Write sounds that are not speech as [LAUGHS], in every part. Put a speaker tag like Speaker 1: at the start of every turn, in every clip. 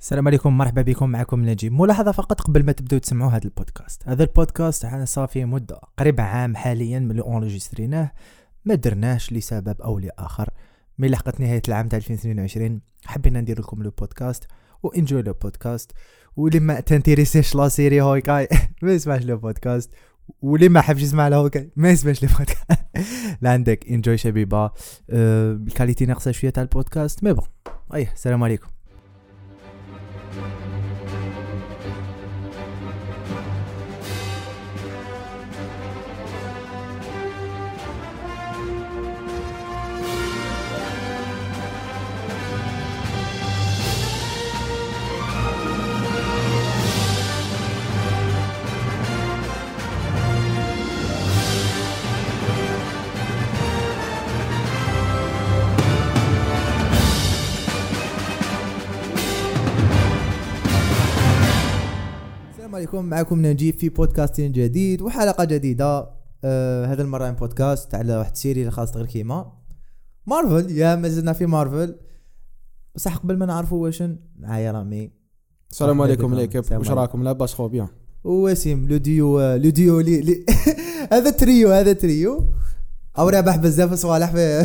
Speaker 1: السلام عليكم مرحبا بكم معكم نجيب ملاحظة فقط قبل ما تبداو تسمعوا هذا البودكاست هذا البودكاست انا صافي مدة قريبة عام حاليا من اللي اونجستريناه ما درناش لسبب او لاخر ملي لحقت نهاية العام تاع 2022 حبينا ندير لكم البودكاست وانجوي لو بودكاست واللي ما تنتيريسيش لا سيري هويكاي [LAUGHS] ما يسمعش لو بودكاست واللي ما حبش يسمع له هوكاي ما يسمعش لو بودكاست [LAUGHS] لا عندك انجوي شبيبة أه، الكاليتي ناقصة شوية تاع البودكاست مي بون ايه السلام عليكم السلام عليكم معكم نجيب في بودكاست جديد وحلقة جديدة آه هذا المرة عن بودكاست على واحد السيري خاص غير كيما مارفل يا مازلنا في مارفل بصح قبل ما نعرفوا واش معايا رامي
Speaker 2: السلام عليكم ليكيب
Speaker 1: السلام
Speaker 2: واش
Speaker 1: عليكم. طيب،
Speaker 2: راكم لاباس خو بيان
Speaker 1: ووسيم لو ديو لو ديو لي لي [LAUGHS] هذا تريو هذا تريو او رابح بزاف صوالح في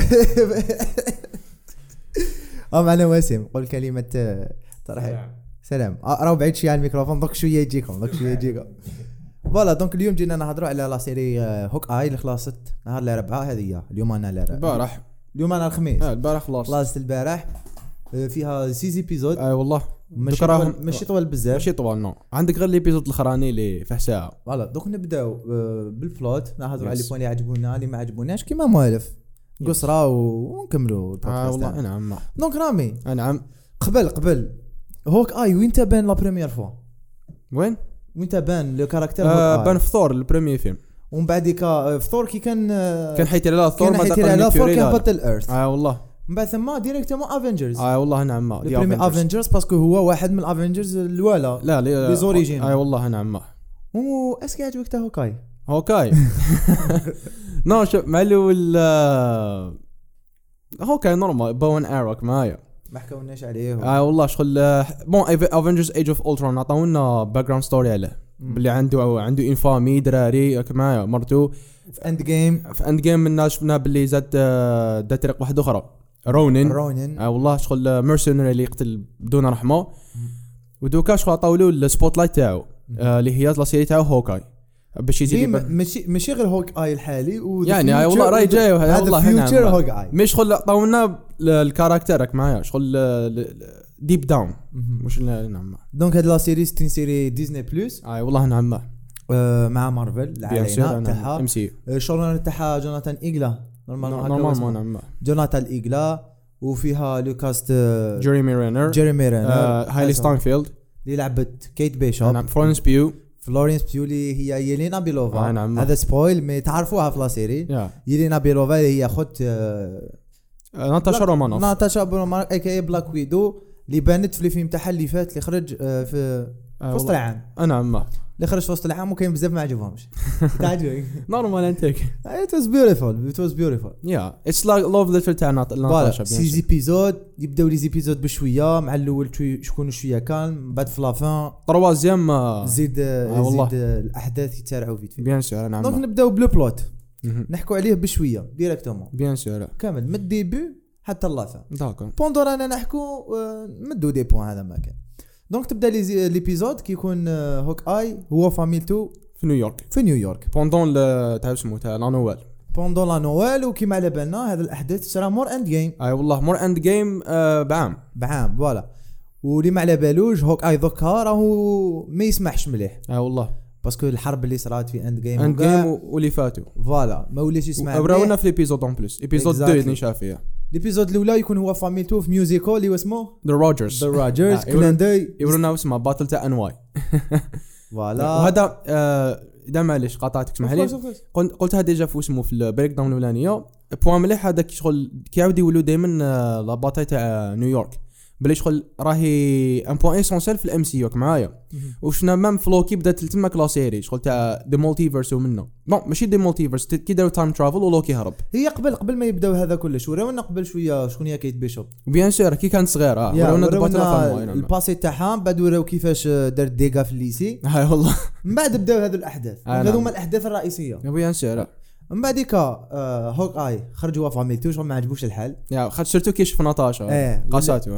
Speaker 1: [LAUGHS] او معنا وسيم قول كلمة آه، ترحيب سلام آه، راهو بعيد شويه على الميكروفون دوك شويه يجيكم دوك شويه يجيكم [LAUGHS] فوالا دونك اليوم جينا نهضروا على لا سيري آه، هوك اي اللي خلاصت نهار الاربعاء هذه هي اليوم انا الاربعاء
Speaker 2: البارح
Speaker 1: اليوم انا الخميس
Speaker 2: اه البارح خلاص
Speaker 1: خلاصت البارح آه، فيها سيز ايبيزود
Speaker 2: اي والله
Speaker 1: ماشي
Speaker 2: دوك راهم-
Speaker 1: طوال- ماشي طوال بزاف
Speaker 2: ماشي طوال نو عندك غير ليبيزود الاخراني اللي فيه ساعه
Speaker 1: فوالا دوك نبداو آه، بالبلوت نهضروا
Speaker 2: Yes.
Speaker 1: على لي بوان اللي عجبونا اللي ما عجبوناش كيما مؤلف قصرى و- ونكملوا
Speaker 2: اه
Speaker 1: البودكاست
Speaker 2: والله
Speaker 1: تاعنا.
Speaker 2: نعم
Speaker 1: دونك رامي
Speaker 2: نعم
Speaker 1: قبل قبل هوك اي وين تبان لا بريمير فوا
Speaker 2: وين؟
Speaker 1: وين تبان لو كاركتير
Speaker 2: آه
Speaker 1: هوك آي؟
Speaker 2: بان في ثور البريمي فيلم
Speaker 1: ومن بعد كا آه، في ثور كي كان
Speaker 2: كان
Speaker 1: كان
Speaker 2: حيت على ثور
Speaker 1: كان
Speaker 2: ما
Speaker 1: حيت
Speaker 2: دخل
Speaker 1: على
Speaker 2: نيك
Speaker 1: ثور
Speaker 2: فيوري
Speaker 1: كان
Speaker 2: لا لا.
Speaker 1: باتل ايرث
Speaker 2: اه والله
Speaker 1: من بعد ثم ديريكتومون افنجرز
Speaker 2: اه والله نعم دي
Speaker 1: البريمي
Speaker 2: Avengers.
Speaker 1: افنجرز باسكو هو واحد من الافنجرز الوالا
Speaker 2: لا لا
Speaker 1: لي زوريجين.
Speaker 2: اه والله نعم
Speaker 1: و اسكي عجبك تا هوكاي [LAUGHS]
Speaker 2: هوكاي نو شوف مع الاول آه، هوكاي نورمال بون اروك معايا
Speaker 1: ما حكاولناش عليه
Speaker 2: اه والله شغل آه، بون افنجرز ايج اوف اولترون عطاو لنا باك جراوند ستوري عليه باللي عنده عنده انفامي دراري راك معايا مرتو
Speaker 1: اند جيم
Speaker 2: في اند جيم منا شفنا باللي زاد آه، دات طريق واحده اخرى رونين
Speaker 1: رونين
Speaker 2: اه والله شغل ميرسونري اللي يقتل بدون رحمه ودوكا شغل عطاو له السبوت لايت تاعو آه، اللي هي لا سيري تاعو هوكاي باش يزيد
Speaker 1: ليه
Speaker 2: يبان-
Speaker 1: إيه، م- ماشي ماشي غير هوك اي الحالي و the
Speaker 2: يعني، آي
Speaker 1: future
Speaker 2: والله راهي
Speaker 1: و the-
Speaker 2: جاية، آي
Speaker 1: هذا
Speaker 2: والله هنا نعم.
Speaker 1: فيوتشر
Speaker 2: عم-
Speaker 1: هوك اي
Speaker 2: مي شغل عطاو لنا ال- الكاركتر راك معايا شغل آه، ديب داون مش ال- نعم
Speaker 1: دونك هاد لا سيري ستين سيري ديزني بلس
Speaker 2: اي والله نعم
Speaker 1: آه، مع مارفل
Speaker 2: بيان سور
Speaker 1: العائله تاعها
Speaker 2: ام نعم. سي
Speaker 1: آه، شغلنا تاعها جوناثان ايغلا نورمالمون هكا هو اسمه.
Speaker 2: نورمالمون نعم
Speaker 1: جوناثان ايغلا وفيها لوكاست آه،
Speaker 2: جيريمي رينر
Speaker 1: جيريمي رينر
Speaker 2: آه، هايلي
Speaker 1: أسمع.
Speaker 2: ستاينفيلد
Speaker 1: اللي لعبت كيت
Speaker 2: نعم
Speaker 1: بيشوب
Speaker 2: فلورنس بيو
Speaker 1: فلورينس بيولي هي يلينا بيلوفا
Speaker 2: آه، نعم.
Speaker 1: هذا سبويل مي تعرفوها في لا سيري
Speaker 2: يا
Speaker 1: يلينا بيلوفا اللي هي خوت آه،
Speaker 2: آه، ناتاشا
Speaker 1: بلاك-
Speaker 2: رومانوف
Speaker 1: ناتاشا برومارك اي كي بلاك ويدو اللي بانت في الفيلم تاعها اللي فات اللي خرج آه، في في
Speaker 2: آه،
Speaker 1: وسط
Speaker 2: والله.
Speaker 1: العام
Speaker 2: آه، نعم
Speaker 1: اللي خرج في وسط العام وكاين بزاف ما
Speaker 2: [LAUGHS]
Speaker 1: عجبهمش تعجبك
Speaker 2: نورمال انتيك
Speaker 1: ات واز بيوتيفول ات واز بيوتيفول
Speaker 2: يا اتس لايك لوف ليتل تاع نات- ناتاشا
Speaker 1: فوالا
Speaker 2: بيان
Speaker 1: سي
Speaker 2: سور.
Speaker 1: زيبيزود يبداو لي زيبيزود بشويه مع الاول شوي- شكون شويه كالم بعد في لافان
Speaker 2: تروازيام آه،
Speaker 1: زيد
Speaker 2: آه، والله.
Speaker 1: زيد الاحداث يتسارعوا فيت فيت
Speaker 2: بيان سور
Speaker 1: دونك
Speaker 2: نعم
Speaker 1: نبداو بلو بلوت نحكوا عليه بشويه ديريكتومون
Speaker 2: بيان سور
Speaker 1: كامل من الديبي حتى لافان
Speaker 2: داكور
Speaker 1: بوندو رانا نحكوا آه، نمدو دي بوان هذا ما كان دونك تبدا لي زي- ليبيزود كيكون آه، هوك اي هو فاميلتو
Speaker 2: في نيويورك
Speaker 1: في نيويورك
Speaker 2: بوندون ل- تاع اسمه تاع لا نوال
Speaker 1: بوندون لا نوال وكيما على بالنا هذا الاحداث صرا مور اند جيم
Speaker 2: اي آه، والله مور اند جيم آه، بعام
Speaker 1: بعام فوالا واللي ما على بالوش هوك اي دوكا راهو ما يسمعش مليح
Speaker 2: اي آه، والله
Speaker 1: باسكو الحرب اللي صرات في اند جيم
Speaker 2: اند جيم واللي فاتوا
Speaker 1: فوالا ما ولاش يسمع مليح
Speaker 2: راونا في ليبيزود اون بلس ايبيزود 2
Speaker 1: Exactly.
Speaker 2: اللي شاف فيها
Speaker 1: ليبيزود الاولى يكون هو فاميلتو في ميوزيكو اللي هو اسمه
Speaker 2: ذا روجرز
Speaker 1: ذا روجرز [LAUGHS]
Speaker 2: [LAUGHS] آه، يقولون-
Speaker 1: كلان داي
Speaker 2: يقولوا اسمها باتل تاع انواي
Speaker 1: فوالا
Speaker 2: وهذا آه، اذا معليش قاطعتك اسمح لي قلت قلتها ديجا في اسمه في البريك داون آه، الاولانيه بوان مليح هذاك شغل كيعاود يولوا دائما لاباتاي تاع نيويورك بلي شغل راهي ان بوان اسونسيال في الام سي يوك معايا وشفنا مام فلوكي بدات تمك لا سيري شغل تاع دي مولتيفيرس ومنه بون ماشي دي مولتيفيرس ت- كي داروا تايم ترافل ولوكي هرب
Speaker 1: هي قبل قبل ما يبداو هذا كلش وراونا قبل شويه شكون هي كيت بيشوب
Speaker 2: وبيان سور كي كانت صغيره اه
Speaker 1: يا،
Speaker 2: آه، وراونا دبات
Speaker 1: وراونا
Speaker 2: راه
Speaker 1: الباسي تاعها من بعد وراو كيفاش آه، دارت ديغا في الليسي
Speaker 2: نعم. [LAUGHS] هاي والله
Speaker 1: من بعد بداو هذو الاحداث
Speaker 2: آه، نعم.
Speaker 1: هذو هما الاحداث الرئيسيه
Speaker 2: بيان سور آه.
Speaker 1: من بعديك آه، هوك اي خرجوا فاميلتو شغل ما عجبوش الحال
Speaker 2: يا خاطر سيرتو كي شفنا
Speaker 1: إيه،
Speaker 2: طاشا
Speaker 1: ولا-
Speaker 2: قاساتو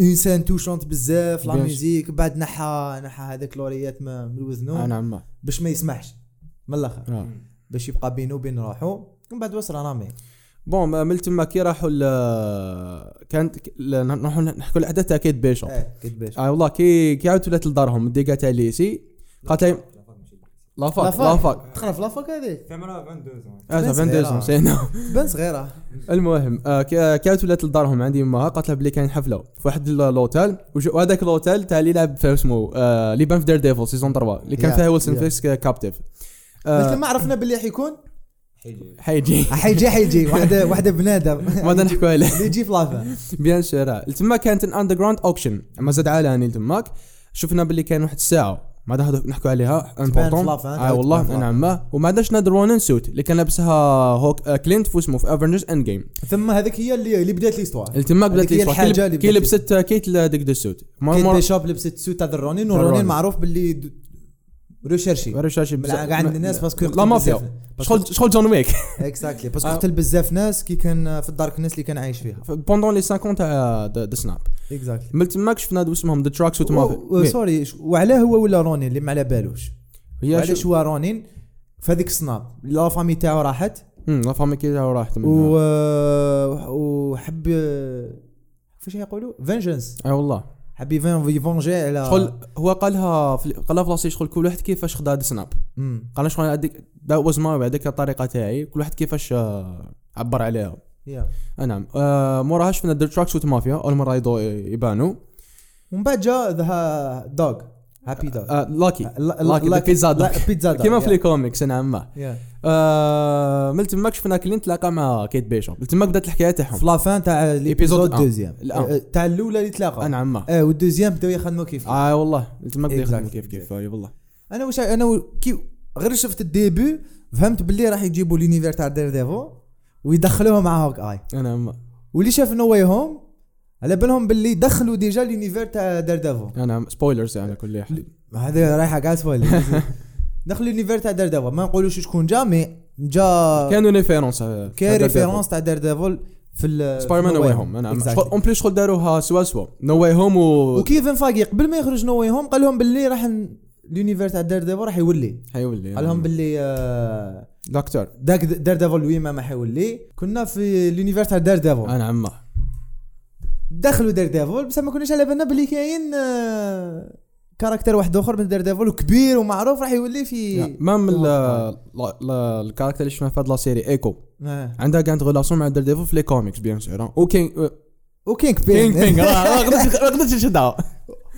Speaker 1: اون سان توشونت بزاف لا
Speaker 2: بيان-
Speaker 1: ميوزيك بعد نحى نحى هذاك لوريات ما- من
Speaker 2: آه،
Speaker 1: وذنو
Speaker 2: نعم آه.
Speaker 1: باش ما يسمعش من الاخر
Speaker 2: آه.
Speaker 1: باش يبقى بينه وبين روحو من بعد واش راه رامي
Speaker 2: بون ما- من تما كي راحوا ل- كانت ك- ل- نروحوا نحكوا الاحداث تاع كيت بيشوب
Speaker 1: ايه كنت باش
Speaker 2: اه والله كي كي عاودت ولات لدارهم الديكا تاع ليسي قالت لي لافاك آه، لافاك
Speaker 1: دخل في لافاك هذيك
Speaker 3: تعملها 22 زون
Speaker 2: اه
Speaker 1: بس
Speaker 2: 22 سنة
Speaker 1: تبان صغيره
Speaker 2: [LAUGHS] المهم آه، كي كي عاودت ولات لدارهم عندي امها قالت لها بلي كاين حفله في واحد ال- لوتيل وج- وهذاك لوتيل تاع اللي لعب في اسمه آه، اللي بان في دير ديفل سيزون 3 اللي كان
Speaker 1: Yeah.
Speaker 2: فيها ويلسون
Speaker 1: Yeah.
Speaker 2: فيكس كابتيف آه.
Speaker 1: مثل ما عرفنا باللي حيكون
Speaker 2: حيجي
Speaker 3: حيجي
Speaker 2: [LAUGHS]
Speaker 1: حيجي حيجي واحده واحده بنادم
Speaker 2: ماذا نحكوا عليه
Speaker 1: اللي يجي في لافا
Speaker 2: بيان سور آه. تما كانت اندر جراوند اوكشن ما زاد عالاني تماك شفنا باللي كان واحد الساعه ما عاد هذوك نحكوا عليها important.
Speaker 1: فلاف، ها؟
Speaker 2: آه والله
Speaker 1: تبان فلاف.
Speaker 2: نعم وما عندناش نادر وانن سوت اللي كان لابسها هوك آه كلينت في اسمه في افنجرز اند جيم
Speaker 1: ثم هذيك هي اللي اللي بدات ليستوار
Speaker 2: تماك
Speaker 1: هذيك
Speaker 2: بدات
Speaker 1: هي
Speaker 2: يصبح.
Speaker 1: الحاجة اللي
Speaker 2: كي
Speaker 1: بدات
Speaker 2: لبست آه، كيت ديك دو سوت
Speaker 1: كيت بيشوب لبست سوت تاع الرونين والرونين
Speaker 2: الرونين.
Speaker 1: معروف باللي د- ريشيرشي بلا- قاع عند الناس باسكو
Speaker 2: لا مافيا شغل شغل جون ويك
Speaker 1: اكزاكتلي باسكو
Speaker 2: آه.
Speaker 1: قتل بزاف ناس كي كان في الدارك ناس اللي كان عايش فيها
Speaker 2: بوندون لي 50 تاع ذا سناب
Speaker 1: اكزاكتلي
Speaker 2: من تماك شفنا دو اسمهم ذا تراك سوت مافيا
Speaker 1: سوري ش- وعلاه هو ولا رونين اللي ما على بالوش
Speaker 2: هي
Speaker 1: علاش هو رونين في هذيك السناب لا فامي تاعو راحت
Speaker 2: لا فامي كي راحت
Speaker 1: و
Speaker 2: منها
Speaker 1: وحب كيفاش يقولوا فينجنس
Speaker 2: اي آه، والله
Speaker 1: حب يفين- يفونجي على
Speaker 2: شغل هو قالها في قالها في لاسي شغل كل واحد كيفاش خدا هاد سناب
Speaker 1: مم.
Speaker 2: قال شغل هذيك دا واز ماي هذيك الطريقه تاعي كل واحد كيفاش آه، عبر عليها
Speaker 1: يا.
Speaker 2: آه نعم آه موراها شفنا دير تراك سوت مافيا اول مره يضو يبانو
Speaker 1: ومن بعد جا ذا دوغ هابي دوغ
Speaker 2: آه لاكي
Speaker 1: لا-
Speaker 2: لاكي
Speaker 1: لا-
Speaker 2: لا بيتزا دوغ.
Speaker 1: لا- بيتزا دوغ.
Speaker 2: كيما
Speaker 1: يا.
Speaker 2: في لي كوميكس نعم ما
Speaker 1: يا.
Speaker 2: آه من تماك شفنا كلين تلاقى مع كيت بيشوب من تماك بدات الحكايه تاعهم
Speaker 1: في لافان تاع ليبيزود
Speaker 2: إيبيزود آن.
Speaker 1: دوزيام
Speaker 2: الآن.
Speaker 1: آه، تاع الاولى اللي
Speaker 2: آه
Speaker 1: تلاقى
Speaker 2: نعم ما
Speaker 1: اه والدوزيام بداو يخدموا كيف
Speaker 2: اه والله من تماك بدا يخدم
Speaker 1: Exactly.
Speaker 2: كيف كيف آه، والله
Speaker 1: انا واش انا و- كي غير شفت الديبي فهمت باللي راح يجيبوا لونيفير تاع دير ديفو ويدخلوه مع هوك اي
Speaker 2: آه، نعم ما
Speaker 1: واللي شاف نو واي هوم على بالهم باللي دخلوا ديجا لونيفير تاع دير ديفو
Speaker 2: آه، نعم سبويلرز على كل حال
Speaker 1: هذا رايحه قاعد
Speaker 2: [LAUGHS]
Speaker 1: سوالي دخلوا لونيفير تاع دير ديفو ما نقولوش شكون جا مي جا
Speaker 2: كانوا ريفيرونس آه،
Speaker 1: كاين
Speaker 2: هذا الديفو.
Speaker 1: ريفيرونس تاع دير ديفول في ال- في
Speaker 2: سبايدر مان
Speaker 1: No
Speaker 2: نو
Speaker 1: Way
Speaker 2: واي
Speaker 1: Home.
Speaker 2: هوم نعم
Speaker 1: Exactly.
Speaker 2: شغل اون بليس شغل داروها سوا سوا نو واي هوم و
Speaker 1: وكيفن فاقي قبل ما يخرج نو واي هوم قال لهم باللي راح ن- لونيفير تاع دير ديفول راح يولي
Speaker 2: حيولي
Speaker 1: قال لهم باللي آه،
Speaker 2: دكتور
Speaker 1: داك دير ديفول ويما ما حيولي كنا في لونيفير تاع دير ديفول
Speaker 2: انا عمه
Speaker 1: دخلوا دير ديفول بس ما كناش على بالنا باللي كاين آه، كاركتر واحد اخر من دير ديفول وكبير ومعروف راح يولي في
Speaker 2: نعم. مام ال-
Speaker 1: آه.
Speaker 2: ال- ال- الكاركتر اللي شفناه في هاد لا سيري ايكو
Speaker 1: آه.
Speaker 2: عندها كانت غولاسيون مع دير ديفل في لي كوميكس بيان سور وكينغ
Speaker 1: وكينغ بين
Speaker 2: كينغ بينغ
Speaker 1: [LAUGHS]
Speaker 2: آه، ما قدرتش ما قدرتش نشدها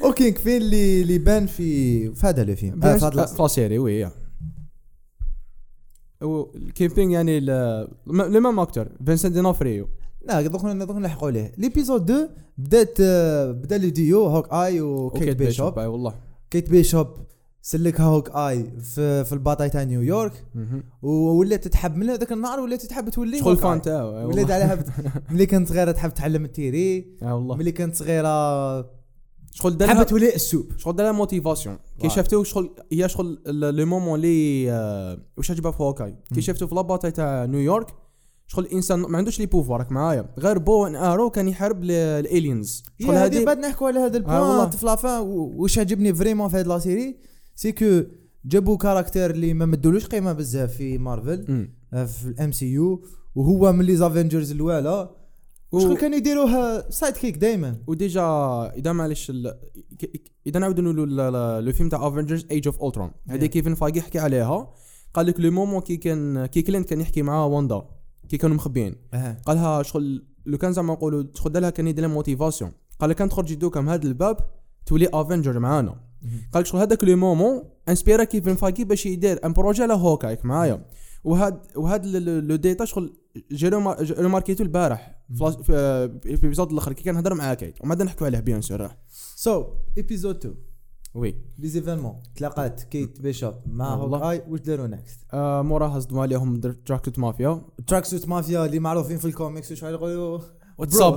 Speaker 1: وكينغ بين اللي اللي بان في في هذا لو فيلم آه، في هذا
Speaker 2: في لا سيري وي يا. و- الكينغ بينغ يعني لو مام اكتور فينسنت دينوفريو
Speaker 1: لا دوك دوك نلحقوا ليه ليبيزود 2 بدات آه، بدا لو ديو هوك اي وكيت
Speaker 2: وكيت
Speaker 1: بيشوب
Speaker 2: اي والله
Speaker 1: كيت بيشوب سلكها هوك اي في, في الباطاي تاع نيويورك
Speaker 2: مهم.
Speaker 1: وولات تتحب من هذاك النهار ولات تتحب تولي
Speaker 2: شغل
Speaker 1: هوك آي.
Speaker 2: فان تاعو آه،
Speaker 1: ولات
Speaker 2: والله.
Speaker 1: عليها بت...
Speaker 2: [LAUGHS]
Speaker 1: ملي كانت صغيره تحب تعلم التيري
Speaker 2: آه، والله
Speaker 1: ملي كانت صغيره
Speaker 2: شغل دارها
Speaker 1: تحب تولي السوب
Speaker 2: شغل دار موتيفاسيون كي
Speaker 1: واعر.
Speaker 2: شفته شغل هي شغل لو مومون اللي آه، واش عجبها في هوكاي كي شفته في لاباتاي تاع نيويورك شغل الانسان ما عندوش لي بوفوار راك معايا غير بو ان ارو كان يحارب ال- الالينز شغل
Speaker 1: شغل هذه
Speaker 2: هذه
Speaker 1: بعد نحكوا على هذا البوان
Speaker 2: والله.
Speaker 1: في لافان واش عجبني فريمون في هذه لا سيري سي كو جابوا كاركتير اللي ما مدولوش قيمه بزاف في مارفل
Speaker 2: مم.
Speaker 1: آه، في الام سي يو وهو من لي زافنجرز الوالا
Speaker 2: و-
Speaker 1: شغل كانوا يديروه سايد كيك دائما
Speaker 2: وديجا اذا معليش ال- ك- ك- اذا نعاودوا نقولوا ال- ال- لو فيلم تاع افنجرز ايج اوف اولترون هذه
Speaker 1: Yeah.
Speaker 2: كيفن فاقي حكى عليها قال لك لو مومون كي كان كي كلينت كان يحكي مع واندا كي كانوا مخبيين قالها شغل لو كان زعما نقولوا تخد لها كان يدير لها موتيفاسيون قال لك كان تخرجي دوكا من هذا الباب تولي افنجر معانا قال لك شغل هذاك لو مومون انسبيرا كيفن فاكي باش يدير ان بروجي على هوكايك معايا وهاد وهاد ال- ال- لو ديتا شغل جي روما- جي ريماركيتو البارح فلاش في آه، في الابيزود الاخر كي كنهضر معاك عيد وما عندنا نحكوا عليه بيان سور
Speaker 1: سو ايبيزود 2
Speaker 2: وي
Speaker 1: لي زيفينمون تلاقات كيت بيشوب مع
Speaker 2: والله.
Speaker 1: هوكاي واش داروا نكست
Speaker 2: آه، موراها صدموا عليهم تراكتوت مافيا
Speaker 1: تراك سوت مافيا اللي معروفين في الكوميكس وشحال يقولوا
Speaker 2: واتساب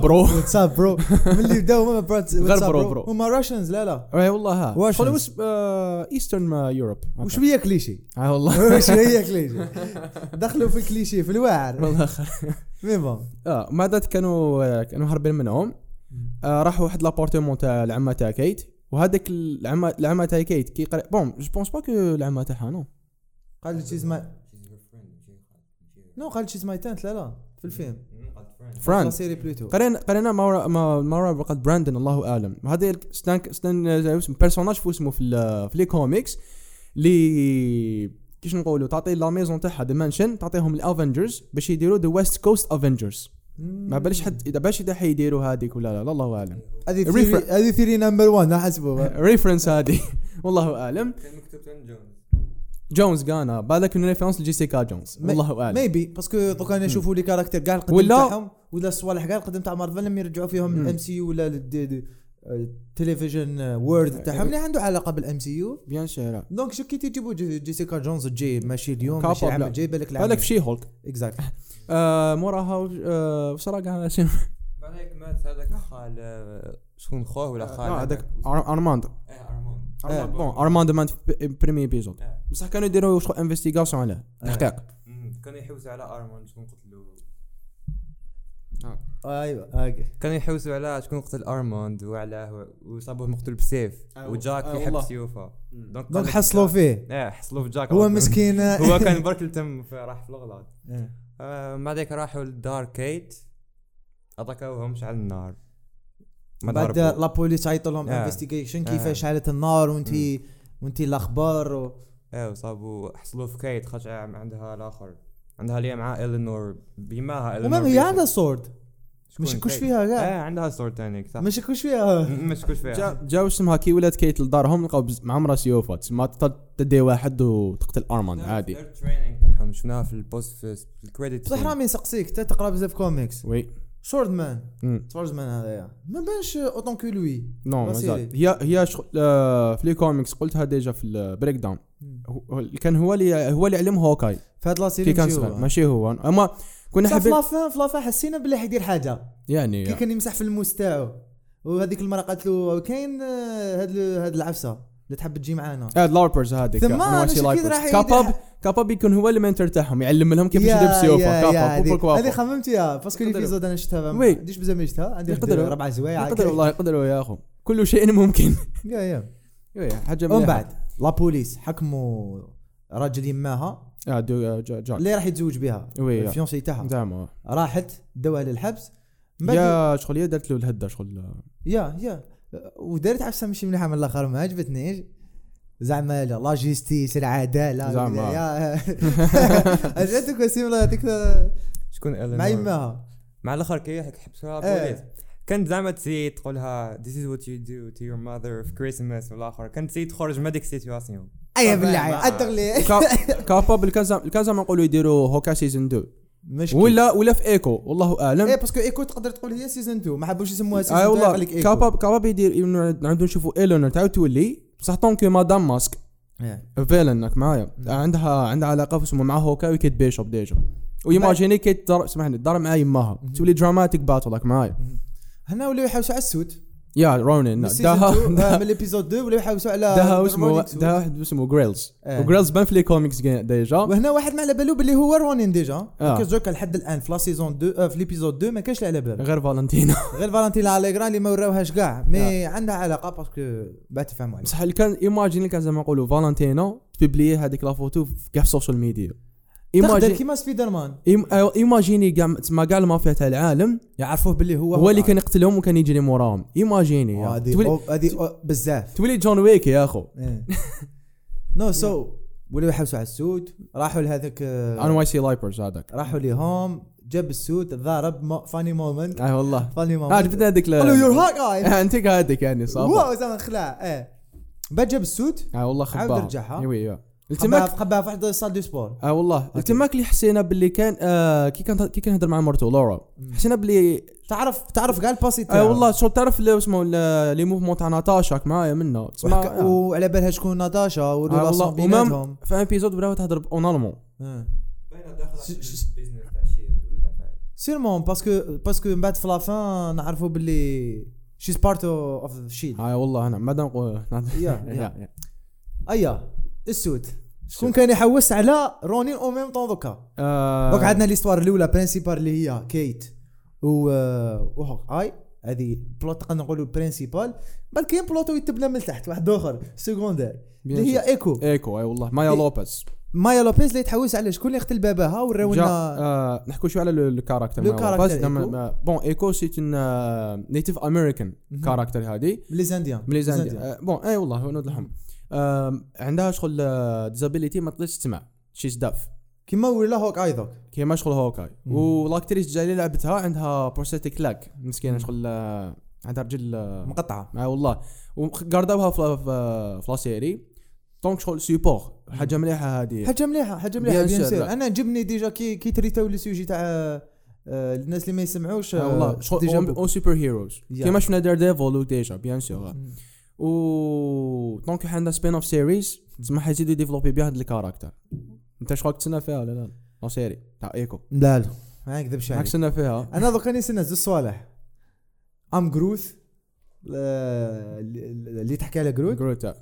Speaker 1: [LAUGHS]
Speaker 2: برو
Speaker 1: واتساب برو ملي بداو هما
Speaker 2: [LAUGHS] غير
Speaker 1: غير
Speaker 2: برو برو.
Speaker 1: هما راشنز لا لا
Speaker 2: اي إيه، والله ها
Speaker 1: واش
Speaker 2: شغل وش آه، ايسترن يوروب
Speaker 1: وشويه كليشي [LAUGHS]
Speaker 2: اه والله
Speaker 1: شويه كليشي دخلوا في الكليشي في الواعر
Speaker 2: [LAUGHS] والله خير
Speaker 1: مي بون
Speaker 2: اه ما دات كانوا آه، كانوا هربين منهم آه، راحوا واحد لابارتمون تاع العمه تاع كيت وهذاك العمه العمه تاع كيت كي قري بون جو بونس با كو العمه تاعها نو
Speaker 1: قال لي شيز ماي نو قال لي شيز ماي تانت لا لا في الفيلم
Speaker 2: فرانس
Speaker 1: سيري بلوتو
Speaker 2: قرينا قرينا مورا ما- مورا بقت براندن الله اعلم هذا ستان ستان زي اسم بيرسوناج في آه، اسمه في ال- آه، في لي كوميكس لي كيش نقولوا تعطي لا ميزون تاعها ديمنشن تعطيهم الافنجرز باش يديروا ذا ويست كوست افنجرز ما بالش حد اذا باش اذا حيديروا هذيك ولا لا لا الله
Speaker 3: [LAUGHS]
Speaker 2: اعلم
Speaker 1: هذه
Speaker 2: Refer-
Speaker 1: theory- هذه ثيري نمبر 1
Speaker 2: [LAUGHS]
Speaker 1: احسبه
Speaker 2: ريفرنس هذه والله اعلم
Speaker 3: كان مكتوب تون جونز
Speaker 2: جونز غانا بالك من ريفرنس لجيسيكا جونز
Speaker 1: ما-
Speaker 2: والله اعلم
Speaker 1: ميبي باسكو دوكا نشوفوا لي كاركتير كاع القديم
Speaker 2: ولا-
Speaker 1: تاعهم ولا الصوالح كاع القديم تاع مارفل لما يرجعوا فيهم
Speaker 2: مم.
Speaker 1: الام سي يو ولا لل- دي- دي- التلفزيون
Speaker 2: آه،
Speaker 1: وورد آه، تاعهم اللي عنده علاقه بالام سي يو
Speaker 2: بيان شيرا
Speaker 1: دونك شو كي تجيبوا جي- جيسيكا جونز جاي ماشي اليوم
Speaker 2: كابابلا.
Speaker 1: ماشي العام الجاي بالك العام
Speaker 2: بالك في شي هولك [LAUGHS]
Speaker 1: اكزاكتلي
Speaker 2: آه موراها وش- آه، وش راك شنو
Speaker 3: بعد هيك مات هذاك خال شكون خوه ولا خال
Speaker 2: آه، هذاك أر- ارماندو
Speaker 3: ايه ارمون
Speaker 2: آه، بون ارماندو مان في بريمي بيزود
Speaker 3: آه.
Speaker 2: بصح كانوا يديروا شغل انفستيغاسيون عليه تحقيق
Speaker 3: مم. كانوا يحوسوا على ارمون شكون قتلو
Speaker 1: ايوه اوكي
Speaker 3: كانوا يحوسوا على شكون قتل ارموند وعلى وصابوه مقتول بسيف
Speaker 2: آه،
Speaker 3: وجاك
Speaker 2: آه،
Speaker 3: يحب
Speaker 2: والله.
Speaker 3: سيوفه دونك
Speaker 1: دونك
Speaker 3: قال لك-
Speaker 1: حصلوا فيه
Speaker 3: ايه حصلوا في جاك
Speaker 1: هو
Speaker 2: [LAUGHS]
Speaker 3: أصلاً.
Speaker 1: مسكين آه،
Speaker 3: هو كان برك التم في- راح في الغلط
Speaker 1: إيه.
Speaker 3: آه، بعد هيك راحوا لدار كيت اتاكاوهم شعل النار ما
Speaker 1: بعد
Speaker 3: ضربوا.
Speaker 1: لابوليس عيطوا لهم
Speaker 3: آه.
Speaker 1: انفستيجيشن
Speaker 3: آه.
Speaker 1: كيفاش شعلت النار وانت وانت الاخبار و...
Speaker 3: ايه وصابوا حصلوا في كيت خشع عندها الاخر عندها اللي مع الينور بيماها الينور
Speaker 1: ومام هي
Speaker 3: بيها.
Speaker 1: عندها سورد
Speaker 3: شكون
Speaker 1: مش كوش
Speaker 3: كيت؟
Speaker 1: فيها كاع
Speaker 3: ايه عندها ستور تانيك صح
Speaker 1: مش كوش فيها
Speaker 3: م- [LAUGHS] مش كوش فيها
Speaker 2: جا- جاو اسمها كي ولات كيت لدارهم لقاو بز- مع مرا سيوفا تسمى تط- تدي واحد وتقتل ارماند عادي
Speaker 3: التريننج تاعهم شفناها في البوست في الكريدت
Speaker 1: بصح رامي نسقسيك تا تقرا بزاف كوميكس
Speaker 2: وي
Speaker 1: سورد مان
Speaker 2: مم.
Speaker 1: سورد مان هذايا ما بانش اوتون كو لوي
Speaker 2: نو
Speaker 1: لا
Speaker 2: مازال
Speaker 1: سيري.
Speaker 2: هي هي شغل آه، في لي كوميكس قلتها ديجا في البريك داون هو- هو- كان هو اللي هو اللي علم هوكاي
Speaker 1: في هاد لا
Speaker 2: كي
Speaker 1: سيري
Speaker 2: كان
Speaker 1: مشيو.
Speaker 2: صغير ماشي هو اما كنا
Speaker 1: بصح في
Speaker 2: حابين
Speaker 1: لافان في لافان حسينا بلي حيدير حاجه كي
Speaker 2: يعني
Speaker 1: كان يمسح في الموس تاعو وهذيك المره قالت له كاين آه، هاد ال- هاد العفسه اللي تحب تجي معانا
Speaker 2: اد لاربرز هذيك
Speaker 1: ثم أنا شكيت راح يدير-
Speaker 2: كاباب كاباب يكون هو المنتور تاعهم يعلم لهم كيفاش يدير سيوفا كاباب
Speaker 1: هذه خممت يا باسكو لي فيزود انا شفتها ما
Speaker 2: وي.
Speaker 1: عنديش بزاف ما شفتها عندي
Speaker 2: يقدروا.
Speaker 1: ربع زوايع
Speaker 2: يقدر والله يقدروا يا اخو كل شيء ممكن
Speaker 1: يا يا
Speaker 2: إيه، حاجه
Speaker 1: ومن
Speaker 2: مليحه
Speaker 1: بعد لابوليس حكموا راجل يماها
Speaker 2: آه، دو- آه، جا- جاك
Speaker 1: اللي راح يتزوج بها
Speaker 2: وي آه،
Speaker 1: الفيونسي تاعها
Speaker 2: زعما
Speaker 1: راحت دوها للحبس من بعد
Speaker 2: يا شغل يا درت له الهده
Speaker 1: [LAUGHS]
Speaker 2: شغل آه،
Speaker 1: يا يا ودارت عفسه مش مليحه من الاخر ما عجبتنيش زعما لا لا جيستيس العداله
Speaker 2: زعما.
Speaker 1: وكذا،
Speaker 2: [LAUGHS]
Speaker 1: يا عجبتك وسيم هذيك
Speaker 3: شكون الينور
Speaker 1: مع يماها
Speaker 3: مع الاخر كي هيك حبسوها
Speaker 1: إيه.
Speaker 3: بوليس كانت زعما تسي تقول لها this is what you do to your mother في كريسماس والاخر كانت تسي تخرج من هذيك السيتياسيون
Speaker 1: اي
Speaker 3: طبعاً
Speaker 1: بالله
Speaker 3: ما-
Speaker 1: ادغلي
Speaker 2: كا- كاباب الكازا الكازا ما نقولوا يديروا هوكا سيزون 2
Speaker 1: مشكل
Speaker 2: ولا ولا في ايكو والله اعلم
Speaker 1: ايه باسكو ايكو تقدر تقول هي سيزون 2 ما حبوش يسموها سيزون
Speaker 2: اي
Speaker 1: 2 يقول
Speaker 2: آه، والله
Speaker 1: لك ايكو
Speaker 2: كاباب كاباب يدير يمنع- نعاودو نشوفوا ايلون تعاود تولي بصح طونك مدام ماسك
Speaker 1: إيه.
Speaker 2: فيلنك معايا عندها عندها علاقه في اسمه مع هوكاي وكيت بيشوب ديجا ويماجيني كيت دار سمحني دار مع يماها تولي دراماتيك باتلك معايا
Speaker 1: هنا ولاو يحوسوا على السود
Speaker 2: يا رونين
Speaker 1: من
Speaker 2: داها
Speaker 1: سيزون 2 آه،
Speaker 2: [LAUGHS]
Speaker 1: [LAUGHS]
Speaker 2: داها-
Speaker 1: من الابيزود 2 ولاو يحوسوا على
Speaker 2: داها
Speaker 1: درمونيك
Speaker 2: اسمه
Speaker 1: سود.
Speaker 2: داها واحد اسمه جريلز
Speaker 1: آه.
Speaker 2: وجريلز بان في لي كوميكس ديجا
Speaker 1: وهنا واحد ما على بالو باللي هو رونين ديجا
Speaker 2: آه.
Speaker 1: دوكا جوكا لحد الان في لا سيزون 2 آه، في ليبيزود 2 ما كانش اللي على بالو
Speaker 2: غير فالنتينا
Speaker 1: غير فالنتينا اليغرا اللي ما وراوهاش كاع مي عندها علاقه باسكو بعد تفهموا عليه
Speaker 2: [LAUGHS] آه. بصح اللي كان ايماجيني كان زعما نقولوا فالنتينا تبيبلي هذيك لا فوتو في كاع السوشيال ميديا
Speaker 1: تخدر
Speaker 2: ايماجيني
Speaker 1: كيما سبايدر مان
Speaker 2: ايماجيني كاع تسمى كاع المافيا تاع العالم
Speaker 1: يعرفوه باللي هو
Speaker 2: هو اللي كان يقتلهم وكان يجري موراهم ايماجيني يا.
Speaker 1: آه. هذه
Speaker 2: تولي-
Speaker 1: أو- هذه أو- بزاف إيه.
Speaker 2: تولي جون ويك يا اخو
Speaker 1: نو سو ولاو يحوسوا على السود راحوا لهذاك آه،
Speaker 2: ان واي سي لايبرز هذاك
Speaker 1: راحوا ليهم جاب السوت ضارب مو فاني مومنت
Speaker 2: اي والله
Speaker 1: فاني مومنت
Speaker 2: عجبتني آه، هذيك ال-
Speaker 1: قال له
Speaker 2: [LAUGHS]
Speaker 1: يور هاك اي
Speaker 2: آه، انت هذيك يعني صافي
Speaker 1: واو زعما خلع ايه بعد جاب السوت
Speaker 2: اي والله خباها
Speaker 1: عاود رجعها.
Speaker 2: إي وي إي. التماك
Speaker 1: قباها قباها في واحد الصال دو سبور
Speaker 2: اه والله التماك اللي حسينا باللي كان آه كي كان كي كنهضر مع مرتو لورا حسينا باللي
Speaker 1: تعرف تعرف كاع الباسي
Speaker 2: اه والله شو تعرف اللي اسمه ال- لي موفمون تاع ناتاشا معايا منا تسمع
Speaker 1: وحكا-
Speaker 2: آه.
Speaker 1: وعلى بالها شكون ناتاشا
Speaker 2: آه
Speaker 1: والريلاسيون
Speaker 2: والله ومام
Speaker 1: بيناتهم
Speaker 2: في ان بيزود براو تهضر اون المون
Speaker 1: آه.
Speaker 3: باينه داخله
Speaker 1: ش- ش-
Speaker 3: البيزنس تاع شيلد ولا تاع-
Speaker 1: سيرمون باسكو باسكو من بعد في لافان نعرفوا باللي شيز بارت اوف شيلد
Speaker 2: اه والله انا بعد نقول
Speaker 1: يا
Speaker 2: [LAUGHS]
Speaker 1: يا ايا السود شكون كان يحوس على رونين او ميم طون دوكا
Speaker 2: آه.
Speaker 1: دوك عندنا ليستوار الاولى برينسيبال اللي هي كيت و وهوك اي هذه بلوت تقدر نقولوا برينسيبال بل كاين بلوتو يتبنى من تحت واحد اخر سكوندير اللي هي ايكو
Speaker 2: ايكو اي آه، والله مايا
Speaker 1: إيه.
Speaker 2: لوبيز
Speaker 1: مايا لوبيز اللي تحوس على شكون اللي قتل باباها
Speaker 2: جا
Speaker 1: وراونا
Speaker 2: آه نحكوا شويه على لو كاركتر
Speaker 1: لو character إيكو.
Speaker 2: نعم، آه، بون ايكو سيت ان نيتيف امريكان
Speaker 1: مهم.
Speaker 2: كاركتر هذه
Speaker 1: لي زانديان
Speaker 2: من لي
Speaker 1: زانديان.
Speaker 2: زانديا آه، بون اي والله هو نوضحهم آه عندها شغل ديزابيليتي ما تقدرش تسمع شيز داف
Speaker 1: كيما ولا هوك اي دوك
Speaker 2: كيما شغل هوكاي والاكتريس الجايه اللي لعبتها عندها بروستاتيك لاك مسكينه شغل آه، عندها رجل آه،
Speaker 1: مقطعه
Speaker 2: اه والله وقردوها في في- في لا سيري دونك شغل سيبور حاجه مليحه هذه
Speaker 1: حاجه مليحه حاجه مليحه
Speaker 2: بيان
Speaker 1: بيان
Speaker 2: سير،
Speaker 1: سير
Speaker 2: لا.
Speaker 1: انا جبني ديجا كي كي تريتاو لي سوجي تاع آه، الناس اللي ما يسمعوش
Speaker 2: آه
Speaker 1: آه،
Speaker 2: والله
Speaker 1: ديجا
Speaker 2: شغل
Speaker 1: بو-
Speaker 2: او سوبر هيروز
Speaker 1: Yeah.
Speaker 2: كيما شفنا دير ديفول وديجا بيان سور
Speaker 1: مم.
Speaker 2: و دونك عندنا سبين اوف سيريز تسمى حيزيدو ديفلوبي بها هاد الكاركتر انت شكون تسنى فيها ولا لا لا سيري تاع ايكو
Speaker 1: لا لا ما نكذبش
Speaker 2: راك
Speaker 1: عليك
Speaker 2: تسنى فيها
Speaker 1: انا دوك راني سنة زوج صوالح ام جروث اللي تحكي على جروث
Speaker 2: جروتا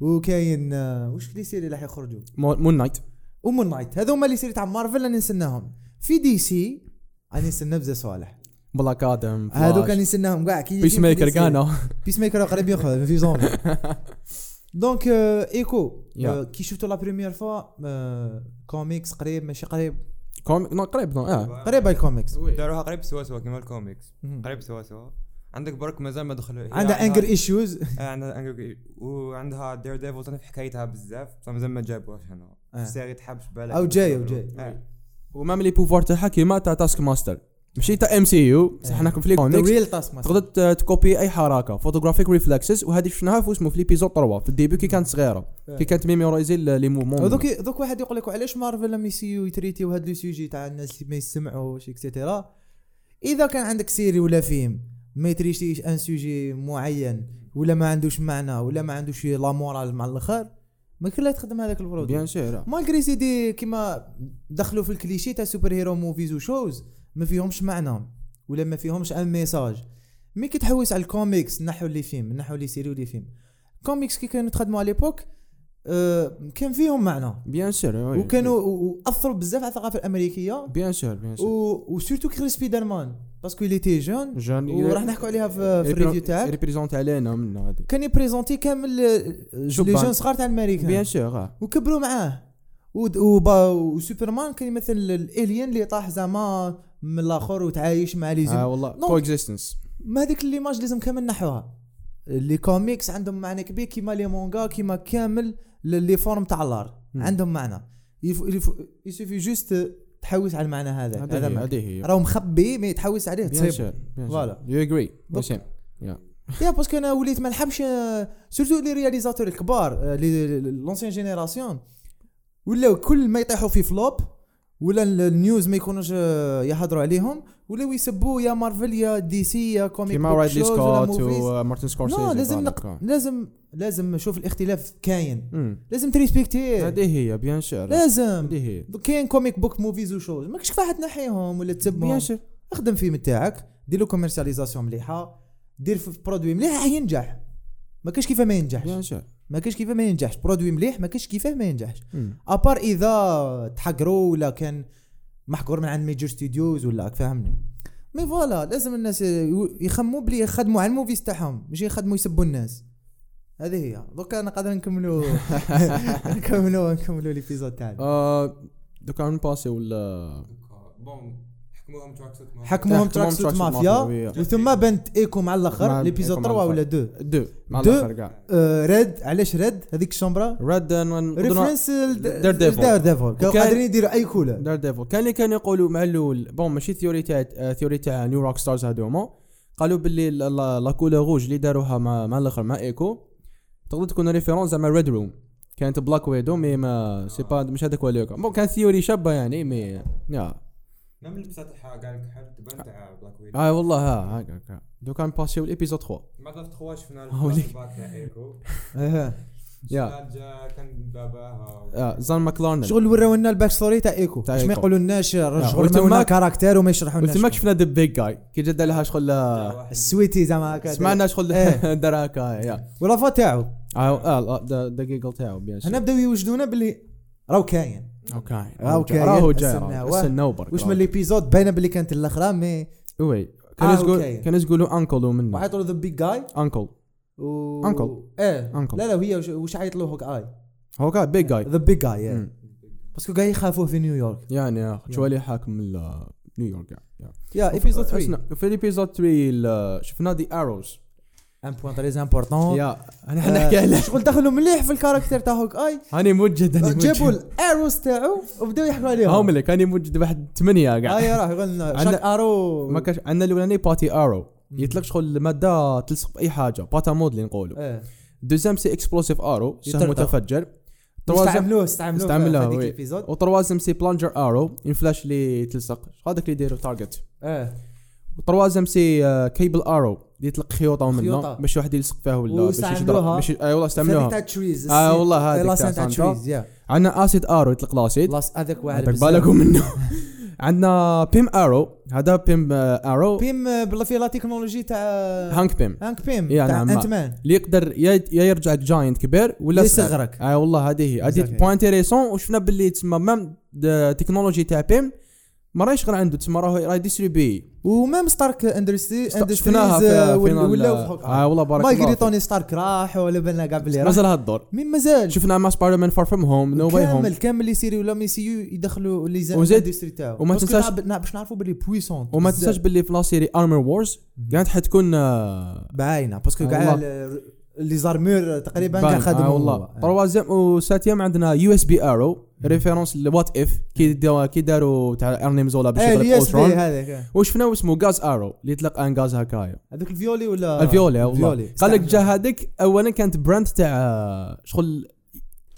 Speaker 1: وكاين آه، وش اللي يصير اللي راح يخرجوا
Speaker 2: مون نايت
Speaker 1: ومون نايت هذو هما اللي يصير تاع مارفل راني نسناهم في دي سي راني نسنى بزاف صوالح
Speaker 2: بلاك ادم
Speaker 1: هذوك
Speaker 2: فلاش.
Speaker 1: راني نسناهم كاع كي
Speaker 2: بيس ميكر كانا
Speaker 1: بيس ميكر قريب ياخذ في زومبي دونك آه، ايكو آه،
Speaker 2: Yeah.
Speaker 1: كي شفتو لا بريمير فوا آه، كوميكس قريب ماشي قريب
Speaker 2: كوميك نو قريب نو اه
Speaker 1: قريب الكوميكس
Speaker 3: داروها قريب سوا سوا كيما الكوميكس
Speaker 1: مم.
Speaker 3: قريب سوا سوا عندك برك مازال ما دخلوا هي
Speaker 1: عندها انجر
Speaker 3: [LAUGHS]
Speaker 1: ايشوز
Speaker 3: آه، عندها انجر وعندها دير ديفل تاني في حكايتها بزاف بصح مازال ما جابوهاش هنا
Speaker 1: آه.
Speaker 3: في السيري تحبش بالك
Speaker 1: أو جاي، أو
Speaker 3: يدخلوا.
Speaker 1: جاي.
Speaker 3: آه.
Speaker 2: ومام لي بوفوار تاعها كيما تاع تاسك ماستر ماشي تاع ام سي يو بصح حنا في لي كوميكس
Speaker 1: ريل تاسك
Speaker 2: تقدر ت- تكوبي اي حركه فوتوغرافيك ريفلكسز وهذه شفناها في اسمه في ليبيزود 3 في الديبي كي كانت صغيره كي كانت ميمورايزي لي موفمون
Speaker 1: إيه. هذوك هذوك واحد يقول لك علاش مارفل لم يسيو يتريتيو هاد لو سوجي تاع الناس اللي ما يسمعوش اكسيتيرا اذا كان عندك سيري ولا فيلم ما يتريتيش ان سوجي معين ولا ما عندوش معنى ولا ما عندوش لا مورال مع الاخر ما كان لا تخدم هذاك البرودوي
Speaker 2: بيان سور آه.
Speaker 1: مالغري سيدي كيما دخلوا في الكليشي تاع سوبر هيرو موفيز وشوز ما فيهمش معنى ولا ما فيهمش ان ميساج مي كي تحوس على الكوميكس نحو لي فيلم نحو لي سيري ولي فيلم كوميكس كي كانوا تخدموا على ليبوك آه كان فيهم معنى
Speaker 2: بيان سور وي.
Speaker 1: وكانوا و- واثروا بزاف على الثقافه الامريكيه
Speaker 2: بيان سور بيان سور
Speaker 1: و- وسيرتو كي خرج سبايدر مان باسكو اللي تي جون
Speaker 2: جون
Speaker 1: وراح نحكوا عليها في, في الريفيو تاعك
Speaker 2: ريبريزونت علينا من هذه
Speaker 1: كان يبريزونتي كامل آه، لي
Speaker 2: شبان.
Speaker 1: جون صغار تاع الامريكان
Speaker 2: بيان سور آه.
Speaker 1: وكبروا معاه ود- وبا- وسوبرمان كان يمثل الالين اللي طاح زعما من الاخر وتعايش مع لي
Speaker 2: اه
Speaker 1: زوم
Speaker 2: والله
Speaker 1: دونك-
Speaker 2: كو اكزيستنس
Speaker 1: ما هذيك ليماج لازم كامل نحوها لي كوميكس عندهم معنى كبير كيما لي مونغا كيما كامل ل- لي فورم تاع الار
Speaker 2: مم.
Speaker 1: عندهم معنى يف- يف- يسوفي جوست تحوس على المعنى هذا هذا
Speaker 2: هذه
Speaker 1: معنى.
Speaker 2: هي
Speaker 1: راهو مخبي ما يتحوس عليه
Speaker 2: بيان
Speaker 1: تصيب
Speaker 2: سور بيان سور
Speaker 1: فوالا.
Speaker 2: يو اجري
Speaker 1: دوك.
Speaker 2: وسيم
Speaker 1: يا باسكو انا وليت ما نحبش سورتو لي رياليزاتور الكبار آه، لي لونسيان جينيراسيون ولاو كل ما يطيحوا في فلوب ولا ال- النيوز ما يكونوش آه، يهضروا عليهم ولاو يسبوا يا مارفل يا دي سي يا كوميك
Speaker 2: كيما
Speaker 1: بوك
Speaker 2: رايدلي
Speaker 1: شوز ولا
Speaker 2: سكوت
Speaker 1: موفيز.
Speaker 2: ومارتن سكورسيزي
Speaker 1: لا، لازم
Speaker 2: فوالا.
Speaker 1: لازم لازم نشوف الاختلاف كاين
Speaker 2: مم.
Speaker 1: لازم تريسبكتي
Speaker 2: هذه هي بيان سور
Speaker 1: Eh. لازم
Speaker 2: هذه هي
Speaker 1: دوك كاين كوميك بوك موفيز وشوز ماكش كفاح تنحيهم ولا تسبهم
Speaker 2: بيان سور
Speaker 1: اخدم فيلم تاعك دير له كوميرسياليزاسيون مليحه دير في برودوي مليح راح ينجح ما كاش كيفاه ما
Speaker 2: بيان
Speaker 1: ينجحش
Speaker 2: سور
Speaker 1: ما كاش كيفاه ما ينجحش برودوي مليح ما كاش كيفاه ما ينجحش
Speaker 2: مم.
Speaker 1: ابار اذا تحقروا ولا كان محقور من عند ميجور ستوديوز ولا راك فاهمني مي فوالا لازم الناس يو- يخموا بلي يخدموا على الموفيز تاعهم مش يخدموا يسبوا الناس هذه هي دوكا انا قادر نكملوا نكملوا نكملوا ليبيزود تاعنا
Speaker 2: آه، دوكا نباسي ولا
Speaker 3: بون حكموهم تراكسوت معاهم.
Speaker 1: حكموهم
Speaker 2: حكموهم
Speaker 1: تراك سوت
Speaker 2: Tracksuit
Speaker 1: مافيا
Speaker 2: Mafia.
Speaker 1: وثم بنت ايكو مع
Speaker 2: مع
Speaker 1: الاخر ليبيزود
Speaker 2: إيكو مع
Speaker 1: 3 ولا
Speaker 2: الآخر.
Speaker 1: 2
Speaker 2: دو مع
Speaker 1: دو.
Speaker 2: الاخر كاع
Speaker 1: آه، ريد علاش ريد هذيك الشومبرا
Speaker 2: ريد
Speaker 1: ريفرنس
Speaker 2: دير ديفل.
Speaker 1: دار ديفل كانوا
Speaker 2: وكان-
Speaker 1: قادرين يديروا اي كولا
Speaker 2: دار ديفل كان اللي كانوا يقولوا مع الاول بون ماشي ثيوري تاع آه، ثيوري تاع نيو روك ستارز هذوما قالوا باللي ال- ال- لا كولا روج اللي داروها مع مع الاخر مع ايكو تقدر تكون ريفيرونس زعما ريد روم كانت بلاك ويدو مي ما سي با مش هذاك ولا بون كان ثيوري شابه يعني مي يا
Speaker 3: ميم اللبسه تاعها قال لك حد تبان تاع بلاك
Speaker 1: آه.
Speaker 3: ويدو
Speaker 2: اه والله ها هكا هكا دوكا نباسيو لابيزود 3
Speaker 3: ما ضفت خواش شفنا
Speaker 2: هو ليك.
Speaker 3: الفلاش باك تاع ايكو
Speaker 1: [LAUGHS] إيه.
Speaker 2: يا
Speaker 3: شفنا جا كان باباها
Speaker 2: آه، زان ماكلارنل
Speaker 1: شغل وراو لنا الباك ستوري تاع ايكو
Speaker 2: تاع
Speaker 1: باش ما
Speaker 2: إيكو.
Speaker 1: يقولوا لناش
Speaker 2: آه،
Speaker 1: رجعوا لنا ولا
Speaker 2: وتماك-
Speaker 1: كاركتير وما يشرحوا لناش
Speaker 2: تماك شفنا ذا بيج جاي كي جا دار لها شغل آه،
Speaker 1: السويتي زعما هكا
Speaker 2: سمعنا شغل [LAUGHS]
Speaker 1: إيه.
Speaker 2: دار هكا يا
Speaker 1: ولا فا تاعو
Speaker 2: اه ذا جيجل تاعو بيان
Speaker 1: هنا بداو يوجدونا باللي راهو كاين
Speaker 2: اوكي
Speaker 1: راهو
Speaker 2: اوكي
Speaker 1: كاين،
Speaker 2: آه، راهو جاي
Speaker 1: استناوه.
Speaker 2: راهو استناو برك
Speaker 1: واش
Speaker 2: راهو
Speaker 1: من ليبيزود باينه باللي كانت الاخرى مي
Speaker 2: جاي. وي كان
Speaker 1: آه، أوكي.
Speaker 2: يقول كان يقولوا انكل منه
Speaker 1: وعيط له ذا بيج جاي
Speaker 2: انكل
Speaker 1: و
Speaker 2: Uncle.
Speaker 1: ايه
Speaker 2: Uncle.
Speaker 1: لا لا هي وش- وش عيط له هوك آه. اي
Speaker 2: هو كان بيج جاي
Speaker 1: ذا بيج جاي
Speaker 2: مم.
Speaker 1: باسكو قاعد يخافوه في نيويورك
Speaker 2: يعني يا اخي شوالي حاكم ال- نيويورك يعني. يا.
Speaker 1: يا ايبيزود 3
Speaker 2: أسنا- في ايبيزود 3 ال- شفنا دي اروز
Speaker 1: ان بوان تريز امبورطون
Speaker 2: يا انا حنحكي عليه
Speaker 1: آه، شغل دخلوا مليح في الكاركتر تاع هوك اي
Speaker 2: هاني موجد هاني
Speaker 1: جابوا
Speaker 2: موجد
Speaker 1: الاروز تاعو وبداو يحكوا عليهم
Speaker 2: هاهم لك هاني موجد واحد ثمانية
Speaker 1: اه
Speaker 2: كاع
Speaker 1: يا راه يقول لنا
Speaker 2: عندنا-
Speaker 1: شاك ارو
Speaker 2: ما كاش عندنا الاولاني باتي ارو يطلق شغل مادة تلصق بأي حاجة باتا مود اللي نقولوا
Speaker 1: إيه.
Speaker 2: دوزيام سي اكسبلوسيف ارو سهم
Speaker 1: يطرطق.
Speaker 2: متفجر تروازيام
Speaker 1: استعملوه استعملوه
Speaker 2: استعملوه،
Speaker 1: في هذيك
Speaker 2: وي.
Speaker 1: الإبيزود.
Speaker 2: وتروازيام سي بلانجر ارو الفلاش اللي تلصق هذاك اللي يديروا تارجت
Speaker 1: اه
Speaker 2: وتروازيم سي آه، كيبل ارو اللي يطلق خيوطه
Speaker 1: خيوطة.
Speaker 2: منه باش واحد يلصق فيها ولا باش
Speaker 1: واستعملوها.
Speaker 2: يضرب باش اي
Speaker 1: استعملوها
Speaker 2: والله استعملوها
Speaker 1: تاع تريز
Speaker 2: آه والله هذيك
Speaker 1: لاسان
Speaker 2: تاع
Speaker 1: تاع
Speaker 2: سانتا.
Speaker 1: تريز يا
Speaker 2: عندنا اسيد ارو يطلق لاسيد
Speaker 1: لاس هذاك واعر
Speaker 2: عندك
Speaker 1: بزاف.
Speaker 2: بالكم [LAUGHS] منه عندنا بيم ارو هذا بيم آه، ارو
Speaker 1: بيم آه، بلا في لا تكنولوجي تاع
Speaker 2: هانك بيم
Speaker 1: هانك بيم
Speaker 2: يا
Speaker 1: تاع
Speaker 2: نعم، ما-
Speaker 1: انت مان
Speaker 2: اللي يقدر يا يا يرجع جاينت كبير ولا
Speaker 1: اللي
Speaker 2: صغير.
Speaker 1: يصغرك.
Speaker 2: اي آه، والله هذه هي هذه
Speaker 1: Exactly.
Speaker 2: بوان انتيريسون وشفنا باللي تسمى مام التكنولوجي تاع بيم ما راه يشغل عنده تسمى راه راه يديستريبي
Speaker 1: ومام ستارك اندرستي
Speaker 2: شفناها
Speaker 1: اندستريز
Speaker 2: في
Speaker 1: آه، ولا في
Speaker 2: فينال اه
Speaker 1: هوك
Speaker 2: والله بارك
Speaker 1: ما
Speaker 2: الله
Speaker 1: يقري
Speaker 2: فيك.
Speaker 1: توني ستارك راح ولا بالنا قبل راح
Speaker 2: مازال هالدور
Speaker 1: مين مازال
Speaker 2: شفنا مع سبايدر مان فار فروم هوم نو واي هوم
Speaker 1: كامل كامل اللي يصير ولا مي سي يو يدخلوا لي زان
Speaker 2: وزيد-
Speaker 1: اندستري تاعو
Speaker 2: وما
Speaker 1: باسكو
Speaker 2: تنساش-
Speaker 1: نعب- نعب- باش نعرفوا باللي بويسون
Speaker 2: وما تنساش باللي في لا سيري ارمر وورز كانت حتكون آه،
Speaker 1: باينه باسكو
Speaker 2: آه
Speaker 1: كاع
Speaker 2: والله.
Speaker 1: ال- لي زارمور تقريبا كاع
Speaker 2: باين.
Speaker 1: خدموا
Speaker 2: آه والله تروازيام وساتيام عندنا يو اس بي ارو ريفيرونس لوات اف كي دا- كي داروا تاع ارني مزولا باش
Speaker 1: ايه
Speaker 2: يغلب
Speaker 1: اليس بي
Speaker 2: اوترون
Speaker 1: هذاك
Speaker 2: وشفنا اسمه غاز ارو اللي يطلق ان غاز هكايا
Speaker 1: هذاك الفيولي ولا
Speaker 2: الفيولا والله قال لك جا
Speaker 1: آه، استعمل.
Speaker 2: هذيك اولا كانت براند تاع آه، شغل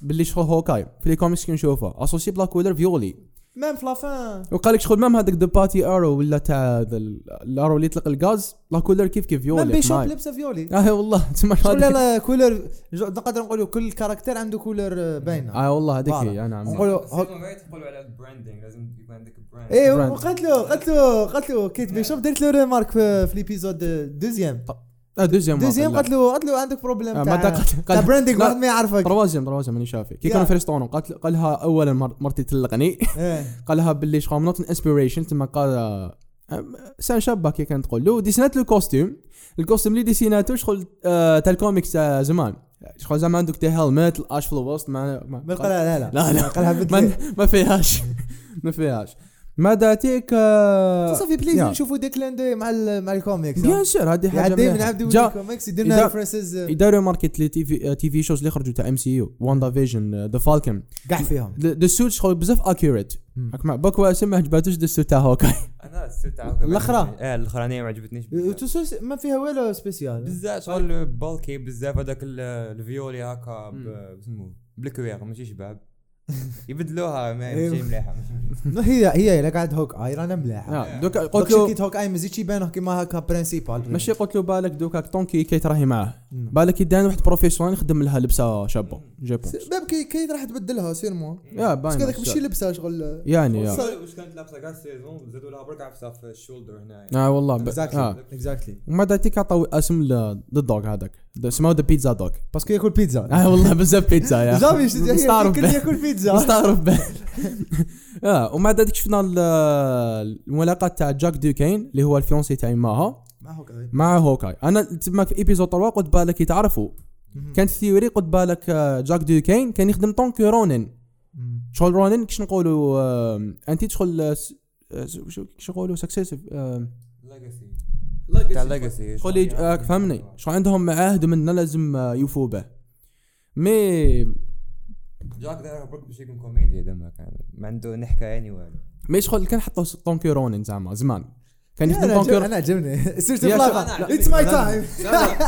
Speaker 2: باللي شغل هوكاي في لي كوميكس كي نشوفها اسوسي بلاك ويدر فيولي
Speaker 1: ميم في لافان
Speaker 2: وقال لك شغل مام هذاك ذا باتي ارو ولا تاع ذا ال- الارو اللي يطلق الغاز بلاك ويدر كيف كيف
Speaker 1: ميم
Speaker 2: فيولي
Speaker 1: بيشوب
Speaker 2: حماية.
Speaker 1: لبسه
Speaker 2: [LAUGHS]
Speaker 1: فيولي
Speaker 2: اه والله تسمى
Speaker 1: شغل
Speaker 2: هذيك.
Speaker 1: لا كولر جو- نقدر نقولوا كل كاركتير عنده آه، كولر باينه
Speaker 2: اه والله هذيك
Speaker 1: فوالا. آه،
Speaker 2: هي انا عم
Speaker 1: نقولوا هوك-
Speaker 3: ما يتقولوا على البراندينغ لازم يكون عندك براند
Speaker 1: ايه
Speaker 2: براند.
Speaker 1: وقلت له قلت له قلت له كيت بيشوب درت له ريمارك في في ليبيزود دوزيام
Speaker 2: آه، دوزيام
Speaker 1: دوزيام
Speaker 2: واحد،
Speaker 1: قلت
Speaker 2: لا.
Speaker 1: له قلت له عندك بروبليم
Speaker 2: آه، ما
Speaker 1: تاع
Speaker 2: دقت
Speaker 1: تاع
Speaker 2: قال
Speaker 1: براندينغ
Speaker 2: لا.
Speaker 1: واحد ما يعرفك
Speaker 2: تروازيام تروازيام ماني شافي كي
Speaker 1: يا.
Speaker 2: كانوا فيرستون قالت قال لها اولا مر- مرتي تلقني
Speaker 1: إيه.
Speaker 2: قال لها باللي شغل نوت انسبيريشن تما قال آه، سان شابه كي كانت تقول له ديسينات له كوستيم الكوستيم اللي ديسيناتو شغل آه، تاع الكوميكس تاع زمان شغل زعما عندك تاع هيلمت الاش في الوسط ما ما-
Speaker 1: ما يقلها لا لا
Speaker 2: لا لا
Speaker 1: قالها بدري
Speaker 2: ما, ما فيهاش [LAUGHS] ما فيهاش ما داتيك آه،
Speaker 1: أه، صافي بليز
Speaker 2: يا.
Speaker 1: نشوفوا ديكلان دي مع ال- مع الكوميكس
Speaker 2: بيان سور هذه حاجه
Speaker 1: يعدي من
Speaker 2: مليحة.
Speaker 1: عبد
Speaker 2: جا-
Speaker 1: الكوميكس يدير لنا
Speaker 2: إذا-
Speaker 1: ريفرنسز
Speaker 2: يداروا ماركت لي تي في آه، تي في شوز اللي خرجوا تاع ام سي يو آه، واندا فيجن ذا فالكن
Speaker 1: كاع فيهم
Speaker 2: ذا سوت شغل بزاف اكيوريت
Speaker 1: مم.
Speaker 2: هاك مع باك واسم ما عجباتوش ذا سوت تاع هوكاي
Speaker 3: انا السوت تاعها
Speaker 1: الأخرى. إيه،
Speaker 3: اه الاخرانيه ما عجبتنيش بزاف.
Speaker 1: وتسوس ما فيها والو سبيسيال
Speaker 3: بزاف شغل
Speaker 1: طيب.
Speaker 3: بالكي بزاف هذاك ال- الفيولي هكا
Speaker 2: مم.
Speaker 3: ب- بسمو بالكوير ماشي
Speaker 1: [LAUGHS]
Speaker 3: شباب يبدلوها ما
Speaker 1: إيه.
Speaker 3: ماشي مليحه ماشي-
Speaker 1: هي هي الا قاعد هوك اي رانا ملاحه
Speaker 2: آه، دوكا
Speaker 1: قلت
Speaker 2: قلت له
Speaker 1: كيت هوك اي مازيتش يبانه كيما هكا برانسيبال
Speaker 2: ماشي قلت له بالك دوكا طونكي كي تراهي معاه
Speaker 1: مم.
Speaker 2: بالك يدان واحد بروفيسيونيل يخدم لها لبسه شابه جابون
Speaker 1: باب كي كي راح تبدلها سيرمون
Speaker 2: يا
Speaker 1: بس
Speaker 2: باين
Speaker 1: هذاك ماشي لبسه شغل
Speaker 2: يعني يا
Speaker 1: صار-
Speaker 3: واش كانت لابسه كاع السيزون زادوا لها برك عفسه في الشولدر هنايا
Speaker 2: اه والله ب... اه
Speaker 1: اكزاكتلي اكزاكتلي
Speaker 2: وما داتيك عطاو اسم للدوغ هذاك سماو ذا بيتزا دوغ [LAUGHS]
Speaker 1: باسكو ياكل بيتزا
Speaker 2: اه والله بزاف بيتزا
Speaker 1: [LAUGHS]
Speaker 2: يا
Speaker 1: جامي
Speaker 2: أخي. مستعرف
Speaker 1: ياكل
Speaker 2: به.
Speaker 1: ياكل
Speaker 2: [LAUGHS]
Speaker 1: بيتزا
Speaker 2: مستغرب به اه ومع ذلك شفنا ال- الملاقات تاع جاك دوكين اللي هو الفيونسي تاع ماها
Speaker 1: ما هوك آه. أي.
Speaker 2: مع هوكاي انا تما في ايبيزود 3 قلت بالك يتعرفوا كانت ثيوري قلت بالك آه، جاك دوكين كان يخدم طونك رونين
Speaker 1: مم.
Speaker 2: شغل رونين كش نقولوا آه، انت تشغل آه، س- آه، شو شو نقولوا سكسيسيف
Speaker 3: ليجاسي تاع
Speaker 2: شغل
Speaker 3: ليجاسي
Speaker 2: يج- آه، فهمني شغل عندهم عهد منا لازم آه، يوفوا به مي
Speaker 3: جاك داير برك باش يكون كوميديا دما كان ما عنده نحكه يعني والو
Speaker 2: مي شغل كان حطوا طونكي رونين زعما زمان كان يخدم دونكور
Speaker 1: انا عجبني [LAUGHS] سيرت
Speaker 2: يعني يا شباب،
Speaker 1: بلاصه اتس ماي تايم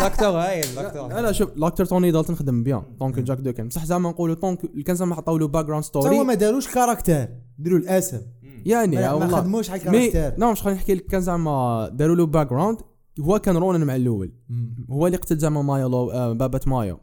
Speaker 3: لاكتور هايل لاكتور
Speaker 2: انا شوف لاكتر توني دالتون خدم بيان دونك جاك دوكن بصح زعما نقولوا دونك كان زعما حطوا له باك جراوند
Speaker 1: توا
Speaker 2: ستوري
Speaker 1: ما داروش كاركتر ديروا الاسم
Speaker 2: يعني
Speaker 1: ما
Speaker 2: يا
Speaker 1: ما
Speaker 2: والله
Speaker 1: خدموش على
Speaker 2: مي
Speaker 1: الكاركتر
Speaker 2: نعم شحال نحكي لك كان زعما داروا له باك جراوند هو كان رونن مع الاول هو اللي قتل زعما مايا لو آه بابا مايا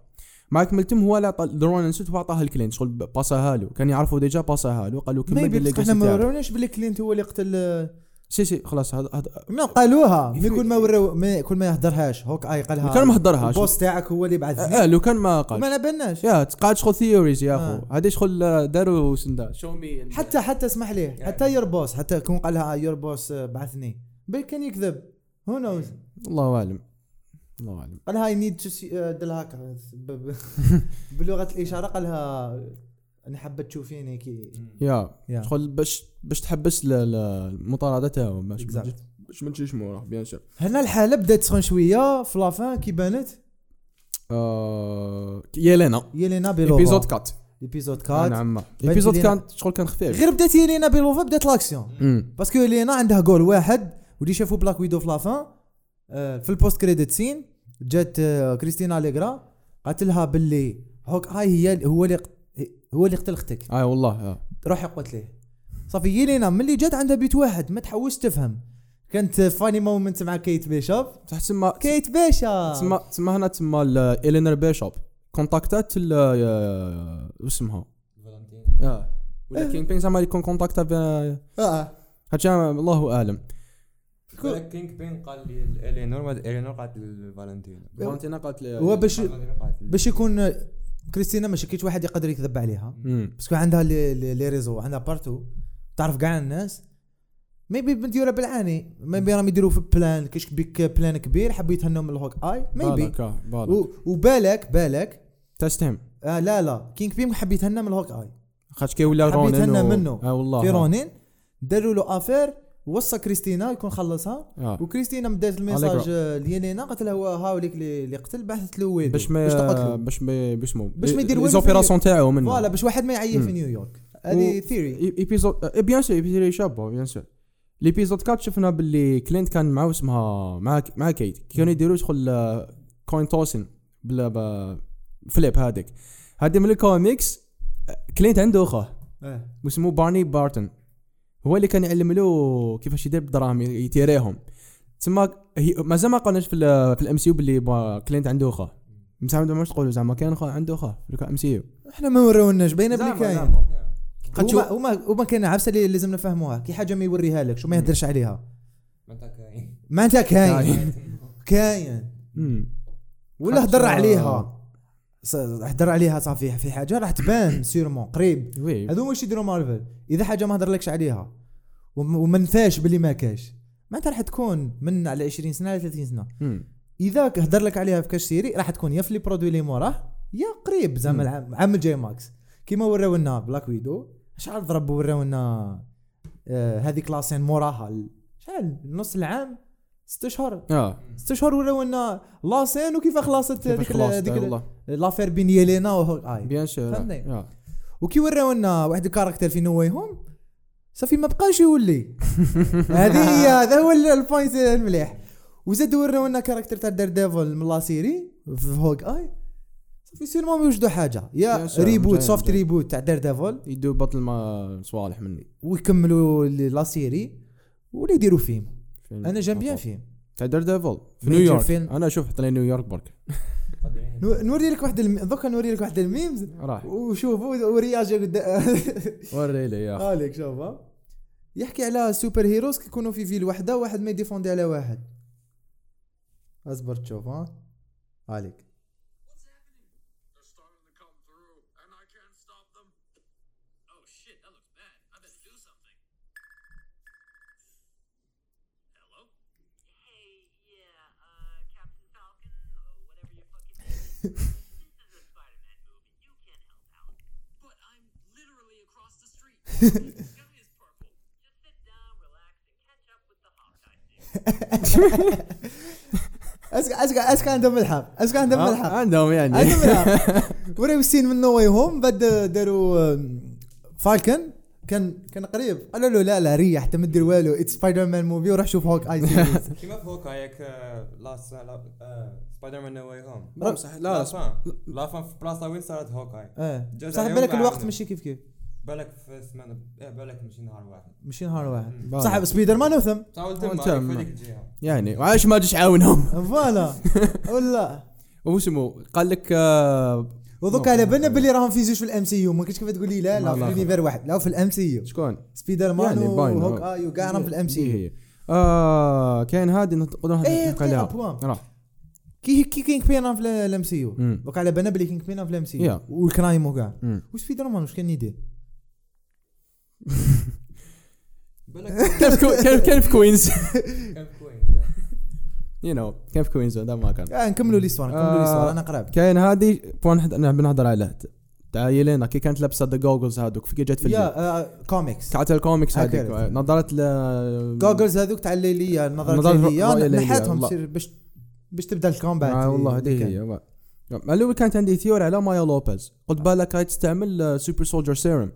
Speaker 2: مع كملتم هو لا رونن سوت وعطاه الكلينت شغل ب- باساها له كان يعرفوا ديجا باساها له قال له كمل
Speaker 1: ميبي
Speaker 2: بالليجاسي
Speaker 1: احنا ما
Speaker 2: تاعك.
Speaker 1: وروناش بلي كلينت هو اللي قتل
Speaker 2: سي سي خلاص هذا هذا
Speaker 1: ما قالوها مي كل ما وراو ما كل ما يهدرهاش هوك اي قالها
Speaker 2: كان ما هدرهاش.
Speaker 1: البوس تاعك هو اللي بعث
Speaker 2: اه لو كان ما قال
Speaker 1: ما نبناش
Speaker 2: يا قاعد شغل ثيوريز يا
Speaker 1: آه.
Speaker 2: اخو هذا شغل داروا شندا شو مي
Speaker 1: حتى حتى اسمح لي حتى يور بوس حتى كون قالها يور بوس بعثني بل كان يكذب هو نوز
Speaker 2: الله اعلم الله اعلم
Speaker 1: قالها اي نيد تو دلها آه، هكا [LAUGHS] ب- ب- بلغه الاشاره قالها انا حابه تشوفيني كي
Speaker 2: يا
Speaker 1: يا.
Speaker 2: شغل باش باش تحبس ل- ل- المطارده تاعو باش
Speaker 1: Exact.
Speaker 2: باش ما تجيش موراه بيان سور
Speaker 1: هنا الحاله بدات تسخن شويه في لافان كي بانت
Speaker 2: آه، يلينا
Speaker 1: يلينا بيلوفا
Speaker 2: ايبيزود 4
Speaker 1: ايبيزود كات
Speaker 2: نعم ايبيزود
Speaker 1: يلينا.
Speaker 2: كان شغل كان خفيف
Speaker 1: غير بدات يلينا بيلوفا بدات لاكسيون
Speaker 2: أمم.
Speaker 1: باسكو لينا عندها جول واحد واللي شافوا بلاك ويدو في لافان آه، في البوست كريديت سين جات آه، كريستينا ليغرا قالت لها باللي هوك هاي هي هو اللي ق- هو اللي قتل اختك
Speaker 2: اه والله آه.
Speaker 1: روحي قلت ليه صافي يلينا ملي جات عندها بيت واحد ما تحوس تفهم كانت فاني مومنت مع كيت بيشوف
Speaker 2: صح تسمى
Speaker 1: كيت بيشوف
Speaker 2: تسمى تسمى هنا تسمى ال- الينر بيشوب كونتاكتات ال- آه، وش اسمها
Speaker 1: آه.
Speaker 2: اه ولا كينغ بين زعما يكون كونتاكتا بين-
Speaker 1: اه
Speaker 2: هادشي الله اعلم
Speaker 3: كينغ بين قال لي الينور الينور قالت لفالنتينا
Speaker 2: فالنتينا قالت لي
Speaker 1: هو باش باش يكون آه، كريستينا ماشي كيت واحد يقدر يكذب عليها
Speaker 2: أمم.
Speaker 1: باسكو عندها لي لي- لي ريزو عندها بارتو تعرف كاع الناس ميبي مديوره بالعاني ميبي راهم يديروا في بلان كاش بيك بلان كبير حبوا يتهنوا من الهوك اي ميبي
Speaker 2: بالك آه، بالك
Speaker 1: و- وبالك بالك
Speaker 2: تستهم
Speaker 1: آه لا لا كينغ بيم حب يتهنى من الهوك اي
Speaker 2: خاطش كي ولا
Speaker 1: حبيت
Speaker 2: رونين
Speaker 1: أنا
Speaker 2: و-
Speaker 1: منه.
Speaker 2: اه والله
Speaker 1: في
Speaker 2: آه.
Speaker 1: رونين داروا له افير وصى كريستينا يكون خلصها
Speaker 2: آه.
Speaker 1: وكريستينا مدات الميساج آه، ليلينا قالت لها هو هاوليك اللي اللي قتل بعثت له ويدو
Speaker 2: باش ما
Speaker 1: تقتلو
Speaker 2: باش ما باش ما
Speaker 1: باش ما يدير
Speaker 2: لي
Speaker 1: والو
Speaker 2: زوبيراسيون تاعو منه
Speaker 1: فوالا باش واحد ما يعيي في
Speaker 2: مم.
Speaker 1: نيويورك هذه
Speaker 2: و-
Speaker 1: ثيري
Speaker 2: إي- ايبيزود إي بيان سور ايبيزود شابو بيان سور ليبيزود 4 شفنا باللي كلينت كان معاه اسمها مع مع كيت كانوا يديروا شغل آه، كوين توسن بلا با فليب هذاك هذه من الكوميكس آه، كلينت عنده اخاه واسمه بارني بارتن هو اللي كان يعلم له كيفاش يدير بالدراهم يتيريهم تسمى هي مازال ما قلناش في ال في الام سي يو باللي با- كلينت عنده اخاه بصح ما عندهمش تقولوا زعما كان خا عنده اخاه في الام سي يو
Speaker 1: احنا ما وراوناش باينه بلي كاين
Speaker 2: قد شو-
Speaker 1: هما هما هما كاين عفسه اللي لازم نفهموها كي حاجه ما يوريها لكش وما يهدرش عليها معناتها كاين [LAUGHS] كاين
Speaker 2: أمم.
Speaker 1: ولا
Speaker 2: حتى-
Speaker 1: هدر عليها س- هدر عليها صافي في حاجه راح تبان [COUGHS] سيرمون قريب
Speaker 2: وي
Speaker 1: هذو واش يديروا مارفل اذا حاجه ما هدرلكش عليها وم- وما نفاش باللي ما كاش معناتها راح تكون من على 20 سنه على 30 سنه
Speaker 2: أمم.
Speaker 1: اذا ك- هدر لك عليها في كاش سيري راح تكون يا في لي برودوي اللي موراه يا قريب زعما
Speaker 2: مم.
Speaker 1: العام عام الجاي ماكس كيما وراو لنا بلاك ويدو شحال ضرب وراو لنا آه هذيك لاسين موراها ال- شحال نص العام ست اشهر
Speaker 2: اه
Speaker 1: ست اشهر وراو لنا لاسين وكيف خلاصت هذيك ال-
Speaker 2: خلاص
Speaker 1: هذيك ال-
Speaker 2: والله
Speaker 1: لافير بين يلينا وهوك اي
Speaker 2: بيان سور
Speaker 1: فهمني.
Speaker 2: آه.
Speaker 1: وكي وراو لنا واحد الكاركتر في نو واي هوم صافي ما بقاش
Speaker 2: [LAUGHS]
Speaker 1: يولي هذه هي هذا هو ال- البوينت المليح وزاد وراو لنا كاركتر تاع دير ديفل من لا سيري في هوك اي صافي سيرمون يوجدوا حاجه يا
Speaker 2: يا سلام،
Speaker 1: ريبوت
Speaker 2: مزيان،
Speaker 1: سوفت
Speaker 2: مزيان.
Speaker 1: ريبوت تاع دير ديفل
Speaker 2: يدو بطل ما صوالح مني
Speaker 1: ويكملوا ال- لا سيري ولا يديروا فيلم
Speaker 2: فين-
Speaker 1: انا جام بيان
Speaker 2: آه.
Speaker 1: فيلم
Speaker 2: تاع دير ديفل في
Speaker 1: Major
Speaker 2: نيويورك
Speaker 1: film.
Speaker 2: انا شوف حط لي نيويورك برك
Speaker 1: نو- نوري لك واحد الم... دوكا نوري لك واحد الميمز
Speaker 2: راح
Speaker 1: وشوفوا ورياجه قدام [LAUGHS]
Speaker 2: وري لي يا أخي.
Speaker 1: هاليك شوف ها. يحكي على سوبر هيروز كيكونوا في فيل وحده واحد ما يديفوندي على واحد اصبر تشوف ها [LAUGHS] هاليك
Speaker 4: They're starting to come through, and I can't stop them. Oh shit, that looks bad. I better do something. Hello?
Speaker 5: Hey, yeah, uh, Captain Falcon, or whatever your fucking name is. this is a Spider-Man movie. You can't help out.
Speaker 4: But I'm literally across the street. the sky is purple.
Speaker 5: Just sit down, relax, and catch up with the Hawkeye thing.
Speaker 1: اسك اسك اسك عندهم الحق اسك عندهم
Speaker 2: آه، [LAUGHS]
Speaker 1: الحق
Speaker 2: عندهم يعني
Speaker 1: عندهم الحق وراو السين من نو واي هوم بعد داروا فالكن كان كان قريب قالوا له لا لا ريح انت ما دير والو اتس سبايدر مان موفي وروح شوف هوك اي
Speaker 3: [LAUGHS]
Speaker 1: سيريز
Speaker 3: كيما في هوكايك لاست سبايدر مان نو واي هوم
Speaker 2: لا صح لا
Speaker 3: لا
Speaker 2: صح.
Speaker 3: فان لا فان في بلاصه وين صارت هوكاي
Speaker 1: اه
Speaker 3: جا
Speaker 1: صح
Speaker 3: يوم
Speaker 1: بالك الوقت
Speaker 3: بعدنا.
Speaker 1: ماشي كيف كيف
Speaker 3: بالك في سمانه إيه، بالك مشي نهار واحد
Speaker 1: ماشي نهار واحد
Speaker 2: باي.
Speaker 1: صح سبايدر مان وثم
Speaker 3: تعاود
Speaker 2: وانت
Speaker 3: تما في
Speaker 2: أما.
Speaker 3: هذيك
Speaker 2: [LAUGHS]
Speaker 3: الجهه
Speaker 2: يعني وعلاش ما جيش عاونهم [LAUGHS]
Speaker 1: فوالا ولا
Speaker 2: وش اسمه قال لك آه،
Speaker 1: ودوك
Speaker 2: نو.
Speaker 1: على بالنا باللي راهم في زوج في الام سي يو ما كنتش كيف تقول لي لا لا في
Speaker 2: والله.
Speaker 1: اليونيفير واحد لا في الام سي يو
Speaker 2: شكون
Speaker 1: سبايدر مان
Speaker 2: يعني باينة. إيه،
Speaker 1: وهوك اي وكاع راهم في الام سي يو
Speaker 2: هي هي اه كاين هادي نقدروا
Speaker 1: إيه،
Speaker 2: نحكي
Speaker 1: دقيقة،
Speaker 2: عليها
Speaker 1: بوان.
Speaker 2: راه
Speaker 1: كي كي كينغ بين راهم في الام سي يو
Speaker 2: مم.
Speaker 1: دوك على بالنا باللي كينغ بين راهم في الام سي يو
Speaker 2: Yeah.
Speaker 1: والكرايم وكاع
Speaker 2: مم.
Speaker 1: وسبايدر مان واش كان يدير
Speaker 3: بالك
Speaker 2: كان في كو- كان كان في كوينز [LAUGHS]
Speaker 3: كان في كوين
Speaker 2: يو نو كان في كوينز هذا ما كان
Speaker 1: آه نكملوا ليستوار نكملوا
Speaker 2: آه.
Speaker 1: ليستوار انا قراب
Speaker 2: كاين هادي بوان حد- نحب نهضر عليه تاع يلينا كي كانت لابسه ذا جوجلز هادوك في كي جات في الجيم
Speaker 1: يا آه، كوميكس
Speaker 2: تاعت الكوميكس
Speaker 1: آه،
Speaker 2: هذيك
Speaker 1: كانت.
Speaker 2: نظرت ل
Speaker 1: جوجلز هذوك تاع الليليه النظارات
Speaker 2: نظارة رؤية
Speaker 1: الليليه
Speaker 2: ليلية،
Speaker 1: نحاتهم
Speaker 2: والله.
Speaker 1: سير باش باش تبدا الكومبات
Speaker 2: آه والله
Speaker 1: اللي
Speaker 2: هذه
Speaker 1: كان.
Speaker 2: هي واه. الاول كانت عندي ثيوري على مايا لوبيز قلت بالك هاي تستعمل آه، سوبر سولجر سيرم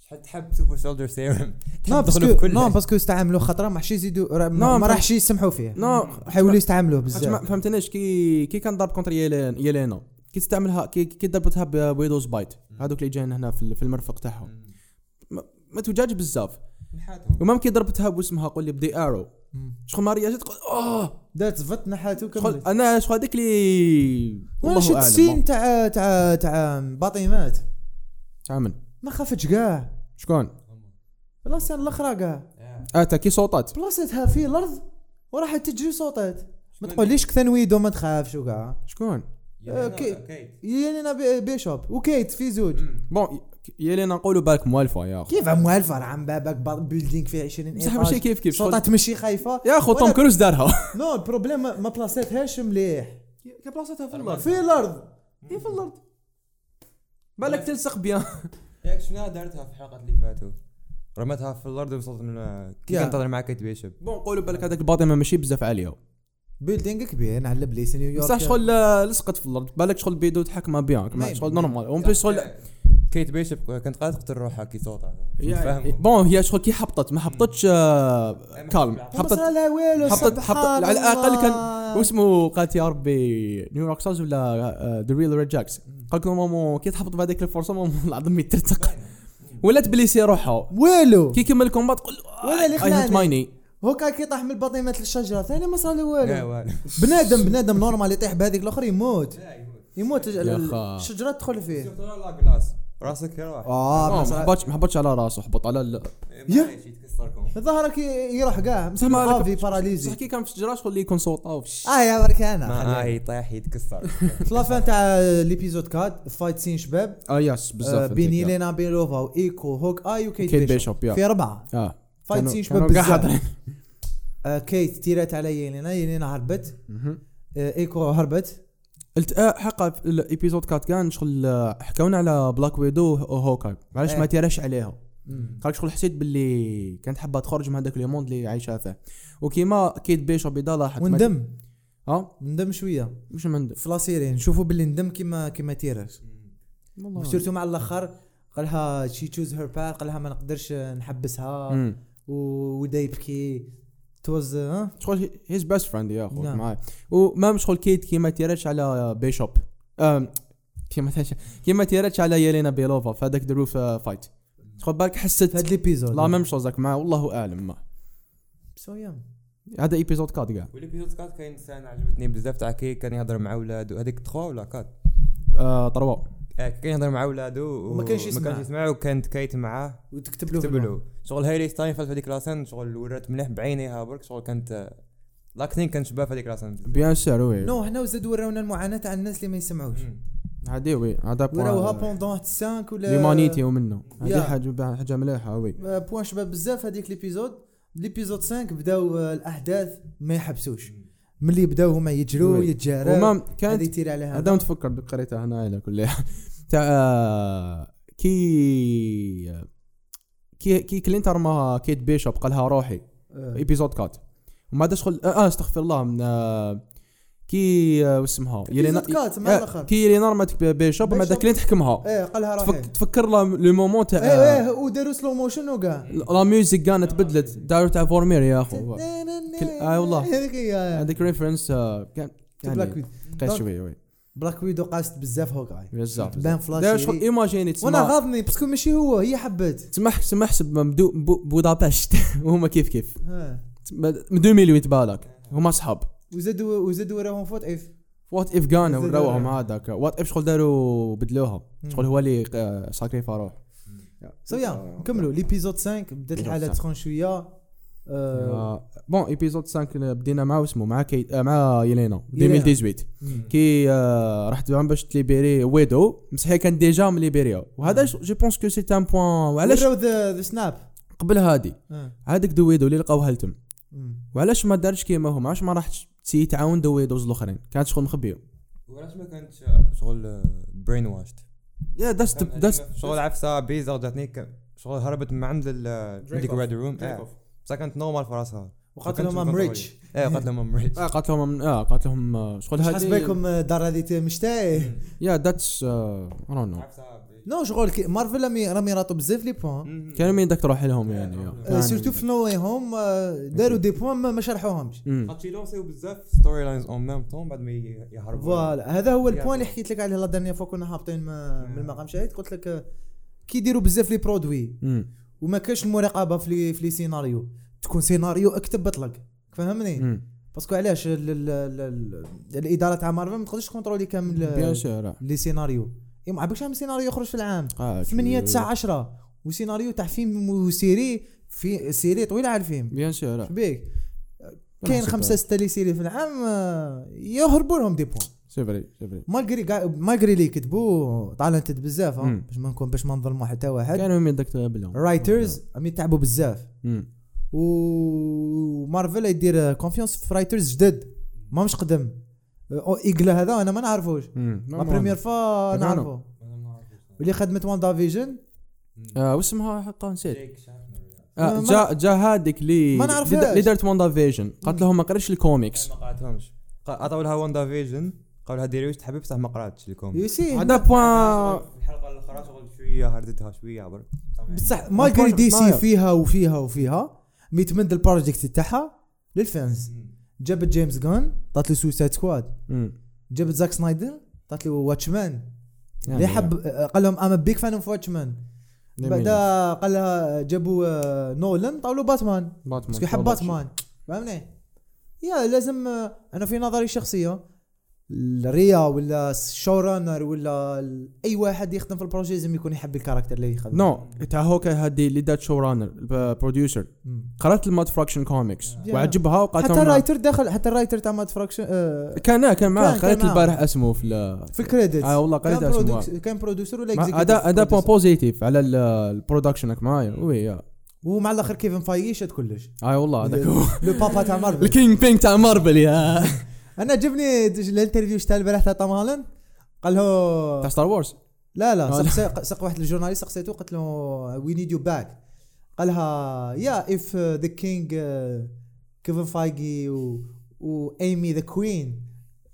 Speaker 3: شحال تحب سوبر سولجر سيرم
Speaker 1: نو نعم،
Speaker 3: تحب تدخلوا
Speaker 1: باسكو
Speaker 3: بكل
Speaker 1: نو باسكو استعملوه خطره ما حش يزيدوا را- ما ما
Speaker 2: نعم، فهمت. نعم.
Speaker 1: راحش يسمحوا فيه
Speaker 2: نو
Speaker 1: حيولوا يستعملوه
Speaker 2: حاج ما
Speaker 1: بزاف
Speaker 2: فهمتنيش كي كي كان ضرب كونتر يلين يلينا كي تستعملها كي كي ضربتها بويدوز بايت هذوك اللي جايين هنا في ال- في المرفق تاعهم ما- ما توجاج بزاف
Speaker 3: نحاتهم
Speaker 2: ومام كي ضربتها باسمها قول لي بدي ارو شغل ما رياجت قول اه
Speaker 1: دارت زفت نحاتو
Speaker 2: شغل
Speaker 1: كملت
Speaker 2: انا شغل هذاك اللي
Speaker 1: وانا شفت السين تاع تاع تاع باطيمات
Speaker 2: تعمل
Speaker 1: ما خافتش كاع
Speaker 2: آه، شكون
Speaker 1: بلاصه الاخرى كاع
Speaker 2: اتا كي صوتات
Speaker 1: بلاصتها في الارض وراحت تجري صوتات ما تقوليش كثنويدو ما تخافش وكاع
Speaker 2: شكون
Speaker 1: أوكي. يعني انا بي- بيشوب وكيت في زوج
Speaker 2: بون يلينا نقولوا بالك موالفه يا اخو
Speaker 1: كيف موالفه راه عم بابك با- بيلدينغ فيه 20
Speaker 2: بصح
Speaker 1: إيطاج.
Speaker 2: ماشي كيف كيف شغل
Speaker 1: صوتها تمشي خايفه
Speaker 2: يا اخو توم
Speaker 1: ولا-
Speaker 2: كروز دارها
Speaker 1: نو البروبليم ما ما بلاصتهاش مليح
Speaker 2: كي بلاصتها في الارض
Speaker 1: في الارض
Speaker 2: هي في الارض [LAUGHS] بالك تلصق بيان
Speaker 3: ياك شنو دارتها في الحلقات اللي فاتوا رمتها في الارض وصلت من كي
Speaker 1: يا.
Speaker 3: كانت تهضر مع كيت بيشب
Speaker 2: بون نقولوا بالك هذاك الباطمه ماشي بزاف عاليه
Speaker 1: بيلدينغ كبير على بليس نيويورك
Speaker 2: بصح شغل آه، لصقت في الارض بالك شغل بيدو تحكمها بيان كما
Speaker 1: مين؟
Speaker 2: شغل نورمال اون بليس شغل
Speaker 3: كيت بيشب كانت قاعده تقتل روحها كي صوتها
Speaker 2: يعني-
Speaker 3: فاهم
Speaker 2: بون هي شغل كي حبطت ما حبطتش آه، كالم
Speaker 1: حطت
Speaker 2: حبطت
Speaker 1: لا والو
Speaker 2: حبطت
Speaker 1: حطت
Speaker 2: حبطت على الاقل كان واسمه قالت يا ربي نيويورك ساز ولا آه، ذا ريل ريد جاكس قالت لهم مامو كي تحبط بهذيك الفرصه مامو العظم يترتق ولا تبليسي روحها
Speaker 1: والو
Speaker 2: كي يكمل الكومبات آه، تقول
Speaker 1: ولا اللي
Speaker 2: اي هات
Speaker 1: خلاني.
Speaker 2: مايني
Speaker 1: هوكا كي طاح من البطيمه للشجره ثاني ما صار له
Speaker 3: لا
Speaker 1: والو
Speaker 3: والو [LAUGHS]
Speaker 1: بنادم بنادم نورمال يطيح بهذيك الاخر يموت يموت
Speaker 2: يا خا.
Speaker 1: الشجره تدخل فيه
Speaker 3: لا كلاس راسك يروح
Speaker 1: اه
Speaker 2: آه، ما
Speaker 1: بصراحة-
Speaker 2: حبطش ما حبطش على راسه حبط على ال-
Speaker 3: معليش يتكسركم
Speaker 1: ظهرك ي- يروح كاع
Speaker 2: بصح ما
Speaker 1: مسمى في
Speaker 2: بصح
Speaker 1: باراليزي
Speaker 2: كي كان في الشجره شغل اللي يكون صوت
Speaker 1: اه يا برك انا
Speaker 3: ما آه يطيح يتكسر [LAUGHS]
Speaker 1: في لافان تاع ليبيزود كاد فايت سين شباب
Speaker 2: اه يس
Speaker 1: آه،
Speaker 2: بزاف
Speaker 1: بين يلينا بيلوفا وايكو هوك اي وكيت بيشوب
Speaker 2: كيت بيشوب، يا.
Speaker 1: في اربعه
Speaker 2: اه
Speaker 1: فايت
Speaker 2: كانوا-
Speaker 1: سين شباب
Speaker 2: كانوا قاع
Speaker 1: بزاف آه، كيت تيرات على يلينا يلينا هربت آه، ايكو هربت
Speaker 2: قلت آه حقا في الابيزود كات كان شغل آه، حكاونا على بلاك ويدو وهوكاي علاش ما
Speaker 1: إيه.
Speaker 2: تيراش عليها قال شغل حسيت باللي كانت حابه تخرج من هذاك لو موند اللي عايشه فيه وكيما كيت بيشوب بيضا لاحظت ما-
Speaker 1: وندم
Speaker 2: اه
Speaker 1: ندم شويه
Speaker 2: مش مندم
Speaker 1: في لاسيري نشوفوا باللي ندم كيما كيما تيراش
Speaker 2: والله
Speaker 1: وسيرتو مع الاخر قالها شي تشوز هير باث قالها ما نقدرش نحبسها
Speaker 2: مم.
Speaker 1: ودا يبكي توز ها
Speaker 2: شغل هيز بيست فريند يا اخو
Speaker 1: نعم.
Speaker 2: معاي وما شغل كيت كيما تيرتش على بيشوب آم، كيما تيرتش- كيما تيرتش على يلينا بيلوفا في هذاك دروف فايت شغل بالك
Speaker 1: في هاد
Speaker 2: حسيت
Speaker 1: ليبيزود
Speaker 2: لا ميم شوز مع والله اعلم ما
Speaker 1: سويا
Speaker 2: هذا ايبيزود كات كاع
Speaker 3: والابيزود كات كاين سنه عجبتني بزاف تاع كي كان يهضر مع ولادو هذيك 3 ولا 4
Speaker 2: آه، طروا
Speaker 3: آه، كان يهضر مع ولادو و-
Speaker 1: وما كانش يسمع.
Speaker 3: ما كانش يسمع وكانت كيت معاه
Speaker 1: وتكتب له في
Speaker 3: كتب
Speaker 1: الوقت.
Speaker 3: له شغل هايلي ستاين في هذيك لاسان شغل ورات مليح بعينيها برك شغل كانت لاكتين كان شباب في هذيك لاسان
Speaker 2: بيان سور وي
Speaker 1: نو هنا وزاد وراونا المعاناه تاع الناس اللي ما يسمعوش
Speaker 2: هادي وي هذا
Speaker 1: وراوها
Speaker 2: بوان
Speaker 1: بوندون 5 ولا
Speaker 2: ليمانيتي ومنه
Speaker 1: يا.
Speaker 2: هذه حاجه حاجه مليحه وي
Speaker 1: آه، بوان شباب بزاف هذيك ليبيزود ليبيزود 5 بداو آه، الاحداث ما يحبسوش ملي بداو هما يجرو
Speaker 2: وي.
Speaker 1: يتجاروا
Speaker 2: ومام
Speaker 1: هذه
Speaker 2: كانت
Speaker 1: يطير عليها
Speaker 2: هذا متفكر دوك قريتها هنا على كل [LAUGHS] تاع آه، كي كي كي كلينت رماها كيت بيشوب قالها روحي
Speaker 1: آه.
Speaker 2: ايبيزود كات وما داش شغل اه آه، استغفر الله من آه، كي آه، واسمها يلينا
Speaker 1: Episode cut، مع
Speaker 2: آه،
Speaker 1: الآخر.
Speaker 2: كي يلينا رمت بيشوب ما
Speaker 1: بيشوب.
Speaker 2: داك اللي تحكمها
Speaker 1: ايه قالها راهي
Speaker 2: تفك- تفكر لا لو مومون تاع
Speaker 1: ايه ايه وداروا سلو موشن وكاع
Speaker 2: آه، لا ميوزك كانت بدلت داروا تاع فورمير يا اخو آه والله.
Speaker 1: [LAUGHS] هذيك هي آه،
Speaker 2: هذيك ريفرنس آه، كان
Speaker 1: بلاك
Speaker 2: يعني
Speaker 1: ويدو
Speaker 2: قيس شويه وي
Speaker 1: بلاك ويدو قاست بزاف هوكاي
Speaker 2: بزاف إيه،
Speaker 1: تبان
Speaker 2: بزاف.
Speaker 1: فلاش
Speaker 2: داير شغل
Speaker 1: سيري.
Speaker 2: ايماجيني
Speaker 1: وانا
Speaker 2: تسمع
Speaker 1: غاضني باسكو ماشي هو هي حبت
Speaker 2: تسمع تسمع حسب مبدو- بو- بودابشت [LAUGHS] وهما كيف كيف
Speaker 1: ها.
Speaker 2: من 2008 بالك هما صحاب
Speaker 1: وزادوا وزادوا وراهم فوت إيه، اف
Speaker 2: وات اف غانا
Speaker 1: زاد
Speaker 2: وراوهم
Speaker 1: داروا.
Speaker 2: هذاك وات اف شغل داروا بدلوها شغل هو اللي آه، ساكريفا روح
Speaker 1: سويا نكملوا ليبيزود 5 بدات الحاله
Speaker 2: Episode
Speaker 1: تسخن شويه آه،
Speaker 2: آه، بون ايبيزود 5 بدينا مع اسمه مع كي آه، مع يلينا
Speaker 1: يلينا.
Speaker 2: 2018 كي آه، رحت عم باش تليبيري ويدو بصح هي كانت ديجا من ليبيريا وهذا جو بونس كو سي ان بوان وعلاش
Speaker 1: وراو ذا ذا سناب
Speaker 2: قبل هادي
Speaker 1: آه.
Speaker 2: هذاك دويدو اللي لقاوها لتم
Speaker 1: مم.
Speaker 2: وعلاش ما دارتش كيما هما علاش ما راحتش تسي تعاون دويدوز الاخرين كانت شغل مخبيه
Speaker 3: وعلاش ما كانتش شغل برين واشت
Speaker 2: يا داس داس
Speaker 3: شغل عفسه بيزا جاتني ك- شغل هربت من عند الميديك ريد روم بصح آه. كانت نورمال في راسها
Speaker 1: وقالت
Speaker 3: ما
Speaker 1: لهم
Speaker 3: كانتش
Speaker 1: ام
Speaker 3: مكنترولي.
Speaker 1: ريتش
Speaker 3: ايه قالت لهم ام ريتش
Speaker 2: اه قالت لهم اه قالت لهم آه، شغل
Speaker 1: حسب
Speaker 2: هادي
Speaker 1: بالكم الدار آه، هذه [LAUGHS] مشتاي
Speaker 2: يا آه، ذاتس اي نو
Speaker 1: نو شغل كي- مارفل رامي رامي راتو بزاف لي بوان
Speaker 2: كانوا مين داك تروح لهم يعني يا.
Speaker 1: آه، سيرتو في نو واي هوم آه، داروا دي بوان ما ما شرحوهم
Speaker 2: أمم.
Speaker 3: خاطش يلونسيو بزاف ستوري لاينز اون ميم طون بعد ما ي- يهربوا
Speaker 1: فوالا هذا هو البوان
Speaker 3: يعني.
Speaker 1: اللي حكيت لك عليه لا دانيير فوا كنا هابطين ما- من المقام شاهد قلت لك آه، كيديروا بزاف لي برودوي
Speaker 2: أمم.
Speaker 1: وما كاش المراقبه في لي في لي سيناريو تكون سيناريو اكتب اطلق فهمني
Speaker 2: أمم.
Speaker 1: باسكو علاش ال- ال- ال- ال- الاداره تاع مارفل ما تقدرش تكونترولي كامل
Speaker 2: بيان
Speaker 1: آه،
Speaker 2: سور
Speaker 1: لي سيناريو إيه، ما عباكش عام سيناريو يخرج في العام 8 9 10 وسيناريو تاع فيلم وسيري في سيري طويله على الفيلم
Speaker 2: بيان سور
Speaker 1: بيك كاين
Speaker 2: طيب؟
Speaker 1: خمسه سته لي سيري في العام آه، يهربوا لهم دي بوان
Speaker 2: سي فري سي فري
Speaker 1: مالغري كاع- مالغري اللي كتبوا تالنتد بزاف ها،
Speaker 2: مم.
Speaker 1: باش ما نكون باش ما نظلموا حتى واحد
Speaker 2: كانوا مين داك قبلهم
Speaker 1: رايترز عم يتعبوا بزاف
Speaker 2: أمم.
Speaker 1: و- ومارفل يدير كونفيونس في رايترز جدد ما مش قدم او ايغلا هذا انا ما نعرفوش
Speaker 2: أمم.
Speaker 1: لا بريمير فوا
Speaker 2: تبعنا.
Speaker 1: نعرفو اللي خدمت وان فيجن
Speaker 2: آه، واسمها حقا نسيت
Speaker 1: ما-
Speaker 2: آه، جا جا هذيك لي
Speaker 1: ما نعرفهاش.
Speaker 2: لي- اللي دارت واندا فيجن قالت لهم ما قريتش الكوميكس
Speaker 3: ما قراتهمش قا- عطاو لها واندا فيجن قالوا لها ديري واش تحبي بصح ما قراتش الكوم
Speaker 1: يو سي
Speaker 2: هذا بوان
Speaker 3: الحلقه الاخرى شغل شويه هردتها شويه عبر
Speaker 1: بصح مالغري
Speaker 2: ما-
Speaker 1: دي سي
Speaker 2: ما-
Speaker 1: فيها وفيها وفيها ميتمند البروجيكت تاعها
Speaker 2: Mm.
Speaker 1: للفانز جابت جيمس جون عطات لي سوسايد سكواد جابت زاك سنايدر عطات لي واتشمان اللي حب قال لهم ام بيك فان اوف واتشمان
Speaker 2: يعني-
Speaker 1: بعدا قال لها جابوا آه، نولان طاولوا باتمان باسكو يحب باتمان فهمني يا لازم آه، انا في نظري الشخصيه الريا ولا الشو رانر ولا ال- اي واحد يخدم في البروجي لازم يكون يحب الكاركتر اللي يخدم
Speaker 2: نو تاع هوكا هذه اللي دارت شو رانر بروديوسر
Speaker 1: مم.
Speaker 2: قرات الماد فراكشن كوميكس
Speaker 1: Yeah.
Speaker 2: وعجبها وقالت
Speaker 1: حتى
Speaker 2: لهم-
Speaker 1: الرايتر داخل حتى الرايتر تاع ماد فراكشن آه،
Speaker 2: كان كان معاه
Speaker 1: كان-
Speaker 2: قريت
Speaker 1: كان معاه.
Speaker 2: البارح اسمه في ال-
Speaker 1: في الكريديت
Speaker 2: اه والله قريت
Speaker 1: كان
Speaker 2: اسمه
Speaker 1: برودوكس- كان برودوسر ولا
Speaker 2: ما- هذا
Speaker 1: executive
Speaker 2: هذا بوان
Speaker 1: producer.
Speaker 2: بوزيتيف على ال- البرودكشن هاك معايا وي يا.
Speaker 1: ومع الاخر كيفن فايي شاد كلش
Speaker 2: اي والله آه، هذاك [LAUGHS] هو
Speaker 1: لو بابا تاع مارفل
Speaker 2: الكينج بينج تاع مارفل يا [LAUGHS]
Speaker 1: انا عجبني دج- الانترفيو شتا البارح تاع توم هالاند قال له
Speaker 2: تاع ستار وورز
Speaker 1: لا لا
Speaker 2: آه،
Speaker 1: سق- سق, سق واحد الجورناليست سقسيته قلت له وي نيد يو باك قالها uh, يا اف ذا كينج كيفن فايجي uh, و وايمي ذا كوين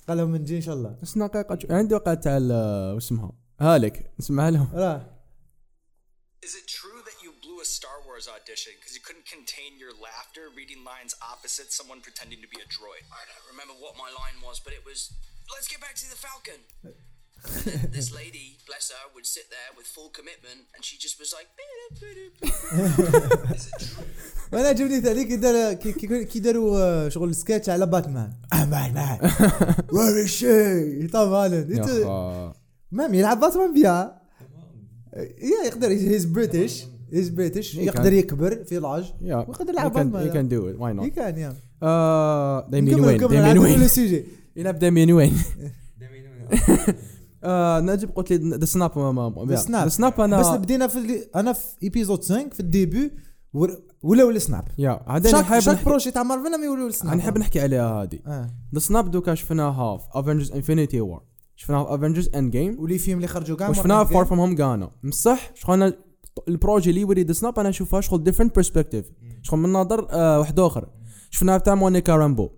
Speaker 1: قال لهم نجي ان شاء الله
Speaker 2: بس نقيقة عندي وقع تاع ال- واسمها هالك اسمها لهم
Speaker 1: [LAUGHS] راه
Speaker 6: Is it true that you blew a Star Wars audition because you couldn't contain your laughter reading lines opposite someone pretending to be a droid? I don't remember what my line was, but it was, let's get back to the Falcon. And then this lady, bless her, would sit there with full commitment, and she just was like, "Beep, beep, beep."
Speaker 1: وانا عجبني تاع اللي كي دار كي- كي- كي داروا آه، شغل سكتش على باتمان
Speaker 2: آه،
Speaker 1: باتمان [LAUGHS] وير از شي توم
Speaker 2: يا
Speaker 1: هالاند
Speaker 2: أخا.
Speaker 1: مام يلعب باتمان بيها يا يقدر هيز بريتش هيز بريتش يقدر يكبر في لاج [LAUGHS]
Speaker 2: يا
Speaker 1: ويقدر يلعب
Speaker 2: يو كان
Speaker 1: باتمان
Speaker 2: دو ات واي
Speaker 1: اي
Speaker 2: نوت
Speaker 1: كان يا
Speaker 2: دايمين وين
Speaker 1: [LAUGHS]
Speaker 2: دايمين وين
Speaker 1: السيجي
Speaker 2: يلعب دايمين وين [LAUGHS]
Speaker 3: [LAUGHS]
Speaker 2: آه، نجيب قلت لي ذا سناب
Speaker 1: السناب
Speaker 2: سناب
Speaker 1: بس
Speaker 2: انا
Speaker 1: بدينا في ال- انا في ايبيزود 5 في الديبي ور- ولاو السناب
Speaker 2: يا عاد انا
Speaker 1: شاك
Speaker 2: حابب
Speaker 1: شاك
Speaker 2: نحكي-
Speaker 1: بروشي تاع مارفل ما يولوا السناب
Speaker 2: أنا نحب نحكي عليها هذه
Speaker 1: آه.
Speaker 2: ذا سناب دوكا شفناها في افنجرز انفينيتي وور شفناها في افنجرز اند جيم
Speaker 1: ولي فيلم اللي خرجوا كاع
Speaker 2: وشفناها
Speaker 1: مرة
Speaker 2: فار فروم هوم غانا بصح شغل انا البروجي اللي وري سناب انا اشوفها شغل ديفرنت برسبكتيف شغل من نظر آه واحد اخر شفناها تاع مونيكا رامبو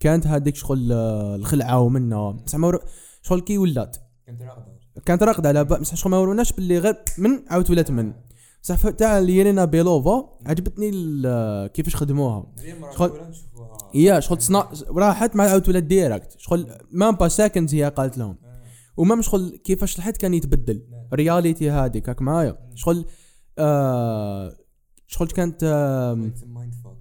Speaker 2: كانت هذيك شغل آه، الخلعه ومنا بصح ما ور- شغل كي ولات
Speaker 3: كنت راقده
Speaker 2: كانت راقده على بال بصح شغل ما وروناش باللي غير من عاوت ولات من بصح ف- تاع يلينا بيلوفا عجبتني ال- آه، كيفاش خدموها
Speaker 3: اليوم راه
Speaker 2: شغل-
Speaker 3: ولا نشوفوها
Speaker 2: يا شغل صنا راحت مع عاوت ولات ديريكت شغل مام با ساكند هي قالت لهم ومام شغل كيفاش لحد كان يتبدل رياليتي هذيك هاك معايا شغل آه شغل كانت آه
Speaker 3: مايند فوك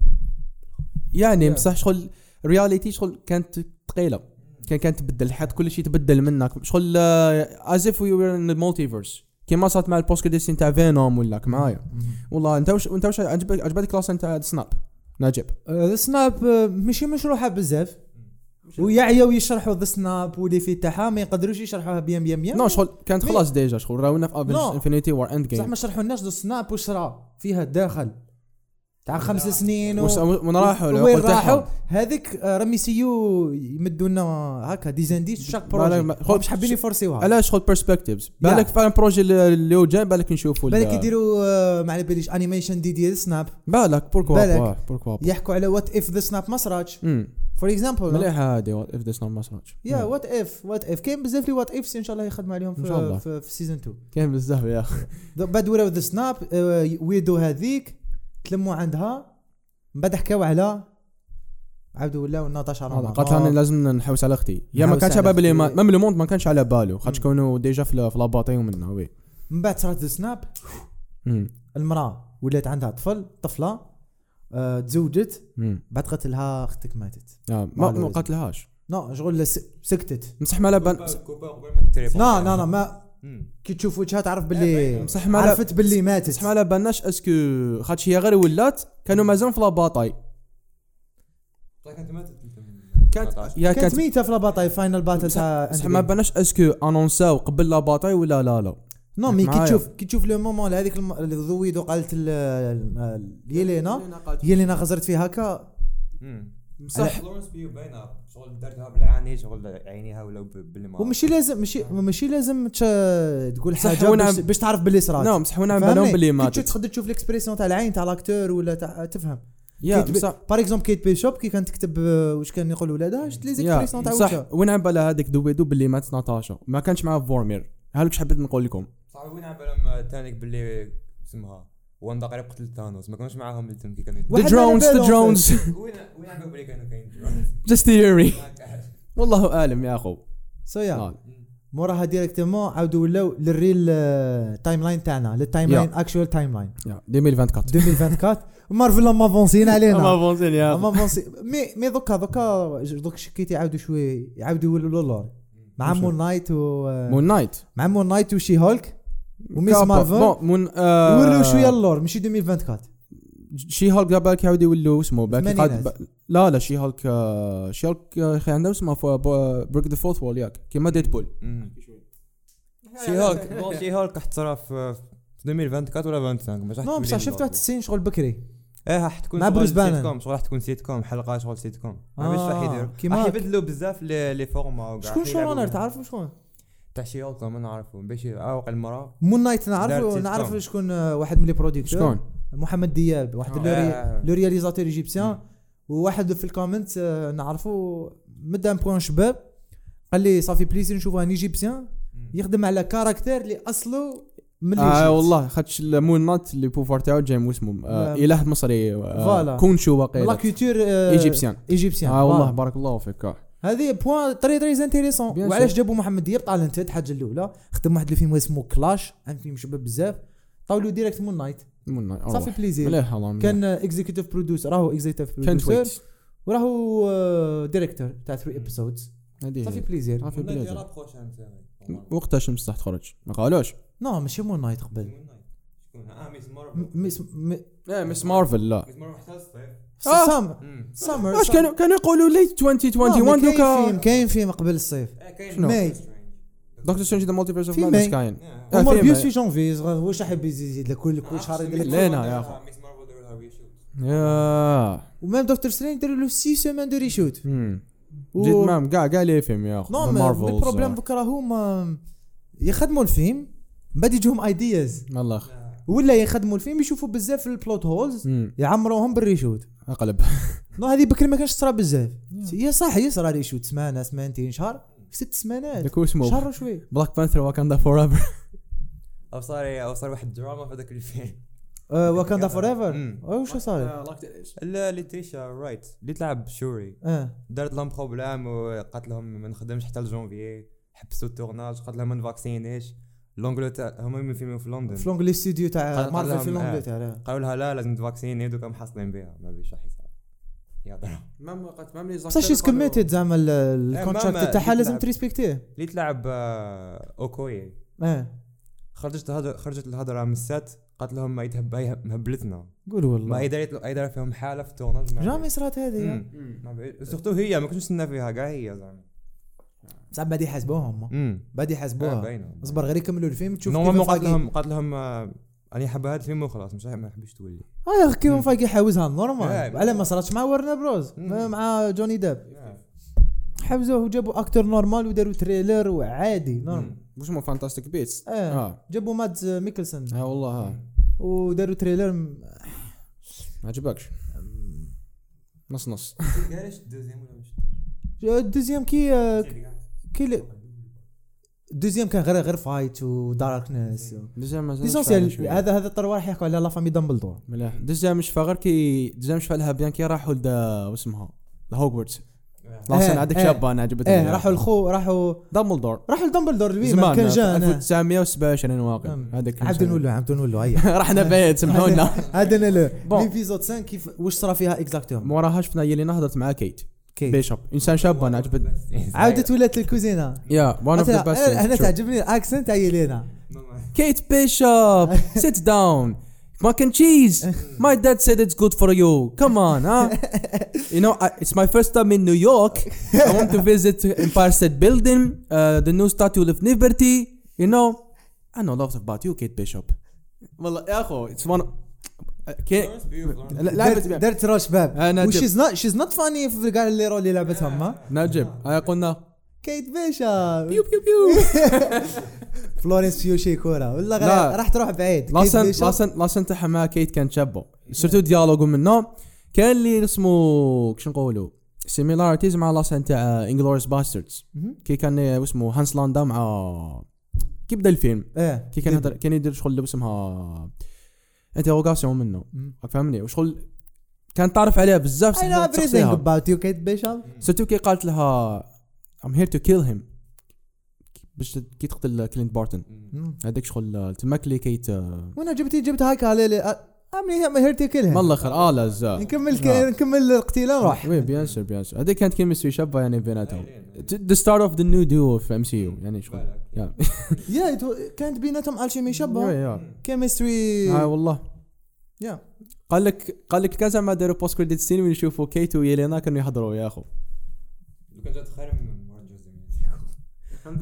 Speaker 2: يعني بصح شغل رياليتي شغل كانت ثقيله كان كانت تبدل حيت كل شيء تبدل منك شغل آه، ازيف وي وير ان مالتيفيرس كيما صارت مع البوست كريديتس تاع فينوم ولاك معايا والله انت وش انت وش عجبك عجبتك كلاس تاع سناب نجيب
Speaker 1: ذا سناب آه، ماشي مشروحه بزاف ويعيو يشرحوا ذا سناب واللي في تاعها ما يقدروش يشرحوها بيان بيان بيان
Speaker 2: نو شغل كانت خلاص ديجا شغل راونا في
Speaker 1: لا.
Speaker 2: افنج انفينيتي وار اند
Speaker 1: بصح
Speaker 2: جيم
Speaker 1: ما شرحوا لناش ذا سناب وش راه فيها الداخل تاع خمس سنين و...
Speaker 2: من راحوا
Speaker 1: وين
Speaker 2: العقول
Speaker 1: راحوا
Speaker 2: تاعهم.
Speaker 1: هذيك آه، رمي سيو يمدوا لنا هكا ديزانديس في شاك
Speaker 2: بالك-
Speaker 1: بروجي
Speaker 2: ما-
Speaker 1: هو مش حابين يفرسيوها
Speaker 2: علاش شغل بيرسبكتيفز بالك فعلا بروجي اللي هو جاي بالك نشوفوا
Speaker 1: بالك
Speaker 2: ال-
Speaker 1: يديروا آه، ما على باليش انيميشن دي ديال سناب
Speaker 2: بالك بوركوا
Speaker 1: بالك.
Speaker 2: با، بوركوا با.
Speaker 1: يحكوا على وات اف ذا سناب ما صراتش
Speaker 2: أمم.
Speaker 1: فور اكزامبل
Speaker 2: مليحه هذه اف ذس نوت ماسراج
Speaker 1: يا وات اف وات اف كاين بزاف لي وات افس ان شاء الله يخدم عليهم
Speaker 2: إن شاء الله.
Speaker 1: في في, في سيزون 2
Speaker 2: كاين بزاف يا اخي
Speaker 1: دو- بعد وراو ذا سناب آه، ويدو هذيك تلموا عندها من بعد حكاو على عاودوا ولاو ناتاشا رومان
Speaker 2: قالت انا لازم نحوس على اختي يا ما
Speaker 1: نحوس
Speaker 2: كانش
Speaker 1: على
Speaker 2: على بالي
Speaker 1: أختي.
Speaker 2: ما مام لو موند ما كانش على باله خاطش كونوا ديجا في ال- في لاباطي ومنها وي
Speaker 1: من بعد صارت ذا سناب
Speaker 2: أمم.
Speaker 1: المراه ولات عندها طفل طفله آه، تزوجت
Speaker 2: أمم.
Speaker 1: بعد قتلها اختك ماتت
Speaker 2: آه، ما
Speaker 1: معلومة.
Speaker 2: ما قاتلهاش
Speaker 1: نو شغل س- سكتت
Speaker 2: مسح ما على بال
Speaker 3: كوبا قبل ما تريب
Speaker 1: لا لا لا ما كي تشوف وجهها تعرف باللي
Speaker 2: بصح إيه، ما لا-
Speaker 1: عرفت باللي
Speaker 2: مسح ما
Speaker 1: ماتت
Speaker 2: على بالناش اسكو خاطش هي غير ولات كانوا مازال في لاباطي
Speaker 3: كانت ماتت انت من طيب،
Speaker 2: كانت
Speaker 3: 13.
Speaker 2: يا
Speaker 1: كانت
Speaker 2: كانت
Speaker 1: ميته في لاباطاي فاينل باتل تاع
Speaker 2: بصح ما بالناش اسكو انونساو قبل لاباطي ولا لا لا
Speaker 1: نو مي كي
Speaker 2: معايا.
Speaker 1: تشوف كي تشوف لو مومون هذيك الم- اللي ذويدو قالت ال- ال- يلينا يلينا غزرت فيها هكا
Speaker 3: صح فلورنس بيو باينه شغل دارتها بالعاني شغل عينيها ولا ب- بالماء
Speaker 1: ومشي لازم ماشي ماشي لازم تش- تقول
Speaker 2: صح، نعم،
Speaker 1: حاجه
Speaker 2: هو نعم-
Speaker 1: باش, باش تعرف باللي صرات
Speaker 2: نو مسح على بالهم
Speaker 1: فاهمني؟
Speaker 2: باللي
Speaker 1: كي
Speaker 2: ماتت
Speaker 1: تشوف- تقدر تشوف الاكسبريسيون تاع العين تاع لاكتور ولا تاع تفهم
Speaker 2: يا
Speaker 1: كيت بي-
Speaker 2: بصح
Speaker 1: باغ اكزومبل كيت بيشوب كي كانت تكتب آه، واش كان يقول ولادها شفت لي
Speaker 2: يا
Speaker 1: زيكسبريسيون تاع وجهها
Speaker 2: صح وين على بالها هذيك دويدو باللي ماتت ناتاشا ما كانش معاه فورمير هلوك حبيت نقول لكم
Speaker 3: صح وين على بالهم تانيك باللي اسمها واندا قريب قتل ثانوس ما كانوش معاهم التم كي كانوا
Speaker 2: ذا
Speaker 1: واحد ما على
Speaker 2: درونز ذا
Speaker 1: باله
Speaker 2: درونز [LAUGHS]
Speaker 3: وين وين على بالهم باللي كانوا كاين
Speaker 2: جاست ثيوري والله اعلم يا اخو
Speaker 1: سو يا
Speaker 2: آه.
Speaker 1: موراها ديريكتومون عاودوا ولاو للريل آه، تايم لاين تاعنا للتايم
Speaker 2: يا.
Speaker 1: لاين اكشوال تايم لاين
Speaker 2: يا 2024
Speaker 1: 2024 مارفل لما فونسين علينا
Speaker 2: افونسين يا
Speaker 1: اما بونسي مي مي دوكا دوكا دوك شكيت يعاودوا شوي يعاودوا يولوا للور مع
Speaker 2: مش-
Speaker 1: مون نايت و
Speaker 2: مون نايت
Speaker 1: مع مون نايت وشي هولك وميس
Speaker 2: كابا.
Speaker 1: مارفل
Speaker 2: بون مون آه،
Speaker 1: يولوا شويه للور ماشي 2024
Speaker 2: شي هولك بالك يعاود يولوا اسمه بالك قاد-
Speaker 1: الثمانينات.
Speaker 2: ب- لا لا شي هولك آه، شي هولك آه، اخي عندها اسمه بريك ذا فورث وول ياك كيما ديت بول
Speaker 3: شي هولك [LAUGHS] بون شي هولك حترا في في 2024 ولا 25 مش راح
Speaker 1: نو
Speaker 3: تولي
Speaker 1: بصح شفتها
Speaker 3: الموضوع.
Speaker 1: 90 شغل بكري
Speaker 3: ايه راح تكون
Speaker 1: مع
Speaker 3: شغل
Speaker 1: بروس بانن.
Speaker 3: سيت كوم شغل راح تكون سيت كوم حلقه شغل سيت كوم ما
Speaker 1: آه،
Speaker 3: عرفتش راح يديروا
Speaker 1: كيما-
Speaker 3: راح يبدلوا بزاف لي لي فورما وكاع
Speaker 1: شكون شو رانر تعرفوا شكون
Speaker 3: تاع شي هولك ما نعرفو باش عوق المراه
Speaker 1: مون نايت
Speaker 3: دارت
Speaker 1: نعرف
Speaker 3: سيت
Speaker 1: نعرف
Speaker 3: كوم.
Speaker 1: شكون آه، واحد من لي بروديكتور
Speaker 2: شكون
Speaker 1: محمد دياب واحد
Speaker 3: آه.
Speaker 1: لو ري-
Speaker 3: آه.
Speaker 1: لو رياليزاتور ايجيبسيان وواحد في الكومنت آه، نعرفو مد ان بوان شباب قال لي صافي بليزير نشوف ان ايجيبسيان يخدم على كاركتير اللي اصله من
Speaker 2: اه
Speaker 1: الإيجيبت.
Speaker 2: والله خاطش مون نايت اللي بوفار تاعو جاي من اسمه آه،
Speaker 1: لا.
Speaker 2: اله مصري
Speaker 1: نعم. فوالا.
Speaker 2: آه، كونشو
Speaker 1: من لا
Speaker 2: واقيلا
Speaker 1: كولتور
Speaker 2: ايجيبسيان
Speaker 1: ايجيبسيان
Speaker 2: اه والله بارك الله فيك آه.
Speaker 1: هذه بوان تري تري انتيريسون
Speaker 2: Bien
Speaker 1: وعلاش
Speaker 2: sûr.
Speaker 1: جابوا محمد دياب تالنتد حاجه الاولى خدم واحد الفيلم اسمه كلاش ان فيلم شباب بزاف طاولو ديريكت مون نايت
Speaker 2: مون نايت
Speaker 1: صافي
Speaker 2: أروح.
Speaker 1: بليزير
Speaker 2: مليح والله
Speaker 1: كان اكزيكتيف برودوسر راهو اكزيكتيف
Speaker 2: كانت
Speaker 1: برودوسر
Speaker 2: ويت آه,
Speaker 1: وراهو ديريكتور تاع 3 ابيسودز إيه. صافي بليزير
Speaker 2: صافي بليزر
Speaker 3: بليزر
Speaker 2: وقتها الشمس راح تخرج ما قالوش
Speaker 1: نو نعم, ماشي مون نايت قبل
Speaker 3: اه ميس مارفل
Speaker 1: م- مس- م-
Speaker 2: لا مس مارفل لا
Speaker 3: ميس مارفل حتى الصيف
Speaker 2: آه.
Speaker 1: سامر سامر
Speaker 2: واش كانوا كانوا يقولوا ليت 2021
Speaker 1: نعم, كاين آه، فيلم
Speaker 2: دوكا
Speaker 1: كاين فيلم قبل الصيف
Speaker 3: آه، كاين
Speaker 1: شنو؟
Speaker 3: ماي
Speaker 2: دكتور سترينج ذا مالتيفيرس اوف
Speaker 1: في
Speaker 2: مادنس
Speaker 1: May.
Speaker 2: كاين آه،
Speaker 1: هما
Speaker 2: فيلم،
Speaker 1: بيوس
Speaker 2: آه.
Speaker 1: في جونفي صغار، واش راح يبي يزيد لك كل كل شهر يدير لك
Speaker 2: لينا يا أخو.
Speaker 3: ميس مارفل داروا لها ريشوت
Speaker 2: يا
Speaker 1: ومام دكتور سترينج داروا له 6 سيمان دو ريشوت
Speaker 2: مم.
Speaker 1: و- نعم,
Speaker 2: جيت مام كاع كاع لي فيلم يا اخو
Speaker 1: نو
Speaker 2: The
Speaker 1: ما-
Speaker 2: Marvels. آه.
Speaker 1: البروبليم دوكا راهو ما- يخدموا الفيلم من بعد يجيهم ايدياز
Speaker 2: والله
Speaker 1: ولا يخدموا الفيلم يشوفوا بزاف البلوت هولز
Speaker 2: مم.
Speaker 1: يعمروهم بالريشوت
Speaker 2: [LAUGHS] اقلب
Speaker 1: نو هذه بكري ما كانش تصرى بزاف هي صح يصرى ريشوت سمانه سمانتين شهر ست سمانات
Speaker 2: داك هو
Speaker 1: شهر
Speaker 2: اسمه
Speaker 1: وشوي
Speaker 2: بلاك بانثر واكاندا فور ايفر
Speaker 3: او صار او صار واحد دراما في هذاك الفيلم [LAUGHS]
Speaker 1: آه، واكاندا فور ايفر
Speaker 3: مم. آه،
Speaker 1: واش صار
Speaker 3: لا اللي تيشا رايت اللي تلعب شوري
Speaker 1: اه
Speaker 3: دارت لهم بروبلام وقالت لهم ما نخدمش حتى لجونفي حبسوا التورناج قالت لهم ما نفاكسينيش لونجلتير هما يفيلموا في لندن
Speaker 1: في لونجلي ستوديو تاع
Speaker 3: قال- قال
Speaker 1: مارفل
Speaker 3: لهم،
Speaker 1: في
Speaker 3: آه.
Speaker 1: لونجلتير آه.
Speaker 3: قالوا لها لا لازم تفاكسيني دوكا محصلين بها ما بيش راح يصير يا طيب. ضرب
Speaker 2: مام قالت مام لي
Speaker 1: بصح شي كوميتد زعما ال- الكونتراكت
Speaker 3: إيه، ماما نعم.
Speaker 1: تاعها لازم
Speaker 3: يتلعب.
Speaker 1: تريسبكتيه
Speaker 3: اللي تلعب آه، اوكوي
Speaker 1: اه
Speaker 3: خرجت الهضر خرجت الهضره من السات قالت لهم ما يتهب ما يهب- مهبلتنا
Speaker 1: قول
Speaker 3: ما
Speaker 1: والله
Speaker 3: يدري ما يدري فيهم حاله في التورناج ما
Speaker 1: جامي صرات هذه
Speaker 3: أمم. ما بعيد. سورتو هي ما كنتش نستنى فيها كاع هي زعما
Speaker 1: بصح بعد يحاسبوها هما
Speaker 3: امم
Speaker 1: بعد يحاسبوها
Speaker 3: باينه
Speaker 1: اصبر غير يكملوا الفيلم تشوف
Speaker 3: نورمالمون
Speaker 1: كيف
Speaker 3: قالت
Speaker 1: فاقي-
Speaker 3: لهم قالت لهم آه، اني حابه هذا الفيلم وخلاص مش ما حبيتش تولي
Speaker 1: اه كيف
Speaker 3: مم.
Speaker 1: فايق يحاوزها نورمال
Speaker 3: آه.
Speaker 1: على ما صراتش مع ورنا بروز
Speaker 3: مم.
Speaker 1: مع جوني داب حبسوه وجابوا اكتر نورمال وداروا تريلر وعادي نورمال
Speaker 2: واش مو فانتاستيك بيتس
Speaker 1: اه
Speaker 2: اه
Speaker 1: جابوا مات ميكلسون
Speaker 2: ها والله ها
Speaker 1: وداروا تريلر م-
Speaker 2: ما عجبكش نص نص
Speaker 3: علاش الدوزيام ولا مش [LAUGHS]
Speaker 1: آه، الدوزيام كي آه، كي ل- الدوزيام كان غير غير فايت وداركنس
Speaker 2: ديجا [LAUGHS] مازال
Speaker 1: ليسونسيال هذا هذا الطروا راح يحكوا على لا فامي دامبلدور
Speaker 2: مليح ديجا مش فاغر كي ديجا مش فالها بيان كي راحوا لدا واسمها هوغورتس
Speaker 1: آه،
Speaker 2: لاسن هذيك
Speaker 1: آه.
Speaker 2: شابه انا عجبتني
Speaker 1: ايه راحوا الخو راحوا
Speaker 2: دامبلدور
Speaker 1: راحوا لدامبلدور اللي
Speaker 2: زمان
Speaker 1: كان جا
Speaker 2: في
Speaker 1: أنا.
Speaker 2: 1927 واقع
Speaker 1: نعم.
Speaker 2: هذاك
Speaker 1: عبد
Speaker 2: [LAUGHS]
Speaker 1: نولو عبد نولو هيا
Speaker 2: رحنا بعيد [LAUGHS] سمحونا
Speaker 1: هذا انا لو
Speaker 2: Bon.
Speaker 1: ليبيزود 5 كيف واش صرا فيها اكزاكتوم
Speaker 2: موراها شفنا هي اللي نهضت مع كيت
Speaker 1: كي
Speaker 2: بيشوب انسان شاب انا عجبت
Speaker 1: عاودت ولات الكوزينه
Speaker 2: يا وان اوف ذا
Speaker 1: مثلا أنا- انا
Speaker 2: بيست
Speaker 1: تعجبني الاكسنت تاع يلينا
Speaker 2: كيت بيشوب سيت داون Mac and cheese. My dad said it's good for you. Come on, huh? You know, I, it's my first time in New York. I want to visit Empire State Building, uh, the new Statue of Liberty. You know, I know lots about you, Kate Bishop. والله يا اخو it's one. uh, كي... لا- آه،
Speaker 1: دارت
Speaker 2: لعبت بها.
Speaker 1: دارت روش باب
Speaker 2: أنا جب.
Speaker 1: وشيز نوت شيز نوت فاني في كاع اللي رول اللي لعبتهم ها
Speaker 2: نجيب هاي قلنا
Speaker 1: كيت بيشا
Speaker 2: بيو بيو بيو
Speaker 1: فلورنس فيوشي كورا ولا غير
Speaker 2: لا.
Speaker 1: راح تروح بعيد كيت
Speaker 2: لاسن
Speaker 1: بيشا.
Speaker 2: لاسن لاسن تاعها مع كيت كان شابه سيرتو ديالوغو منه كان اللي اسمه كش نقولوا سيميلاريتيز مع لاسن تاع انجلوريس باستردز
Speaker 1: مهم.
Speaker 2: كي كان اسمه هانس لاندا مع كي بدا الفيلم
Speaker 1: ايه
Speaker 2: كي كان يهضر كان يدير شغل اللي اسمها انتروغاسيون منه
Speaker 1: مم.
Speaker 2: راك فاهمني وشغل كان تعرف عليها بزاف
Speaker 1: I know everything
Speaker 2: شخصيها.
Speaker 1: about you كيت بيشا
Speaker 2: سيرتو كي قالت لها I'm here to kill him باش كي تقتل كلينت بارتن
Speaker 1: مم.
Speaker 2: هذاك شغل تماك اللي كيت آه،
Speaker 1: وانا جبتي جبت هاكا ليلي امني هير تو كيل
Speaker 2: من
Speaker 1: هيم
Speaker 2: الاخر اه لا زا
Speaker 1: نكمل
Speaker 2: لا.
Speaker 1: نكمل القتيله نروح
Speaker 2: وي بيان سور بيان سور هذه كانت كيمستري شابه يعني بيناتهم ذا ستارت اوف ذا نيو ديو في ام سي يو يعني شغل يا
Speaker 1: يا يتو- كانت بيناتهم الشيمي
Speaker 2: [LAUGHS] يا-
Speaker 1: شابه
Speaker 2: يا.
Speaker 1: كيمستري
Speaker 2: آه والله
Speaker 1: يا.
Speaker 2: قال لك قال لك كان زعما داروا بوست كريديت سين وين يشوفوا كيت ويلينا كانوا يهضروا يا اخو
Speaker 3: لو كان جات خير من مورجز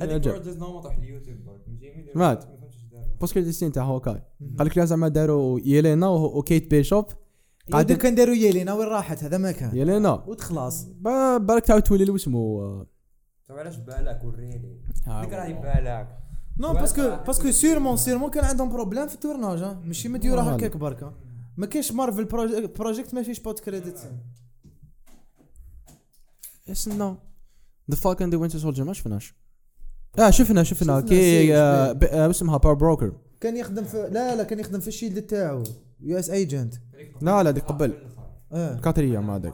Speaker 3: هذيك
Speaker 2: عجب.
Speaker 3: مورجز نوم طاح اليوتيوب برك ماشي مين داير-
Speaker 2: مات.
Speaker 3: ما فهمتش إيش دار.
Speaker 2: بوست كريديت سين تاع هوكاي قال لك لا زعما داروا يلينا وهو- وكيت بيشوب قاعد-
Speaker 1: قاعد كان داروا يلينا وين راحت هذا ما كان
Speaker 2: يلينا
Speaker 1: وتخلص
Speaker 2: با- بالك تعاود تولي لو اسمه آه،
Speaker 3: طب علاش بالك وريني ديك راهي بالك
Speaker 1: نو باسكو باسكو سيرمون سيرمون كان عندهم بروبليم في التورناج ها. ماشي مديور
Speaker 2: والله.
Speaker 1: هكاك بركا ما كاينش مارفل بروج- بروجيكت ما فيش بوت كريديت
Speaker 2: اسمه ذا فالكون ذا وينتر سولجر ما شفناش اه شفنا شفنا
Speaker 1: شفنا
Speaker 2: كي
Speaker 1: سيج،
Speaker 2: آه،
Speaker 1: إيه.
Speaker 2: ب- آه، اسمها باور بروكر
Speaker 1: كان يخدم في لا لا كان يخدم في الشيلد تاعو يو اس ايجنت
Speaker 2: لا لا دي قبل
Speaker 1: اه
Speaker 2: كاتريا ما هذاك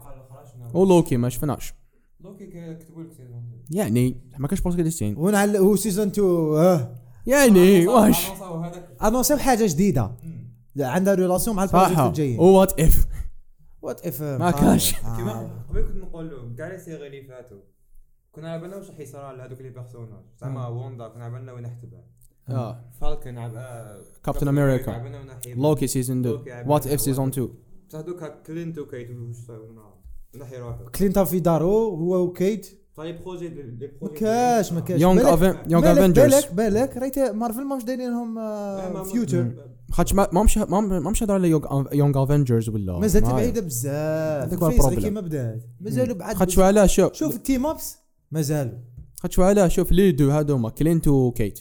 Speaker 2: ولوكي ما شفناش
Speaker 3: لوكي كتبوا لك سيزون
Speaker 2: يعني ما كانش بوست كريديتين
Speaker 1: ونعل هو سيزون 2 اه
Speaker 2: يعني واش
Speaker 3: هذاك
Speaker 1: انونسي بحاجه جديده عندها ريلاسيون مع البروجيكت
Speaker 2: صح
Speaker 1: الجاي
Speaker 2: وات اف
Speaker 1: وات اف
Speaker 2: ما كانش
Speaker 1: ah.
Speaker 3: كيما قبل كنت نقول له كاع لي سيغي اللي فاتوا كنا على بالنا واش راح يصرى لهذوك لي بيرسوناج زعما ووندا كنا على بالنا وين حتبع
Speaker 2: آه.
Speaker 3: فالكن على
Speaker 2: كابتن أمريكا.
Speaker 3: على بالنا وين راح يبدا.
Speaker 2: لوكي سيزون 2 وات اف سيزون 2
Speaker 3: بصح دوك هاك كلينت وكيت واش صاير معاهم. وين راح يروحوا
Speaker 1: كلينتا في دارو هو وكيت
Speaker 3: طيب بروجي لي
Speaker 1: ما
Speaker 3: بروجي
Speaker 1: كاش ما كاش
Speaker 2: يونغ
Speaker 1: بالك-
Speaker 2: يونغ
Speaker 1: بالك-
Speaker 2: افنجرز
Speaker 1: بالك بالك ريت مارفل ماهمش دايرين لهم فيوتشر
Speaker 3: Hmm.
Speaker 2: خاطش ما مامش مامش هضر على يونغ افنجرز ولا
Speaker 1: مازالت
Speaker 2: ما-
Speaker 1: بعيده بزاف
Speaker 2: هذاك هو
Speaker 1: الفيس غير
Speaker 2: البروبلم.
Speaker 1: كيما بدات مازالوا بعد
Speaker 2: خاطش على شوف
Speaker 1: شوف التيم ابس مازالوا
Speaker 2: خاطش على شوف لي دو euh, هادوما كلينت وكيت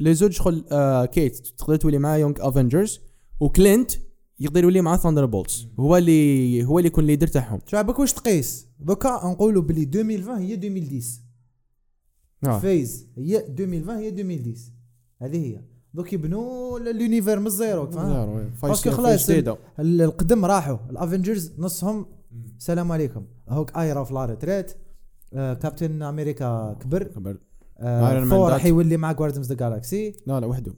Speaker 2: لي زوج شغل آه كيت تقدر تولي مع يونغ افنجرز وكلينت يقدر يولي مع ثاندر بولتس هو اللي هو اللي يكون ليدر تاعهم
Speaker 1: شو عباك واش تقيس دوكا نقولوا بلي 2020 هي 2010
Speaker 2: آه.
Speaker 1: فايز هي 2020 هي 2010 هذه هي دوك يبنوا ل- لونيفير من الزيرو
Speaker 2: من الزيرو، إيه.
Speaker 1: فاهم
Speaker 2: فايز-
Speaker 1: باسكو
Speaker 2: فايز
Speaker 1: خلاص ال-
Speaker 2: جديدة.
Speaker 1: ال- القدم راحوا الافنجرز نصهم السلام عليكم هوك اي راه في لا ريتريت آه، كابتن امريكا كبر
Speaker 2: كبر. Iron Man
Speaker 1: آه، ثور
Speaker 2: دات.
Speaker 1: راح يولي مع جواردنز ذا جالاكسي
Speaker 2: لا لا وحده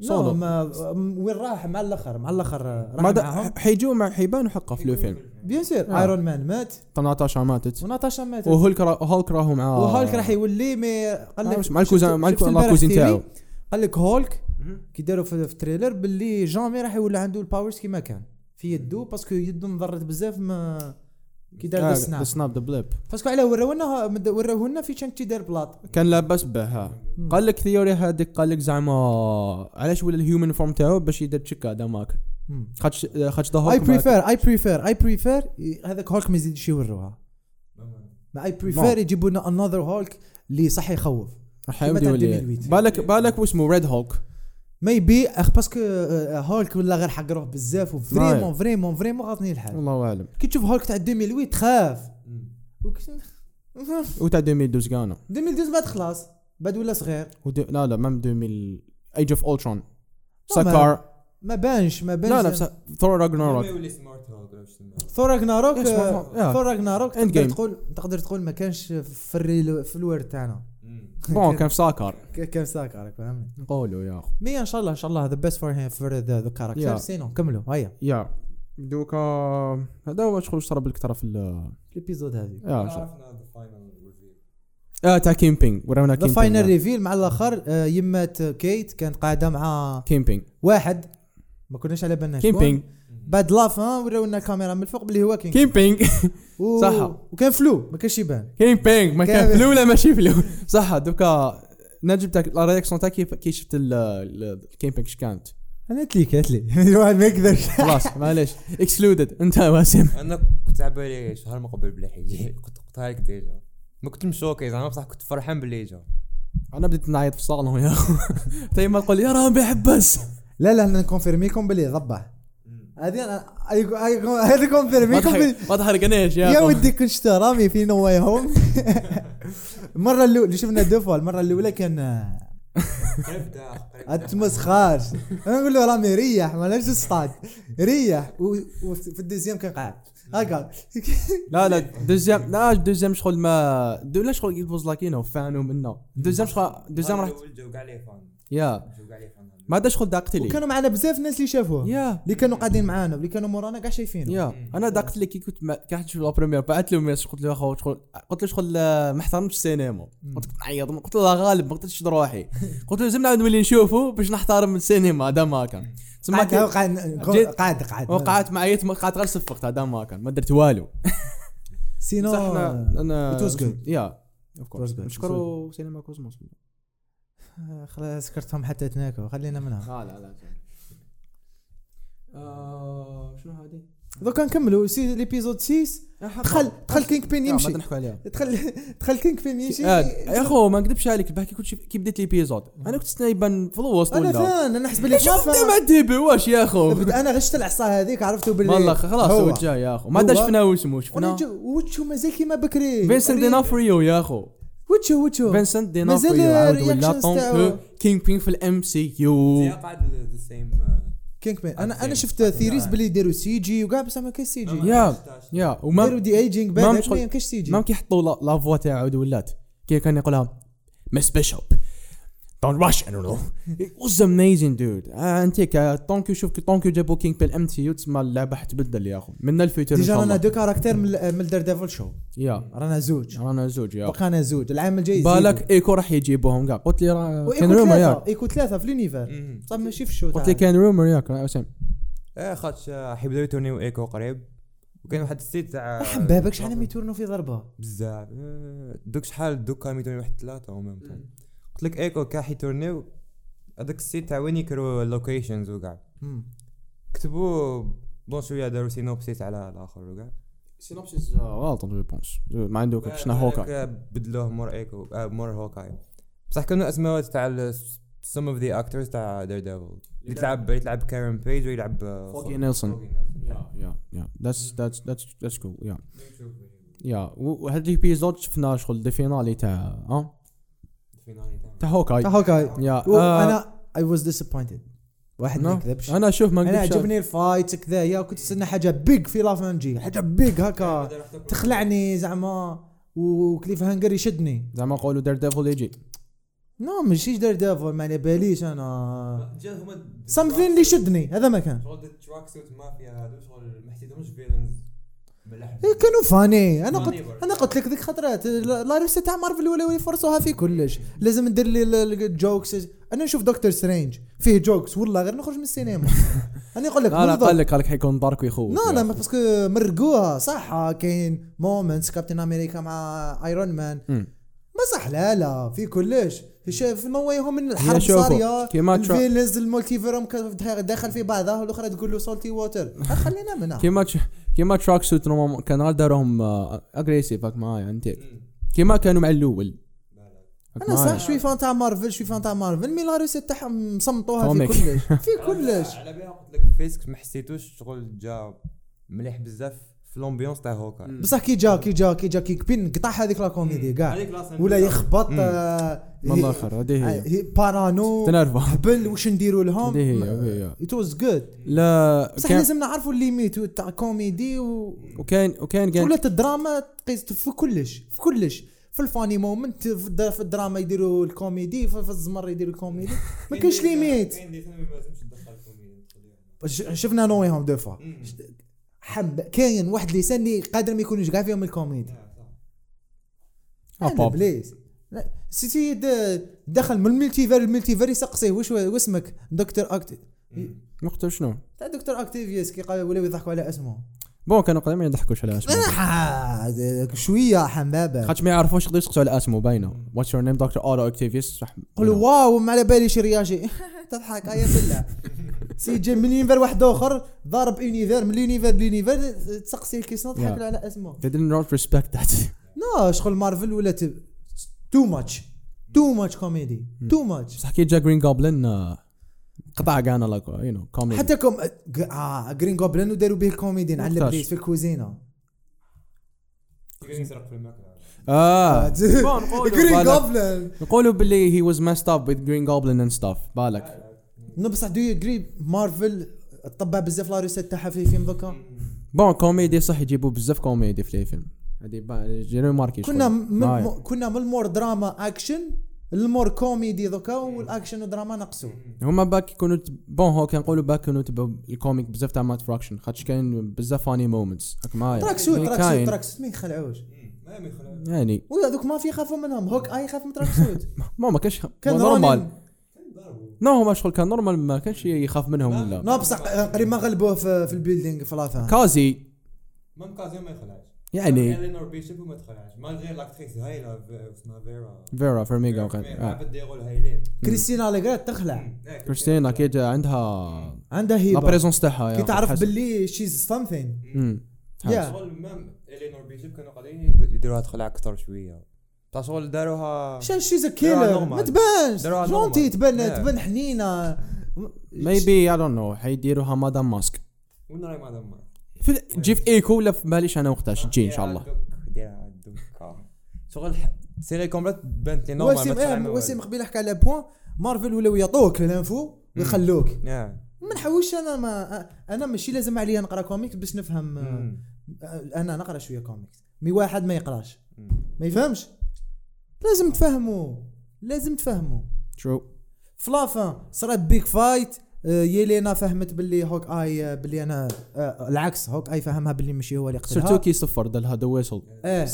Speaker 1: سولو
Speaker 2: Solo.
Speaker 1: نعم، آه، وين راح مع الاخر مع الاخر آه، راح
Speaker 2: ما دا-
Speaker 1: معاهم
Speaker 2: حيجوا مع حيبانوا حقه في الفيلم
Speaker 1: بيان سير
Speaker 2: آه.
Speaker 1: ايرون مان مات
Speaker 2: 13 ماتت
Speaker 1: وناتاشا ماتت
Speaker 2: وهولك را- هولك راهو مع
Speaker 1: وهولك راح يولي مي قال
Speaker 2: آه،
Speaker 1: لك
Speaker 2: مش- آه. مع الكوزان-
Speaker 1: شفت-
Speaker 2: مع
Speaker 1: شفت
Speaker 2: الكو-
Speaker 1: امبارح
Speaker 2: الكوزين
Speaker 1: ثيري؟
Speaker 2: تاعو.
Speaker 1: قال لك هولك كي داروا في في التريلر باللي جامي راح يولي عنده الباورز كيما كان في يدو باسكو يدو مضرت بزاف ما كي دار
Speaker 2: آه،
Speaker 1: السناب
Speaker 2: السناب ذا بليب
Speaker 1: باسكو علاه ورونا وروهولنا في شانك دار بلاط
Speaker 2: كان لاباس به ها. قال لك ثيوري هذيك قال لك زعما علاش ولا الهيومن فورم تاعو باش يدير تشيك هذا ماك
Speaker 1: مم.
Speaker 2: خاطش خاطش ذا
Speaker 1: اي
Speaker 2: هولك ماك.
Speaker 1: بريفير اي بريفير اي بريفير هذاك هولك ما يزيدش يوروها ما اي بريفير يجيبوا لنا انذر هولك اللي صح يخوف
Speaker 2: راح
Speaker 1: كيما
Speaker 2: يعاود
Speaker 1: تاع
Speaker 2: يولي.
Speaker 1: 2008.
Speaker 2: بالك بالك واسمه ريد هولك
Speaker 1: ميبي اخ باسكو آه، آه، هولك ولا غير حق روح بزاف وفريمون
Speaker 2: نعم.
Speaker 1: فريمون فريمون غاطني الحال
Speaker 2: والله اعلم
Speaker 1: كي تشوف هولك تاع 2008 تخاف وكش-
Speaker 2: وتاع 2012 كانا
Speaker 1: 2012 بعد خلاص بعد ولا صغير
Speaker 2: ودي... لا لا مام 2000 ايج اوف اولترون
Speaker 1: لا، ما-
Speaker 2: سكار
Speaker 1: ما بانش ما بانش
Speaker 2: لا لا بس... ثور
Speaker 1: [LAUGHS]
Speaker 2: راجناروك
Speaker 3: يولي سمارت هوك ولا واش تسمى.
Speaker 1: ثور راجناروك
Speaker 2: إيش ما- آه.
Speaker 1: ثور راجناروك
Speaker 2: End
Speaker 1: تقدر
Speaker 2: game.
Speaker 1: تقول تقدر تقول ما كانش في الريل في الورد تاعنا
Speaker 2: بون كان في ساكار
Speaker 1: ك- كان ساكر راك فاهمني
Speaker 2: نقولوا يا اخو
Speaker 1: مي ان شاء الله ان شاء الله ذا بيست فور هيم فور ذا كاركتر
Speaker 2: Yeah.
Speaker 1: سينو كملوا هيا
Speaker 2: يا دوكا هذا هو شغل صار بالك ترى في ال
Speaker 1: الابيزود هذيك
Speaker 2: يا شغل.
Speaker 3: عرفنا ذا فاينل ريفيو
Speaker 2: اه تاع كيمبينغ ورانا
Speaker 1: ذا
Speaker 2: كيمبينغ
Speaker 1: فاينل
Speaker 2: يا.
Speaker 1: ريفيل مع الاخر آه، يمات كيت كانت قاعده مع
Speaker 2: كيمبينغ
Speaker 1: واحد ما كناش على بالنا شكون.
Speaker 2: كيمبينغ
Speaker 1: بعد لافان وراونا الكاميرا من الفوق باللي هو كينغ
Speaker 2: كيمبينغ [LAUGHS]
Speaker 1: و...
Speaker 2: صح.
Speaker 1: وكان فلو ما كانش يبان
Speaker 2: كاين بانك ما
Speaker 1: كامل.
Speaker 2: كان فلو ولا ماشي فلو صح دوكا نجم تاعك لا رياكسيون تاعك كيف كي شفت الكاين بانك اش كانت
Speaker 1: انا قلت لك قلت لك [LAUGHS] الواحد ما يقدرش
Speaker 2: خلاص معليش اكسلودد انت واسم
Speaker 3: انا كنت على بالي شهر من قبل بلي حيجي [LAUGHS] كنت قلتها لك ديجا ما كنت مشوكي زعما بصح كنت فرحان باللي جا
Speaker 2: انا بديت نعيط في الصالون يا [LAUGHS] اخو تاي ما تقول لي يا راهم بيحبس
Speaker 1: لا لا انا نكونفيرميكم باللي ضبع هذه انا هذه
Speaker 2: ما
Speaker 1: كونفيرميكم بلي-
Speaker 2: تحرق- ما تحرقناش يا
Speaker 1: يا
Speaker 2: اخو
Speaker 1: ودي كنت شتا رامي في نو واي هوم [LAUGHS] المره الاولى اللي شفنا دو فوا المره الاولى كان آه، اتمسخاش انا نقول له رامي ريح ما لازمش تصطاد ريح و- وفي الدوزيام كان قاعد هكا
Speaker 2: لا لا دوزيام لا دوزيام شغل ما دو لا شغل يفوز لاكينو فانو منه دوزيام شغل دوزيام راح
Speaker 3: جو كاع لي فان
Speaker 2: يا
Speaker 3: جو كاع لي فان
Speaker 2: ما هذا شغل داقت لي
Speaker 1: وكانوا معنا بزاف ناس اللي شافوه
Speaker 2: يا
Speaker 1: اللي كانوا قاعدين معانا واللي كانوا مورانا كاع شايفينه
Speaker 2: يا انا داقت لي كي كنت ما- كي حد شوف لا بريمير بعثت له ميساج قلت له اخو شغل قلت له شغل آه، ما احترمتش السينما قلت كنت نعيط قلت له لا غالب ما قدرتش نشد
Speaker 1: [LAUGHS]
Speaker 2: روحي قلت له لازم نعاود نولي نشوفه باش نحترم السينما هذا ما كان تسمى
Speaker 1: قاعد
Speaker 2: كي-
Speaker 1: قاعد
Speaker 2: جيت.
Speaker 1: قاعد قاعد
Speaker 2: وقعت معي وقعت غير صفقت هذا ما كان ما درت والو
Speaker 1: سينو
Speaker 2: بصح احنا انا
Speaker 1: it was good.
Speaker 2: يا اوف
Speaker 1: was
Speaker 2: كورس
Speaker 1: good.
Speaker 2: نشكروا سينما كوزموس
Speaker 1: آه، خلاص سكرتهم حتى تناكو خلينا منها
Speaker 2: لا لا لا آه، شنو هذه؟
Speaker 1: دوكا نكملوا سي ليبيزود 6 دخل دخل كينغ بين
Speaker 2: يمشي
Speaker 1: يمشي
Speaker 2: ما نحكوا عليها
Speaker 1: دخل دخل كينغ بين يمشي
Speaker 2: آه، يا اخو ما نكذبش عليك البحكي كنت شف- كي بديت ليبيزود انا كنت سنايبان في الوسط
Speaker 1: انا
Speaker 2: ولا
Speaker 1: فان انا نحس باللي
Speaker 2: شفت
Speaker 1: ما-
Speaker 2: مع الديبي واش يا اخو
Speaker 1: بد- انا غشت العصا هذيك عرفتوا باللي
Speaker 2: والله خلاص
Speaker 1: هو.
Speaker 2: هو جا يا اخو ما
Speaker 1: هو.
Speaker 2: داش شفنا واسمه
Speaker 1: وانا
Speaker 2: شفنا
Speaker 1: جو- واتشو مازال كيما بكري
Speaker 2: فينسنت دينافريو يا اخو
Speaker 1: واتشو واتشو
Speaker 2: فينسنت
Speaker 1: مازال
Speaker 2: دينافريو عاود ولا
Speaker 1: الرياكشنز تاعو.
Speaker 2: طونك كينغ بين في الام سي يو
Speaker 3: قاعد ذا سيم
Speaker 1: كينغ بين انا انا
Speaker 3: أوكي.
Speaker 1: شفت ثيريز باللي داروا سي جي وكاع بصح ما كاين سي جي
Speaker 2: يا يا
Speaker 1: داروا
Speaker 2: وما
Speaker 1: دي ايجينغ
Speaker 2: ما
Speaker 1: بعد
Speaker 2: مش خل-
Speaker 1: ما كاش سي جي
Speaker 2: ما كيحطوا لا- لا فوا تاعو عاود ولات كي كان يقولها مس بيشوب دون راش اي [LAUGHS] دون نو واز اميزين دود انتيك آه، طونكيو شوف كي طونكيو جابوا كينغ بين ام تي يو تسمى اللعبه حتبدل يا اخو من الفيوتشر ان
Speaker 1: ديجا
Speaker 2: شاء
Speaker 1: رانا
Speaker 2: الله
Speaker 1: دو كاركتير من ال- من الدير ديفل شو
Speaker 2: يا
Speaker 1: رانا زوج
Speaker 2: رانا زوج يا أخو.
Speaker 1: بقانا زوج العام الجاي يزيدوا.
Speaker 2: بالك ايكو راح يجيبوهم كاع قلت لي راه كان
Speaker 1: وايكو
Speaker 2: رومر ياك
Speaker 1: ثلاثة ايكو ثلاثة في اليونيفر صح ماشي في الشو
Speaker 2: قلت لي
Speaker 1: تاعنا.
Speaker 2: كان رومر ياك يا اسام
Speaker 3: اه خاطش آه، حيبداو يتورنيو ايكو قريب وكاين واحد السيت تاع
Speaker 1: رحم بابك شحال ما يتورنوا في ضربة
Speaker 3: بزاف آه، دوك شحال دوك كانوا يتورنيو واحد ثلاثه او ميم طون قلت لك ايكو كاع حيتورنيو هذاك السيت تاع وين يكرو اللوكيشنز وكاع كتبوا بون شويه داروا سينوبسيس على الاخر وكاع
Speaker 2: سينوبسيس آه، غلط جو بونس ما عنده كاع شنا هوكا
Speaker 3: بدلوه مور ايكو آه، مور هوكاي بصح كانوا اسماوات تاع ال- some of the actors تاع Daredevil اللي تلعب اللي تلعب كارن بيج ويلعب آه،
Speaker 2: فوكي نيلسون
Speaker 3: فوكي نيلسون.
Speaker 2: يا يا ذاتس ذاتس ذاتس ذاتس كول يا يا وهذا الابيزود شفناه شغل دي فينالي تاع اه
Speaker 3: الفينالي تاعهم.
Speaker 2: تاع هوكاي
Speaker 1: تاع هوكاي
Speaker 2: يا آه،
Speaker 1: انا اي واز ديسابوينتد واحد ما
Speaker 2: نو.
Speaker 1: يكذبش
Speaker 2: انا شوف ما
Speaker 1: انا
Speaker 2: نكذبش.
Speaker 1: عجبني الفايت كذا يا كنت استنى حاجه بيج في لافانجي حاجه بيج هكا تخلعني زعما وكليف هانجر يشدني
Speaker 2: زعما قولوا دير ديفل يجي
Speaker 1: نو ماشي دير ديفل ما على باليش انا
Speaker 3: جا هما
Speaker 1: سامثين اللي يشدني هذا ما كان
Speaker 3: شغل التراك سوت مافيا هادو شغل ما حسيتهمش فيلنز ملاح
Speaker 1: إيه كانوا فاني انا
Speaker 3: فاني
Speaker 1: قلت
Speaker 3: برضه.
Speaker 1: انا قلت لك ذيك خطرات لا ريسة تاع مارفل ولا يفرصوها في كلش لازم ندير لي الجوكس انا نشوف دكتور سترينج فيه جوكس والله غير نخرج من
Speaker 2: [LAUGHS]
Speaker 1: السينما انا يقول لك
Speaker 2: لا لا
Speaker 1: بالضبط.
Speaker 2: قال لك قال لك حيكون دارك ويخوف
Speaker 1: لا لا ما باسكو مرقوها صح كاين مومنتس كابتن امريكا مع ايرون مان
Speaker 2: مم.
Speaker 1: ما صح لا لا في كلش شايف نويهم من
Speaker 2: هي
Speaker 1: الحرب
Speaker 2: شوفوا،
Speaker 1: صاريه
Speaker 2: كيما ترا-
Speaker 1: الفيلنز المولتيفيرم داخل في بعضها والاخرى تقول له سولتي ووتر خلينا منها
Speaker 2: كيما تش- كيما تراك سوت نورمال- كان غير داروهم اجريسيف آه، هاك معايا انت كيما كانوا مع الاول هاك
Speaker 1: انا
Speaker 2: معايا.
Speaker 1: صح شوي فان تاع مارفل شوي فان تاع مارفل مي لا روسيت تاعهم مصمطوها في
Speaker 2: كوميك.
Speaker 1: كلش في كلش
Speaker 3: على بها قلت لك فيسك ما حسيتوش شغل جا مليح بزاف في الامبيونس تاع هوكاي
Speaker 1: بصح كي جا كي جا كي جا كي كبين قطع هذيك لا كوميدي كاع
Speaker 3: هذيك لا
Speaker 1: ولا يخبط
Speaker 3: مم.
Speaker 1: آه،
Speaker 2: من
Speaker 1: هي-
Speaker 2: الاخر هذه
Speaker 1: آه،
Speaker 2: هي
Speaker 1: هي بارانو
Speaker 2: تنرفز
Speaker 1: قبل واش نديروا لهم
Speaker 2: هذه هي هذه هي
Speaker 1: ات واز جود
Speaker 2: لا
Speaker 1: بصح
Speaker 2: كان
Speaker 1: لازم نعرفوا الليميت تاع كوميدي و...
Speaker 2: وكاين وكاين كان
Speaker 1: ولات الدراما تقيس في كلش في كلش في الفاني مومنت في, الد... في الدراما يديروا الكوميدي في, في الزمر يديروا الكوميدي ما كاينش ليميت
Speaker 3: كاين دي فيلم ما لازمش تدخل كوميديا
Speaker 1: ش... شفنا نويهم دو فوا حب كاين واحد لسان اللي قادر ما يكونش كاع فيهم الكوميدي
Speaker 3: آه.
Speaker 2: آه،
Speaker 1: أنا
Speaker 2: باب.
Speaker 1: بليز لا، سيتي د- دخل من الملتيفير الملتيفير يسقسيه واش واسمك دكتور اكتيف
Speaker 2: نقطة شنو
Speaker 1: تاع دكتور اكتيفيوس كي قال ولاو يضحكوا على
Speaker 2: [LAUGHS]
Speaker 1: اسمه
Speaker 2: بون كانوا قدام ما يضحكوش على اسمه
Speaker 1: آه، شويه حمابه
Speaker 2: خاطش ما يعرفوش يقدروا يسقسوا على اسمه باينه واتس يور نيم دكتور اورو اكتيفيس صح
Speaker 1: قولوا واو ما على باليش رياجي [LAUGHS] تضحك ايا بالله سي جا من يونيفر واحد اخر ضارب يونيفر من اليونيفر ليونيفر تسقسي الكيسون تضحك
Speaker 2: Yeah.
Speaker 1: له على اسمه
Speaker 2: they did not respect that
Speaker 1: نو شغل مارفل ولا تو ماتش تو ماتش كوميدي تو ماتش
Speaker 2: بصح كي جا جرين جوبلن قطع آه، كانا لاك يو نو كوميدي
Speaker 1: حتى كوم اه جرين جوبلن وداروا به الكوميدي على
Speaker 2: مختار.
Speaker 1: البليس في الكوزينه
Speaker 3: كاين يسرق في الماكله
Speaker 1: آه،
Speaker 2: اه بون
Speaker 1: [LAUGHS] جرين
Speaker 2: بالك-
Speaker 1: جوبلن
Speaker 2: نقولوا باللي هي واز messed up with green goblin and stuff بالك
Speaker 1: نو بصح دو يجري مارفل طبع بزاف لا ريسيت تاعها في فيلم دوكا
Speaker 2: بون كوميدي صح يجيبوا بزاف كوميدي في الفيلم هذه با- جينو ماركي
Speaker 1: كنا
Speaker 2: شوي.
Speaker 1: من
Speaker 2: معايا.
Speaker 1: م- كنا من المور دراما اكشن المور كوميدي دوكا والاكشن ودراما نقصوا
Speaker 2: هما باك يكونوا تب- بون هو كنقولوا باك كانوا تبعوا الكوميك بزاف تاع مات فراكشن خاطش كاين بزاف فاني مومنتس هاك معايا
Speaker 1: تراك سوت
Speaker 2: يعني
Speaker 1: تراك
Speaker 2: كاين.
Speaker 1: سوت تراك سوت ما يخلعوش
Speaker 3: ما يخلع
Speaker 2: يعني
Speaker 1: وهذوك ما في يخافوا منهم هوك اي يخاف من تراك
Speaker 2: [LAUGHS]
Speaker 1: سوت
Speaker 2: ما ما كانش
Speaker 1: كان
Speaker 2: نورمال
Speaker 1: رونين
Speaker 2: نو هما شغل كان نورمال ما كانش يخاف منهم ولا
Speaker 1: نو بصح آه، قريب ما غلبوه في, في البيلدينغ في لافان
Speaker 2: كازي
Speaker 3: ما مكازيا ما يخلعش
Speaker 2: يعني
Speaker 3: الينور بيشوب وما تخلعش مالغي لاكتريس هايله في- اسمها فيرا
Speaker 2: فيرا فيرميغا وكان آه.
Speaker 3: لعبت دي رول هايلين
Speaker 1: كريستينا ليغرات تخلع
Speaker 3: إيه،
Speaker 2: كريستينا كي جا عندها
Speaker 1: عندها
Speaker 2: لا
Speaker 1: هيبه
Speaker 2: بريزونس تاعها يا
Speaker 1: كي تعرف
Speaker 2: حسن.
Speaker 1: باللي شيز سامثين
Speaker 2: مم.
Speaker 1: يا
Speaker 3: شغل مام الينور بيشوب كانوا قاعدين يديروها تخلع اكثر شويه بصح شغل داروها
Speaker 1: شان شيز
Speaker 3: دراها
Speaker 1: كيلر
Speaker 3: normal.
Speaker 1: ما تبانش
Speaker 3: دراها
Speaker 1: جونتي
Speaker 3: normal.
Speaker 1: تبان
Speaker 3: Yeah.
Speaker 1: تبان حنينه
Speaker 2: ميبي اي دونت نو حيديروها مادام ماسك
Speaker 3: وين راهي مادام ما
Speaker 2: في- تجي في ايكو ولا في باليش انا وقتها تجي ان شاء الله
Speaker 3: ديرها دوك- ديرها دوك، آه. شغل ح- سيري كومبليت بانت لي نورمال ما
Speaker 1: وسيم
Speaker 3: تخلع من
Speaker 1: آه، وسيم
Speaker 3: والو.
Speaker 1: قبيله حكى على بوان مارفل ولاو يعطوك الانفو ويخلوك
Speaker 3: نعم.
Speaker 1: ما نحوش انا ما انا ماشي لازم عليا نقرا كوميكس باش نفهم آه،
Speaker 3: مم.
Speaker 1: انا نقرا شويه كوميكس مي واحد ما يقراش
Speaker 3: مم.
Speaker 1: ما يفهمش لازم تفهموا لازم تفهموا
Speaker 2: ترو
Speaker 1: فلافا صرات بيك فايت آه، يلينا فهمت باللي هوك اي آه، باللي انا آه، العكس هوك اي فهمها باللي ماشي هو اللي
Speaker 2: سيرتو
Speaker 1: قتلها
Speaker 2: كي صفر دل هذا ويسل
Speaker 1: اه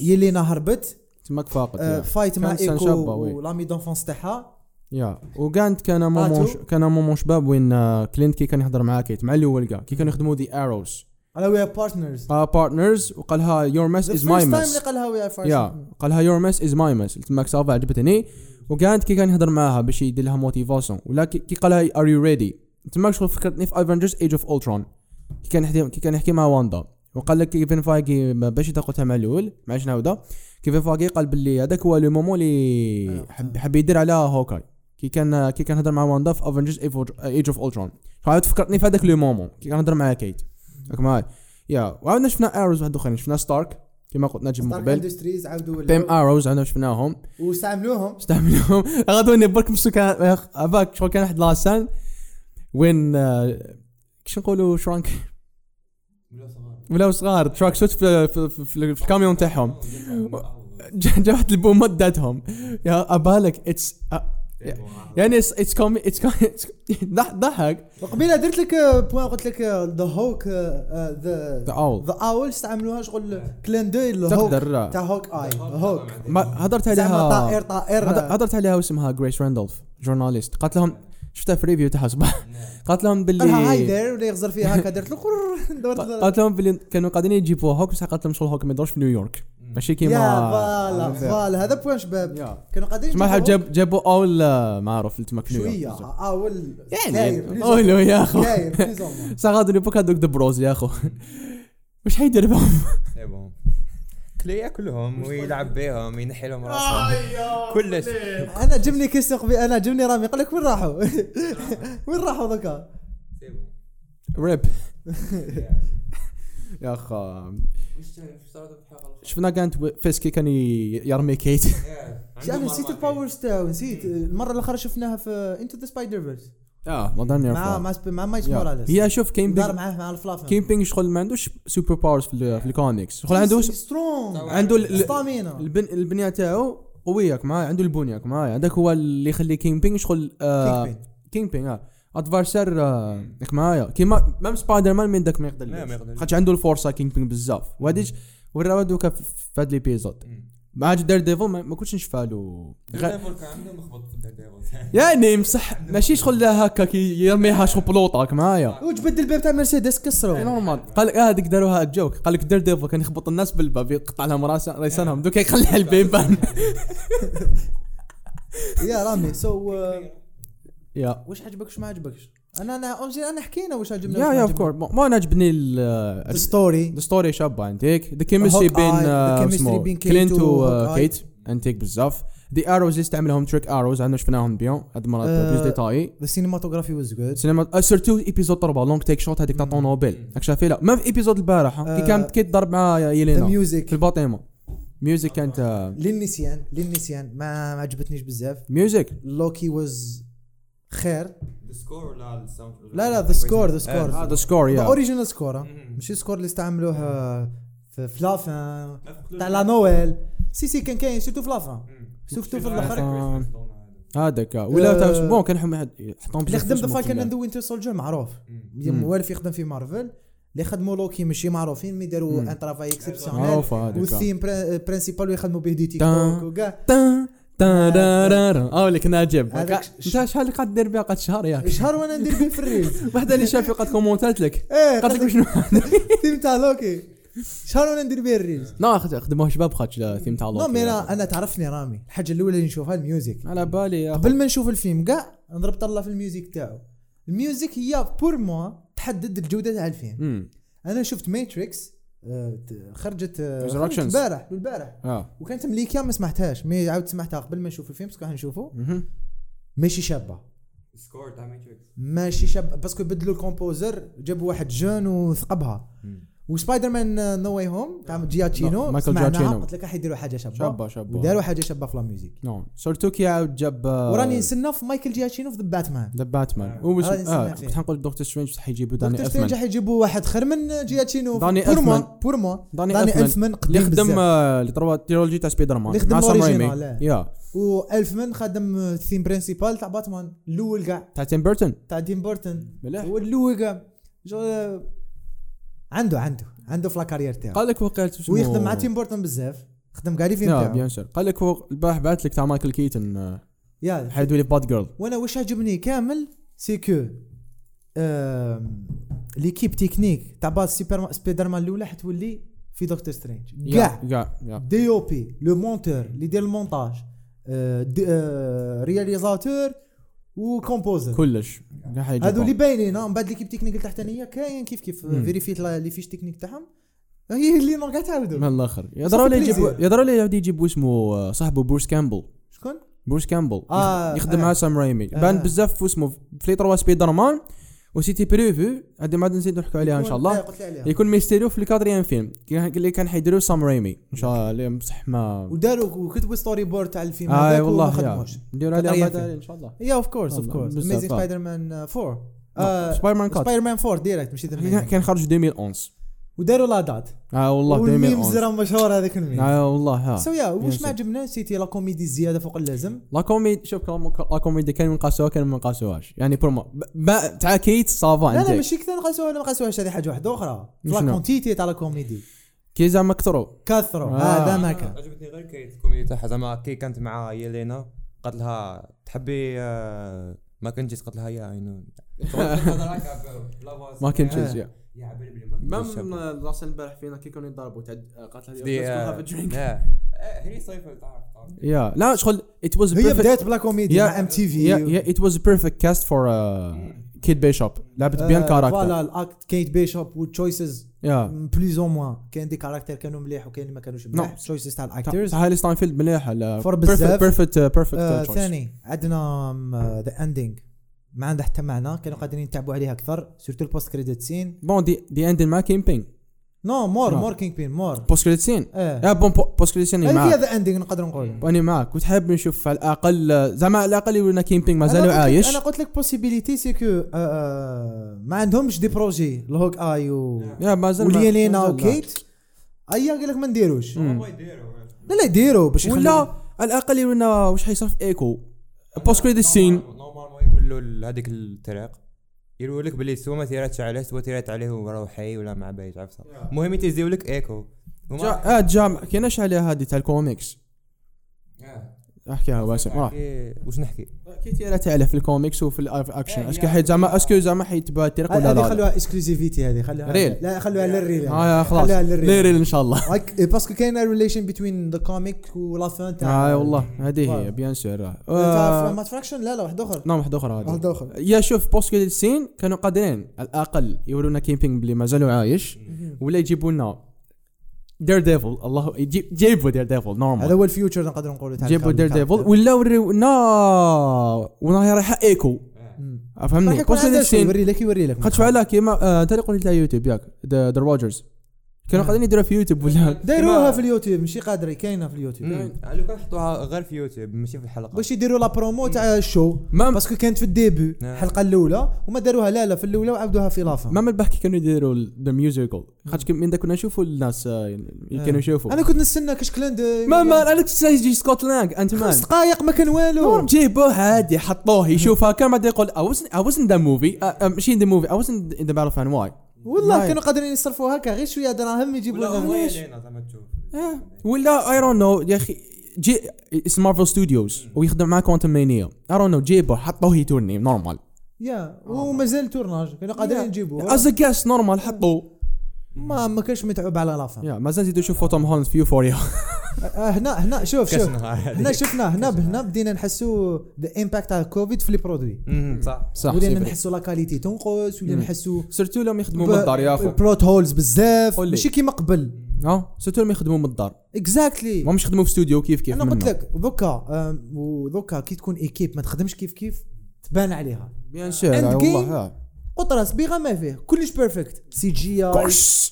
Speaker 1: يلينا هربت
Speaker 2: تماك
Speaker 1: آه،
Speaker 2: فاقد
Speaker 1: فايت مع
Speaker 2: كان شابة،
Speaker 1: ايكو
Speaker 2: وي.
Speaker 1: ولامي دونفونس تاعها
Speaker 2: يا وكانت
Speaker 1: آه،
Speaker 2: كان مومون
Speaker 1: آتو.
Speaker 2: كان مومون شباب وين آه، كلينت كي كان يهضر معاه كيت مع الاول كاع كي كانوا يخدموا آه، ذي اروز
Speaker 1: على وي بارتنرز
Speaker 2: قال بارتنرز وقالها يور مس
Speaker 1: ذا
Speaker 2: از
Speaker 1: فيرست
Speaker 2: ماي
Speaker 1: تايم اللي
Speaker 2: مس
Speaker 1: قالها وي
Speaker 2: يا قالها يور مس از ماي مس تماك صافا عجبتني وكانت كي كان يهضر معاها باش يدير لها موتيفاسيون ولا كي كي قالها ار يو ريدي تماك شغل فكرتني في افنجرز ايج اوف اولترون كي كان يحكي كي كان يحكي مع واندا وقال لك كيفن فايكي ما- باش تاخذها مع الاول معليش نعاودها كيفن فايكي قال باللي هذاك هو لو مومون اللي حب, حب يدير على هوكاي كي كان كي كان هضر مع واندا في افنجرز ايج اوف اولترون عاود فكرتني في هذاك لو مومون كي كان هضر مع كيت راك معاي يا وعاودنا شفنا اروز واحد اخرين شفنا ستارك كما قلت نجم من
Speaker 1: ستارك
Speaker 2: قبل
Speaker 1: اندستريز عاودوا
Speaker 2: بيم
Speaker 1: ولاو.
Speaker 2: اروز عندنا [LAUGHS] شفناهم
Speaker 1: واستعملوهم
Speaker 2: استعملوهم غدو اني برك مسو كان باك شغل كان واحد لاسان وين آه، كيش نقولوا شرانك ولا صغار تراك سوت في, في, في, في, في الكاميون تاعهم جا جا واحد البومه داتهم يا ابالك اتس يعني اتس كومي اتس ضحك
Speaker 1: وقبيله درت لك آه، بوان قلت لك ذا هوك ذا
Speaker 2: ذا اول
Speaker 1: ذا اول استعملوها شغل كلان دوي للهوك
Speaker 2: تقدر آه.
Speaker 1: تاع هوك اي هوك
Speaker 2: ما هدرت
Speaker 1: زعما طائر
Speaker 2: عليها
Speaker 1: طائر
Speaker 2: هد- هدرت عليها واسمها جريس راندولف جورناليست قالت لهم شفتها في ريفيو تاعها صباح قالت لهم
Speaker 1: قالها هاي
Speaker 2: باللي
Speaker 1: دير ولا يغزر فيها هكا درت له قرر، [LAUGHS] دورت
Speaker 2: ق-
Speaker 1: له.
Speaker 2: قالت لهم باللي كانوا قاعدين يجيبوا هوك بصح قالت لهم شغل هوك ما يدورش في نيويورك ماشي
Speaker 1: يا
Speaker 2: كيما
Speaker 1: فوالا فوالا هذا بوان شباب كانوا قاعدين
Speaker 2: ما
Speaker 1: يجيبوا
Speaker 2: جاب جابوا اول آه، ما عرف تماك في
Speaker 1: شويه
Speaker 2: نيويورك
Speaker 1: اول
Speaker 2: يعني اولو يا اخو
Speaker 1: كاير بليز أو موان.
Speaker 2: صح غادي نبوك هذوك دبروز يا اخو واش حيدير بهم
Speaker 3: إيه [LAUGHS] بون. كلي ياكلهم ويلعب بيهم ينحي لهم [LAUGHS] راسهم كلش
Speaker 1: انا جبني كيس قبي انا جبني رامي قال لك وين راحوا [LAUGHS] وين راحوا ذكا
Speaker 3: إيه، [LAUGHS]
Speaker 2: ريب يا اخا شفنا كانت فيسكي كان ي- يرمي [LAUGHS] كيت
Speaker 1: شي انا نسيت الباورز تاعو نسيت المره الاخرى شفناها في انتو ذا سبايدر فيرس
Speaker 2: اه ما ظني
Speaker 1: مع مع سب- مع مايك موراليس
Speaker 2: هي شوف كين
Speaker 1: دار
Speaker 2: بينج
Speaker 1: معاه مع الفلافن
Speaker 2: كين بينج شغل ما عندوش سوبر باورز في, ال- في الكوميكس شغل عنده
Speaker 1: سترونغ
Speaker 2: عنده ال-
Speaker 1: ستامينا
Speaker 2: البن البنيه تاعو قويك معاي عنده البنياك معاي هذاك هو اللي يخلي كينج بينج شغل آه
Speaker 1: Kingpin.
Speaker 2: كينج بينج اه ادفارسر آه ياك معايا كيما مام سبايدر مان من داك ما
Speaker 3: لا، ما يقدرش.
Speaker 2: يقدرش خاطش عنده الفرصه كينج بينج بزاف وهاديش وراو دوكا في في هاد ليبيزود مع دير ديفل ما, ما كنتش نشفى له غ-
Speaker 3: [LAUGHS]
Speaker 2: يعني مصح ماشي شغل هكا كي يرميها شغل بلوطاك معايا
Speaker 1: وجبد الباب تاع
Speaker 2: [LAUGHS]
Speaker 1: مرسيدس
Speaker 2: إي
Speaker 1: كسروا
Speaker 2: نورمال قال لك آه، هذيك داروها جوك قال لك دير ديفل كان يخبط الناس بالباب يقطع لهم راس ريسانهم دوكا يخليها
Speaker 3: [LAUGHS]
Speaker 2: البيبان
Speaker 1: يا رامي آه، سو
Speaker 2: يا
Speaker 1: واش عجبك واش ما عجبكش انا انا اونجي انا حكينا واش عجبنا
Speaker 2: يا
Speaker 1: واش
Speaker 2: يا
Speaker 1: ما
Speaker 2: اوف كورس ما عجبني ال
Speaker 1: ستوري
Speaker 2: الستوري شابه عندك ذا كيمستري
Speaker 1: Hawkeye,
Speaker 2: بين
Speaker 1: the
Speaker 2: آه،
Speaker 1: chemistry
Speaker 2: اسمه آه،
Speaker 1: بين Clint
Speaker 2: كلينت
Speaker 1: و Hawkeye.
Speaker 2: وكيت عندك بزاف ذا اروز اللي استعملهم تريك اروز عندنا شفناهم بيون هاد المره
Speaker 1: آه.
Speaker 2: بلوز ديتاي
Speaker 1: ذا سينماتوغرافي واز جود
Speaker 2: سينما آه، سيرتو ايبيزود 4 لونج تيك شوت هذيك تاع طونوبيل راك شافيلا إيه؟ ما في ايبيزود البارح كي
Speaker 1: آه.
Speaker 2: كانت كيت ضرب مع
Speaker 1: ذا
Speaker 2: يلينا في
Speaker 1: ميوزك
Speaker 2: الباطيمون ميوزك كانت آه،
Speaker 1: للنسيان للنسيان ما ما عجبتنيش بزاف
Speaker 2: ميوزك
Speaker 1: لوكي واز خير لا لا ذا سكور ذا سكور
Speaker 2: هذا سكور
Speaker 1: ذا
Speaker 2: يا
Speaker 1: اوريجينال سكور آه. ماشي سكور اللي استعملوه آه، في فلافان تاع لا نويل سي سي كان كاين سيتو فلافان سيرتو في الاخر
Speaker 2: هذاك آه. ولا
Speaker 1: آه.
Speaker 2: تاع- بون كان حم- حطهم
Speaker 1: اللي
Speaker 2: بزاف
Speaker 1: خدم ذا
Speaker 2: فلوس
Speaker 1: فالكن
Speaker 2: ممكن. يعني.
Speaker 1: اند وينتر سولجر معروف
Speaker 2: مم.
Speaker 1: موالف يخدم في مارفل اللي خدموا لوكي ماشي معروفين مي داروا ان ترافاي اكسبسيونيل
Speaker 2: معروفة هذيك آه.
Speaker 1: والثيم برانسيبال يخدموا به دي تيك
Speaker 2: تا-
Speaker 1: توك وكاع
Speaker 2: تا تا را را را
Speaker 1: آه.
Speaker 2: اه لك ناجب
Speaker 1: هذاك
Speaker 2: قا- انت شحال اللي قاعد دير بها قد
Speaker 1: [LAUGHS]
Speaker 2: شهر ياك
Speaker 1: شهر وانا ندير به في الريل
Speaker 2: وحده اللي شافي قد كومونتات لك
Speaker 1: ايه
Speaker 2: قالت لك شنو
Speaker 1: [LAUGHS] الثيم تاع لوكي شهر وانا ندير به الريل
Speaker 2: لا خد- خدموها شباب خاطش لا، ثيم تاع
Speaker 1: نو
Speaker 2: لوكي.
Speaker 1: مي انا انا تعرفني رامي الحاجه الاولى اللي نشوفها الميوزك
Speaker 2: على بالي يا أخو.
Speaker 1: قبل ما نشوف الفيلم كاع نضرب طله في الميوزك تاعو الميوزك هي بور موا تحدد الجوده تاع الفيلم
Speaker 2: أمم.
Speaker 1: انا شفت ماتريكس خرجت آه،
Speaker 2: Resurrections.
Speaker 1: خرجت البارح البارح
Speaker 2: اه
Speaker 1: وكانت مليكه ما سمعتهاش مي عاود سمعتها قبل ما نشوف الفيلم باسكو نشوفه
Speaker 2: مهم.
Speaker 1: ماشي شابه
Speaker 3: سكور تاع ماتريكس
Speaker 1: ماشي شاب باسكو بدلوا الكومبوزر جابوا واحد جون وثقبها وسبايدر مان نو واي هوم تاع جياتشينو
Speaker 2: لا، آه. مايكل
Speaker 1: سمعناها،
Speaker 2: جياتشينو.
Speaker 1: قلت لك راح يديروا حاجه شابه
Speaker 2: شابة- شابة.
Speaker 1: وداروا حاجه شابه في لا ميوزيك
Speaker 2: نو سورتو كي عاود نعم. جاب آه،
Speaker 1: وراني نسنى في مايكل جياتشينو في ذا باتمان
Speaker 2: ذا باتمان هو
Speaker 1: هذا نسمع
Speaker 2: اه
Speaker 1: فيه.
Speaker 2: كنت حنقول دكتور سترينج بصح يجيبوا داني
Speaker 1: دكتور سترينج
Speaker 2: اثمن
Speaker 1: راح يجيبوا واحد خير من جياتشينو
Speaker 2: داني
Speaker 1: بور موا
Speaker 2: ألفمان.
Speaker 1: بور موا
Speaker 2: داني
Speaker 1: داني
Speaker 2: ألفمان.
Speaker 1: ألفمان قديم
Speaker 2: اللي خدم
Speaker 1: بزاف.
Speaker 2: آه، اللي تروا تيرولوجي تاع سبايدر مان
Speaker 1: اللي خدم
Speaker 2: مع سام
Speaker 1: الأوريجينال،
Speaker 2: ريمي.
Speaker 1: لا.
Speaker 2: يا
Speaker 1: والفمان خدم الثيم برينسيبال تاع باتمان الاول كاع
Speaker 2: تاع تيم بيرتون
Speaker 1: تاع ديم بورتن
Speaker 2: مليح.
Speaker 1: هو الاول كاع شغل- آه، عنده عنده عنده في لاكارير تاعو
Speaker 2: قال لك وقيت اسمه-
Speaker 1: ويخدم مع تيم بورتن بزاف خدم كاع لي فيلم
Speaker 2: يا
Speaker 1: تاعو
Speaker 2: بيان سور قال لك هو البارح بعث لك تاع مايكل كيتن آه،
Speaker 1: يا
Speaker 2: حيدوي لي باد جيرل
Speaker 1: وانا واش عجبني كامل سي كو آم، ليكيب تكنيك تاع باز سوبر سبايدر مان الاولى حتولي في دكتور سترينج كاع
Speaker 2: كاع يا
Speaker 1: دي او بي لو مونتور اللي يدير المونتاج آه، دي- آه، رياليزاتور وكومبوزر
Speaker 2: كلش كاع حيجيبها.
Speaker 1: هذو اللي باينين آه، من بعد ليكيب تكنيك التحتانيه كاين كيف كيف فيريفيت لي فيش تكنيك تاعهم هي اللي نور قاع
Speaker 2: من
Speaker 1: تعاودوا
Speaker 2: الاخر يضروا لي
Speaker 1: بليزير.
Speaker 2: يجيبوا يضروا لي يعاود يجيبوا اسمه آه، صاحبه بروس كامبل
Speaker 1: شكون؟
Speaker 2: بروس كامبل
Speaker 1: آه،
Speaker 2: يخدم
Speaker 1: آه.
Speaker 2: مع سام رايمي بان بزاف واسمه في تروا سبايدر مان وسيتي بريفو هذه ما عاد نزيد نحكوا عليها ان شاء الله
Speaker 1: قلت لي عليها
Speaker 2: يكون ميستيريو في الكادريان فيلم كي- اللي كان حيديروه سام رايمي ان شاء الله اللي بصح ما
Speaker 1: وداروا وكتبوا ستوري بورد تاع الفيلم
Speaker 2: اي
Speaker 1: هذاك وما
Speaker 2: آه، والله يا.
Speaker 1: خدموش
Speaker 2: نديروا عليها
Speaker 1: كادريان
Speaker 2: بعد
Speaker 1: فيلم.
Speaker 2: ان شاء الله
Speaker 1: يا اوف كورس اوف
Speaker 2: والله،
Speaker 1: كورس
Speaker 2: بزاف،
Speaker 1: اميزينغ
Speaker 2: آه.
Speaker 1: سبايدر مان 4 Uh,
Speaker 2: لا، سبايدر مان كات
Speaker 1: سبايدر مان 4 ديريكت ماشي ذا
Speaker 2: كان-
Speaker 1: Amazing.
Speaker 2: كان خرج 2011
Speaker 1: وداروا لا دات
Speaker 2: اه والله
Speaker 1: والميمز
Speaker 2: 2011
Speaker 1: راه مشهور هذاك الميم
Speaker 2: اه والله ها
Speaker 1: سو يا واش
Speaker 2: Yes.
Speaker 1: ما عجبنا سيتي لا كوميدي زياده فوق اللازم
Speaker 2: لا كوميدي شوف كلام- لا كوميدي كان من قاسوها كان من قاسوهاش يعني برومو ب- ب- تاع كيت صافا
Speaker 1: لا لا
Speaker 2: انتيك.
Speaker 1: ماشي كثر نقاسوها ولا ما قاسوهاش هذه حاجه واحده اخرى
Speaker 2: شنو؟
Speaker 1: لا كونتيتي تاع لا كوميدي
Speaker 2: كي زعما كثروا
Speaker 1: كثروا
Speaker 2: آه.
Speaker 1: هذا ما كان
Speaker 3: عجبتني غير كيت الكوميدي تاعها زعما كي كانت مع يلينا قالت لها تحبي آه، ما كنتيش قالت لها يا اي نو
Speaker 2: [LAUGHS] ما كان
Speaker 1: آه.
Speaker 2: تشيز يا
Speaker 3: [LAUGHS] يا على بالي بلي ما كنتش
Speaker 2: راس البارح فينا كي كانوا يضربوا قالت
Speaker 3: دي، آه، آه،
Speaker 2: [LAUGHS]
Speaker 3: آه، هني صيفل تعرف تعرف.
Speaker 2: يا uh, لا شغل ات واز
Speaker 1: هي بدات بلا كوميدي مع ام تي
Speaker 2: يا
Speaker 1: في
Speaker 2: يا ات واز بيرفكت كاست فور uh, كيد بيشوب لعبت بيان
Speaker 1: آه، فوالا
Speaker 2: كاركتر
Speaker 1: الاكت كيت بيشوب والتشويسز
Speaker 2: يا
Speaker 1: بليز او موان كاين دي كاركتر كانوا مليح وكاين اللي ما كانوش مليح التشويسز تاع الاكترز
Speaker 2: هايلي ستاينفيلد مليحه
Speaker 1: فور بزاف.
Speaker 2: بيرفكت
Speaker 1: آه،
Speaker 2: بيرفكت
Speaker 1: ثاني عندنا ذا اندينغ ما عندها حتى معنى كانوا قادرين يتعبوا عليها اكثر سورتو البوست كريديت سين
Speaker 2: بون دي دي اندين مع كيمبينغ
Speaker 1: نو مور
Speaker 2: آه.
Speaker 1: مور كينج بين مور
Speaker 2: بوست كريديت سين
Speaker 1: اه
Speaker 2: يا بون بوست كريديت سين
Speaker 1: هذه فيها
Speaker 2: معاك
Speaker 1: ذا اندينغ نقدر نقول
Speaker 2: واني معاك كنت حاب نشوف على الاقل آه، زعما على الاقل يورينا كيمبينغ مازالو عايش
Speaker 1: انا قلت لك بوسيبيليتي سي كو آه، ما عندهمش دي بروجي الهوك اي و
Speaker 2: يا مازال ما-
Speaker 1: وليلينا
Speaker 2: مازال لا.
Speaker 1: وكيت ايا قال لك ما نديروش
Speaker 2: مم.
Speaker 1: لا لا يديروا باش
Speaker 2: ولا
Speaker 1: يخلوا-
Speaker 2: على الاقل يورينا واش حيصرف ايكو بوست كريديت سين
Speaker 3: نورمالمون يقولوا لهذيك الطريق يقولوا لك باللي سوا ما تيراتش عليه سوا تيرات عليه وراهو حي ولا مع بعيد عرفت المهم يتيزيو لك ايكو هما-
Speaker 2: جا اه جا ما كايناش عليها هذه تاع الكوميكس
Speaker 3: آه.
Speaker 2: احكيها واسم راه
Speaker 3: إيه، واش نحكي
Speaker 2: كي تيرا تعلى في الكوميكس وفي اللايف اكشن
Speaker 3: إيه،
Speaker 2: اسكو
Speaker 3: يا-
Speaker 2: حيت زعما اسكو زعما حيتباع الطريق ولا
Speaker 1: هذه
Speaker 2: لا لا
Speaker 1: خلوها اكسكلوزيفيتي هذه خلوها
Speaker 2: ريل.
Speaker 1: لا خلوها للريل يعني.
Speaker 2: اه خلاص
Speaker 1: خليها للريل.
Speaker 2: ليريل ان شاء
Speaker 1: [LAUGHS]
Speaker 2: الله
Speaker 1: هاك- باسكو كاين ريليشن بين ذا كوميك ولا فان تاع
Speaker 2: اه والله هذه هي
Speaker 1: فوالا.
Speaker 2: بيان سور
Speaker 1: تاع
Speaker 2: آه،
Speaker 1: مات فراكشن لا لا واحد اخر
Speaker 2: نعم واحده اخرى هذه
Speaker 1: واحد اخر
Speaker 2: يا شوف بوست كريديت سين كانوا قادرين على الاقل يورونا كيمبينغ بلي مازالو عايش ولا يجيبوا لنا دير ديفل الله يجيب جيبوا دير ديفل
Speaker 1: هذا
Speaker 2: نورمال
Speaker 1: هو الفيوتشر نقدر نقولوا تاع
Speaker 2: جيبوا دير
Speaker 1: الكاركتر.
Speaker 2: ديفل ولا وريونا وراها رايحه ايكو
Speaker 1: مم. راح
Speaker 2: فهمني
Speaker 1: يكون
Speaker 2: بوست
Speaker 1: عندها
Speaker 2: كريديت
Speaker 1: شي،
Speaker 2: سين
Speaker 1: يوري لك يوري لك
Speaker 2: قد فعلها كيما انت آه، اللي قلت لي يوتيوب ياك ذا روجرز
Speaker 1: آه.
Speaker 2: كانوا قاعدين يديروها في يوتيوب
Speaker 1: [LAUGHS]
Speaker 2: ولا [LAUGHS]
Speaker 1: دايروها في اليوتيوب ماشي قادرين كاينه في اليوتيوب
Speaker 3: مم. لو كان يعني حطوها غير في يوتيوب ماشي في الحلقه
Speaker 1: باش يديروا لا برومو تاع الشو
Speaker 2: ما
Speaker 1: باسكو كانت في الديبي
Speaker 3: نعم.
Speaker 1: الحلقه الاولى وما داروها لا لا في الاولى وعاودوها في لافا
Speaker 2: ما من البحكي كانوا يديروا ذا ميوزيكال خاطر كم- من دا كنا نشوفوا الناس آه، اللي كانوا يشوفوا
Speaker 1: انا كنت نستنى كاش كلاند
Speaker 2: ما ما انا كنت سايس يجي سكوت لانج
Speaker 1: [LAUGHS]
Speaker 2: انت
Speaker 1: خمس
Speaker 2: مان
Speaker 1: دقائق ما كان
Speaker 2: نعم.
Speaker 1: والو
Speaker 2: جيبوه عادي حطوه يشوف هكا بعد يقول I wasn't I wasn't in the movie Uh, uh, ماشي in the movie I wasn't in the battle fan why
Speaker 1: والله
Speaker 2: نعم.
Speaker 1: كانوا قادرين يصرفوا هكا غير شويه دراهم يجيبوا
Speaker 3: ولا
Speaker 1: لنا
Speaker 3: هو
Speaker 1: ليش؟
Speaker 3: يلينا زعما تشوف
Speaker 2: آه، ولا I don't know يا اخي جي اسم مارفل ستوديوز ويخدم مع كوانتم مانيا I don't know جيبوه حطوه يتورني نورمال
Speaker 1: يا ومازال تورناج كانوا قادرين يجيبوا
Speaker 2: از جاس نورمال حطوه
Speaker 1: ما ما كانش متعوب على لافا
Speaker 2: يا مازال زيدوا شوفوا توم هولاند في يوفوريا
Speaker 1: آه، هنا هنا شوف شوف
Speaker 3: نهار
Speaker 1: هنا شفنا هنا هنا بدينا نحسوا ذا امباكت تاع كوفيد في لي برودوي
Speaker 3: مم، صح
Speaker 2: [LAUGHS] صح
Speaker 1: ولينا نحسوا لا كاليتي تنقص ولينا نحسوا
Speaker 2: سيرتو لهم يخدموا من الدار يا اخو
Speaker 1: بلوت هولز بزاف
Speaker 2: قول لي.
Speaker 1: ماشي كيما قبل
Speaker 2: اه سيرتو لهم يخدموا من الدار
Speaker 1: اكزاكتلي
Speaker 2: ما مش يخدموا في استوديو كيف كيف
Speaker 1: انا قلت
Speaker 2: منه.
Speaker 1: لك دوكا آم، ودوكا كي تكون ايكيب ما تخدمش كيف كيف تبان عليها
Speaker 2: بيان سور
Speaker 1: Endgame.
Speaker 2: آه، والله آه.
Speaker 1: قطره صبيغه ما فيه كلش بيرفكت سي جي اي
Speaker 2: كوش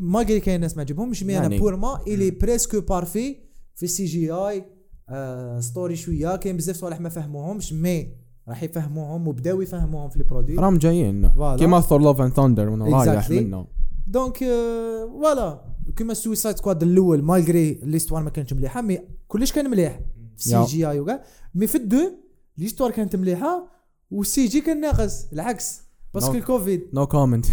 Speaker 1: ما قال كاين ناس ما عجبهمش مي انا
Speaker 2: يعني.
Speaker 1: بور ما الي بريسكو بارفي في السي جي اي آه، ستوري شويه كاين بزاف صوالح ما فهموهمش مي راح يفهموهم وبداو يفهموهم في لي برودوي
Speaker 2: راهم جايين
Speaker 1: فوالا.
Speaker 2: كيما ثور لوف اند ثاندر من رايح
Speaker 1: Exactly.
Speaker 2: منه
Speaker 1: دونك آه، فوالا كيما سويسايد سكواد الاول مالغري ليستوار ما كانتش مليحه مي كلش كان مليح في سي
Speaker 2: يا.
Speaker 1: جي اي وكاع مي في الدو ليستوار كانت مليحه والسي جي كان ناقص العكس باسكو
Speaker 2: No.
Speaker 1: الكوفيد
Speaker 2: نو [LAUGHS] كومنت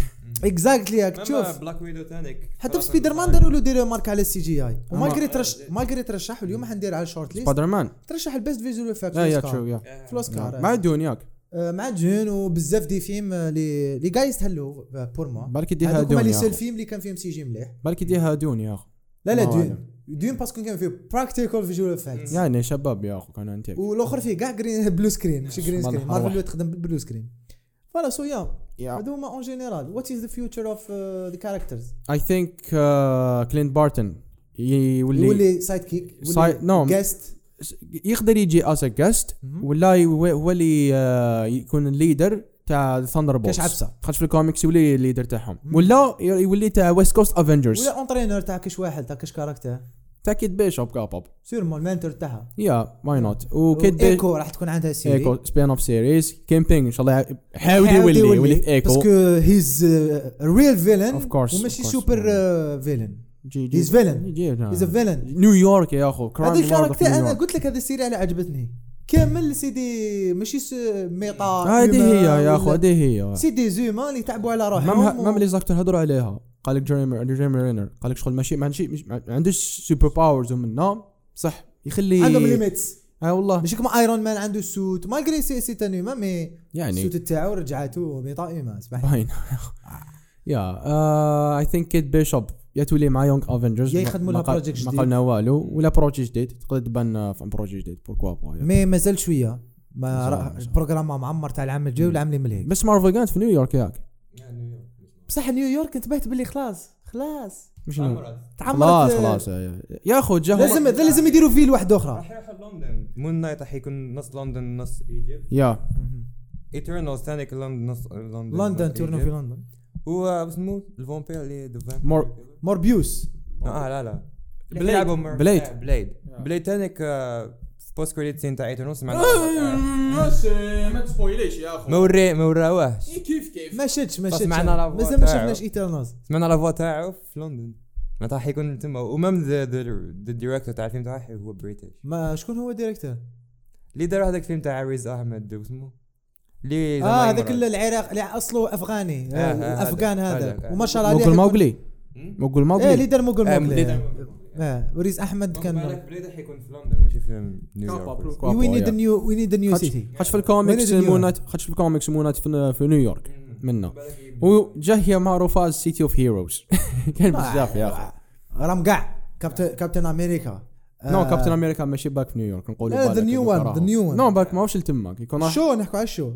Speaker 1: اكزاكتلي هاك تشوف
Speaker 3: تشوف بلاك ويدو تانيك
Speaker 1: حتى في سبايدر مان داروا له ديروا مارك على السي جي اي ومالغري ترش
Speaker 2: آه،
Speaker 1: مالغري ترشح واليوم حندير على الشورت ليست
Speaker 2: سبايدر مان
Speaker 1: ترشح البيست فيزوال افكت
Speaker 2: يا يا تشو يا
Speaker 1: في الاوسكار
Speaker 2: مع
Speaker 1: آه.
Speaker 2: دون ياك
Speaker 1: آه، مع جون وبزاف دي فيلم آه، لي لي جاي يستهلوا آه، بور موا
Speaker 2: بالك يديها
Speaker 1: هذوك هما
Speaker 2: دون
Speaker 1: لي
Speaker 2: يا
Speaker 1: سول
Speaker 2: أخو.
Speaker 1: فيلم اللي كان فيهم سي جي مليح
Speaker 2: بالك يديها دون يا اخو
Speaker 1: لا لا
Speaker 2: الله
Speaker 1: ديون
Speaker 2: أعلم.
Speaker 1: ديون باسكو كان فيه براكتيكال فيجوال افكت
Speaker 2: يعني شباب يا اخو كان انت
Speaker 1: والاخر فيه كاع [LAUGHS] جرين بلو سكرين ماشي جرين
Speaker 2: والله
Speaker 1: سكرين
Speaker 2: أروح.
Speaker 1: مارفل تخدم بالبلو سكرين فوالا سو يا
Speaker 2: يا
Speaker 1: هذو هما اون جينيرال وات از ذا فيوتشر اوف ذا كاركترز
Speaker 2: اي uh, ثينك كلينت بارتن يولي
Speaker 1: يولي سايد كيك
Speaker 2: Side- no.
Speaker 1: جيست
Speaker 2: س- يقدر يجي از جاست
Speaker 1: Mhm.
Speaker 2: ولا ي- هو هو اللي آه، يكون الليدر تاع ثاندر بولز
Speaker 1: كاش عبسة.
Speaker 2: خاطر في الكوميكس يولي الليدر تاعهم ولا ي- يولي تاع ويست كوست افنجرز
Speaker 1: ولا اونترينور تاع كاش واحد تاع كاش كاركتر
Speaker 2: تاع كيت بيشوب كابوب
Speaker 1: سيرمون المانتور تاعها
Speaker 2: يا واي نوت وكيت بيشوب
Speaker 1: ايكو راح تكون عندها سيري
Speaker 2: ايكو سبين اوف سيريز كيمبينج ان شاء الله يحاول يولي يولي في ايكو
Speaker 1: باسكو هيز ريل فيلن
Speaker 2: Of course,
Speaker 1: وماشي
Speaker 2: of course.
Speaker 1: سوبر فيلن
Speaker 2: جي جي
Speaker 1: هيز فيلن
Speaker 2: جي
Speaker 1: هيز
Speaker 2: جي
Speaker 1: فيلن
Speaker 2: نيويورك يا اخو كرايم
Speaker 1: هذه الكاركتر انا قلت لك هذه السيري على عجبتني كامل سيدي ماشي س- ميطا
Speaker 2: آه، هذه
Speaker 1: هيومن
Speaker 2: هي يا
Speaker 1: ولا-
Speaker 2: اخو هذه هي
Speaker 1: سيدي زوما اللي تعبوا على روحهم
Speaker 2: مام مام لي زاكتور هضروا عليها قال لك جيريمي جيريمي رينر قال لك شغل ماشي ما عندش ما عندوش سوبر باورز ومنا صح يخلي
Speaker 1: عندهم ليميتس
Speaker 2: اه والله
Speaker 1: ماشي كما ايرون مان عنده سوت مالغري سي سي تان هيومان مي
Speaker 2: يعني
Speaker 1: السوت تاعو رجعته ميطا هيومان سمح لي.
Speaker 2: باين آه، يا اي ثينك كيت بيشوب يا تولي مع يونغ افنجرز
Speaker 1: يا يخدموا لها project
Speaker 2: ما
Speaker 1: جديد.
Speaker 2: قالنا والو ولا بروجي جديد تقدر تبان آه، في بروجي جديد بوركوا با
Speaker 1: مي مازال شويه ما
Speaker 2: مازال-
Speaker 1: راه-
Speaker 2: مازال.
Speaker 1: البروغرام معمر تاع العام الجاي والعام اللي مليك
Speaker 2: بس مارفل كانت في نيويورك ياك
Speaker 3: يعني
Speaker 1: بصح نيويورك انتبهت باللي خلاص خلاص
Speaker 2: مش
Speaker 1: تعمرت
Speaker 2: خلاص خلاص آه، يا اخو جا
Speaker 1: لازم هذا لازم يديروا فيل واحده اخرى
Speaker 3: راح يروحوا لندن مون نايت راح يكون نص لندن نص ايجيبت
Speaker 2: يا
Speaker 3: ايترنالز ثاني لندن نص لندن
Speaker 1: لندن
Speaker 3: نص
Speaker 1: تورنو في
Speaker 3: إيجيبت.
Speaker 1: لندن
Speaker 3: هو اسمه الفامبير اللي the vampire.
Speaker 2: مور-
Speaker 1: موربيوس
Speaker 3: اه لا لا
Speaker 2: بليد.
Speaker 3: بليد
Speaker 2: بليد.
Speaker 3: بليد بليد تانيك آه، في بوست كريديت سين تاع ايترنالز
Speaker 1: [LAUGHS]
Speaker 3: سمعنا
Speaker 2: ما تسبويليش يا اخو
Speaker 3: ما وري ما وراوهش
Speaker 2: كيف كيف
Speaker 1: ما شدش ما
Speaker 3: بس
Speaker 1: شدش
Speaker 3: معنا آه. لا فوا
Speaker 1: مازال ما
Speaker 3: تاعو.
Speaker 1: شفناش ايترنالز
Speaker 3: سمعنا لا فوا تاعو في لندن ما راح يكون تما ومام ذا ديريكتور تاع الفيلم تاعه هو بريتش
Speaker 1: ما شكون هو الديريكتور
Speaker 3: اللي دار هذاك الفيلم تاع عريس احمد واسمه اللي زعما
Speaker 1: اه
Speaker 3: يمرض.
Speaker 1: هذاك العراق اللي اصله افغاني
Speaker 3: آه، آه،
Speaker 1: الافغان
Speaker 3: هذاك،
Speaker 1: هذا
Speaker 3: هذاك.
Speaker 1: وما شاء الله عليه حيكون-
Speaker 2: موغل ماوغلي موغل
Speaker 1: ايه
Speaker 2: ماوغلي
Speaker 1: ليدر موغل
Speaker 3: آه،
Speaker 1: موغلي
Speaker 3: ليدر
Speaker 1: آه.
Speaker 3: موغل.
Speaker 1: اه وريز احمد
Speaker 3: بالك
Speaker 1: كان
Speaker 3: بليد راح يكون في لندن ماشي في نيويورك
Speaker 2: كوابا،
Speaker 1: وي نيد
Speaker 2: يا.
Speaker 1: نيو وي نيد نيو سيتي
Speaker 2: خاش في
Speaker 1: وين
Speaker 2: الكوميكس
Speaker 1: يدير نيويورك؟
Speaker 2: مونات خاش في الكوميكس مونات في في نيويورك منه وجا هي معروفه سيتي اوف هيروز [LAUGHS] كان بزاف يا اخو
Speaker 1: رام كاع كابتن كابتن امريكا آه،
Speaker 2: نو كابتن امريكا ماشي باك في نيويورك نقولوا
Speaker 1: لا، the new one، the new one.
Speaker 2: نو باك ماهوش لتماك يكون راح
Speaker 1: شو نحكوا على شو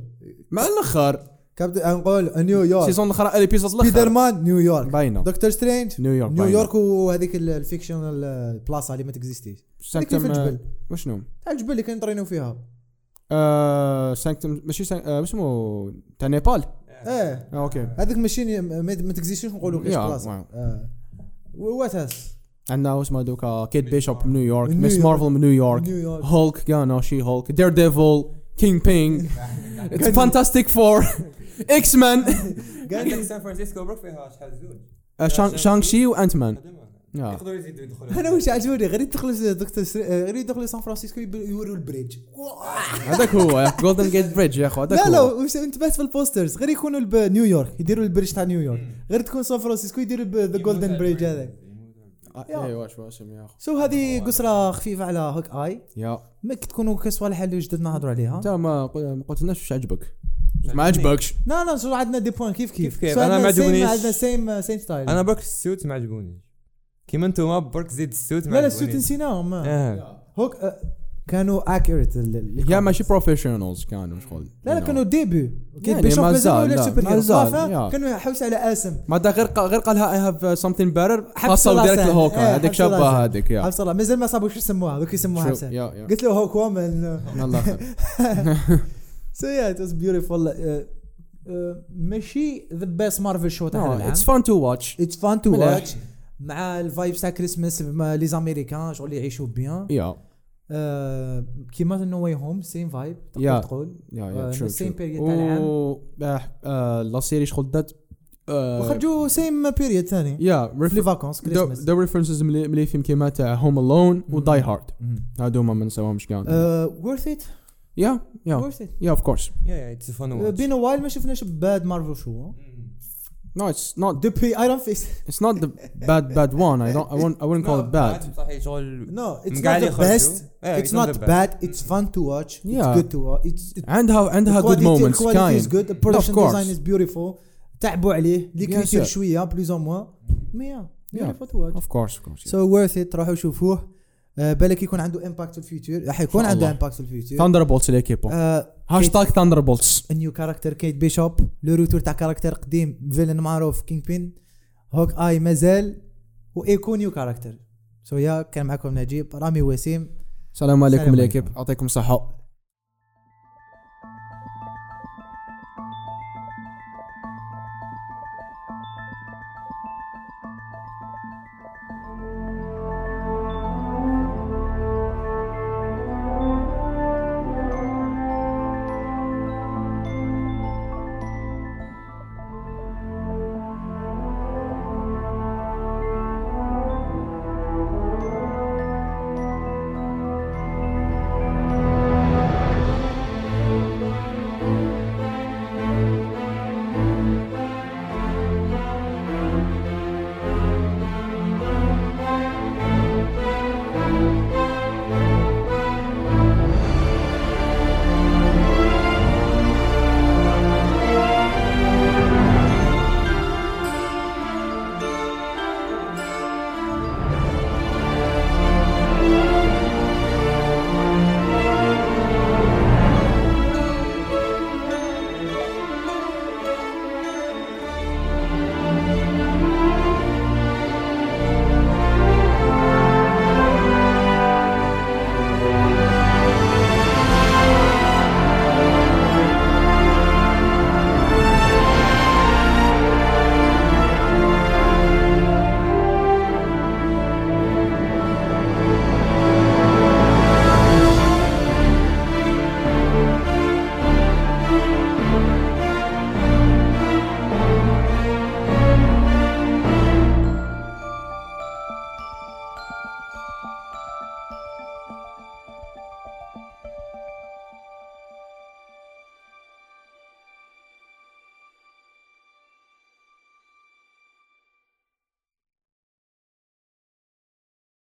Speaker 2: مع الاخر
Speaker 1: كابتن نقول نيويورك
Speaker 2: السيزون الاخر الابيزود
Speaker 1: سبايدر
Speaker 2: الاخر
Speaker 1: مان نيويورك
Speaker 2: باينة.
Speaker 1: دكتور سترينج
Speaker 2: نيويورك باينة.
Speaker 1: نيويورك وهذيك ال- الفيكشنال آه، بلاصه اللي ما تكزيستيش هذيك اللي في
Speaker 2: سانكتم
Speaker 1: الجبل
Speaker 2: وشنو
Speaker 1: تاع الجبل اللي كانوا يطرينوا فيها
Speaker 2: آه، سانكتم ماشي سانك- آه، اسمه تاع نيبال
Speaker 1: ايه
Speaker 2: آه، اوكي
Speaker 1: هذيك ماشي ما ما تكزيستيش نقولوا كاش
Speaker 2: يا،
Speaker 1: بلاصه
Speaker 2: واو.
Speaker 1: آه. وات هاس
Speaker 2: عندنا اسمه دوكا كيت بيشوب من نيويورك
Speaker 1: من
Speaker 2: مس
Speaker 1: نيويورك.
Speaker 2: مارفل من نيويورك
Speaker 1: من نيويورك.
Speaker 2: هولك كانوا شي هولك دير ديفل كينج بينج اتس فانتاستيك [LAUGHS] فور اكس مان
Speaker 1: [LAUGHS]
Speaker 3: عندك سان فرانسيسكو بروك فيها شحال زوج
Speaker 2: uh, شانغ شي وانت مان
Speaker 3: خدمها.
Speaker 2: يا.
Speaker 3: يقدروا يزيدوا يدخلوا
Speaker 1: انا واش عجبني غير يدخل دكتور ستري- آه، غير يدخل سان فرانسيسكو يب- يوروا البريدج
Speaker 2: هذاك هو جولدن جيت بريدج يا اخو هذاك
Speaker 1: لا لا
Speaker 2: هو
Speaker 1: وش انتبهت في البوسترز غير يكونوا الب- نيويورك يديروا البريدج تاع نيويورك غير تكون سان فرانسيسكو يديروا ذا جولدن بريدج هذاك
Speaker 2: آه، ايوا شو اسم يا اخو
Speaker 1: سو هذه قصره خفيفه على هوك اي
Speaker 2: يا
Speaker 1: ما تكونوا كصوالح اللي جدد نهضروا عليها
Speaker 2: انت ما قل- ما قلتلناش واش عجبك ما عجبكش
Speaker 1: لا لا شو عندنا دي بوان كيف كيف
Speaker 3: كيف كيف.
Speaker 1: سو
Speaker 3: أنا
Speaker 1: عندنا
Speaker 3: ما
Speaker 1: same- uh,
Speaker 3: عجبونيش.
Speaker 1: عندنا سيم سيم ستايل
Speaker 3: انا برك السوت ما عجبونيش كيما انتوما برك زيد السوت ما
Speaker 1: لا لا
Speaker 3: عجبونيش.
Speaker 1: السوت نسيناهم
Speaker 3: اه
Speaker 1: هوك آه، كانوا اكيوريت
Speaker 2: يا ماشي بروفيشنالز كانوا شغل
Speaker 1: لا لا
Speaker 2: you know.
Speaker 1: كانوا ديبي كيف
Speaker 2: يعني
Speaker 1: بيشوف
Speaker 2: ما
Speaker 1: مازال
Speaker 2: زال،
Speaker 1: ولا
Speaker 2: لا،
Speaker 1: سوبر
Speaker 2: ما
Speaker 1: هيرو
Speaker 2: زال،
Speaker 1: خافة،
Speaker 2: yeah.
Speaker 1: كانوا يحوسوا على اسم
Speaker 2: ما دا غير قا- غير قالها اي هاف سمثين بيتر حصل
Speaker 1: الله
Speaker 2: ديريكت
Speaker 1: سهل.
Speaker 2: لهوكا
Speaker 1: إيه،
Speaker 2: هذيك
Speaker 1: حبس الله
Speaker 2: شابه
Speaker 1: سهل.
Speaker 2: هذيك يا
Speaker 1: عبد الله مازال ما صابوا شو يسموها دوك يسموها
Speaker 2: شو-
Speaker 1: عبد الله.
Speaker 2: يا- يا.
Speaker 1: قلت له هوك [LAUGHS] وومن
Speaker 2: يلا خير
Speaker 1: سو يا ات واز بيوتيفول Uh، ماشي ذا بيست مارفل شو تاع العام
Speaker 2: اتس فان تو واتش
Speaker 1: اتس فان تو
Speaker 2: مليح.
Speaker 1: واتش مع الفايبس تاع كريسمس مع لي زاميريكان شغل يعيشوا بيان
Speaker 2: يا
Speaker 3: Euh,
Speaker 1: آه، كيما نو واي هوم سيم فايب تقدر
Speaker 2: Yeah.
Speaker 1: تقول
Speaker 2: يا
Speaker 1: آه،
Speaker 2: يا
Speaker 1: من
Speaker 2: ترو
Speaker 1: same period تاع العام.
Speaker 2: آه، لا سيري شغل دات آه،
Speaker 1: وخرجوا سيم بيريود ثاني
Speaker 2: يا
Speaker 1: في لي
Speaker 2: ريفر-
Speaker 1: فاكونس
Speaker 2: دو
Speaker 1: كريسماس
Speaker 2: دو ريفرنسز ملي ملي فيلم كيما تاع هوم الون وداي هارد هادو ما نساوهمش
Speaker 1: آه،
Speaker 2: كاع
Speaker 3: Euh,
Speaker 1: ورث ات
Speaker 2: يا يا
Speaker 1: ورث ات
Speaker 2: يا اوف كورس
Speaker 3: يا يا اتس فان
Speaker 1: بين وايل ما شفناش باد مارفل
Speaker 3: hein.
Speaker 1: شو
Speaker 2: Mm. نو اتس نوت
Speaker 1: دوبي ايرون فيس
Speaker 3: [LAUGHS]
Speaker 2: اتس نوت ذا باد باد وان اي دونت اي wouldn't call it bad
Speaker 3: صحيح شغل
Speaker 1: نو اتس
Speaker 3: مقعد
Speaker 1: نوت ذا
Speaker 3: يخرجوا.
Speaker 1: بيست
Speaker 3: إيه،
Speaker 1: اتس
Speaker 3: it's not
Speaker 1: نوت
Speaker 3: the
Speaker 1: باد اتس فان تو واتش اتس
Speaker 2: Yeah.
Speaker 1: جود تو واتش
Speaker 2: عندها عندها جود مومنتس
Speaker 1: كواليتي
Speaker 2: كاين
Speaker 1: از جود
Speaker 2: اوف
Speaker 1: البرودكشن ديزاين
Speaker 2: كورس
Speaker 1: از بيوتيفول تعبوا عليه ليكريتير
Speaker 2: sir.
Speaker 3: hein,
Speaker 1: شويه بلوز او موا مي بيوتيفول تو واتش
Speaker 2: اوف كورس اوف كورس
Speaker 1: سو ورث ات روحوا شوفوه آه، بالك يكون عنده امباكت في الفيوتشر راح يكون
Speaker 2: شاء
Speaker 1: عنده
Speaker 2: الله.
Speaker 1: امباكت في الفيوتشر آه،
Speaker 2: ثاندر بولتس ليكيبو
Speaker 1: uh,
Speaker 2: هاشتاج ثاندر بولتس
Speaker 1: النيو كاركتر كيت بيشوب لو روتور تاع كاركتر قديم فيلن معروف كينج بين هوك اي مازال وايكو نيو كاركتر سو يا كان معكم نجيب رامي وسيم
Speaker 2: السلام عليكم
Speaker 1: السلام
Speaker 2: ليكيب يعطيكم الصحه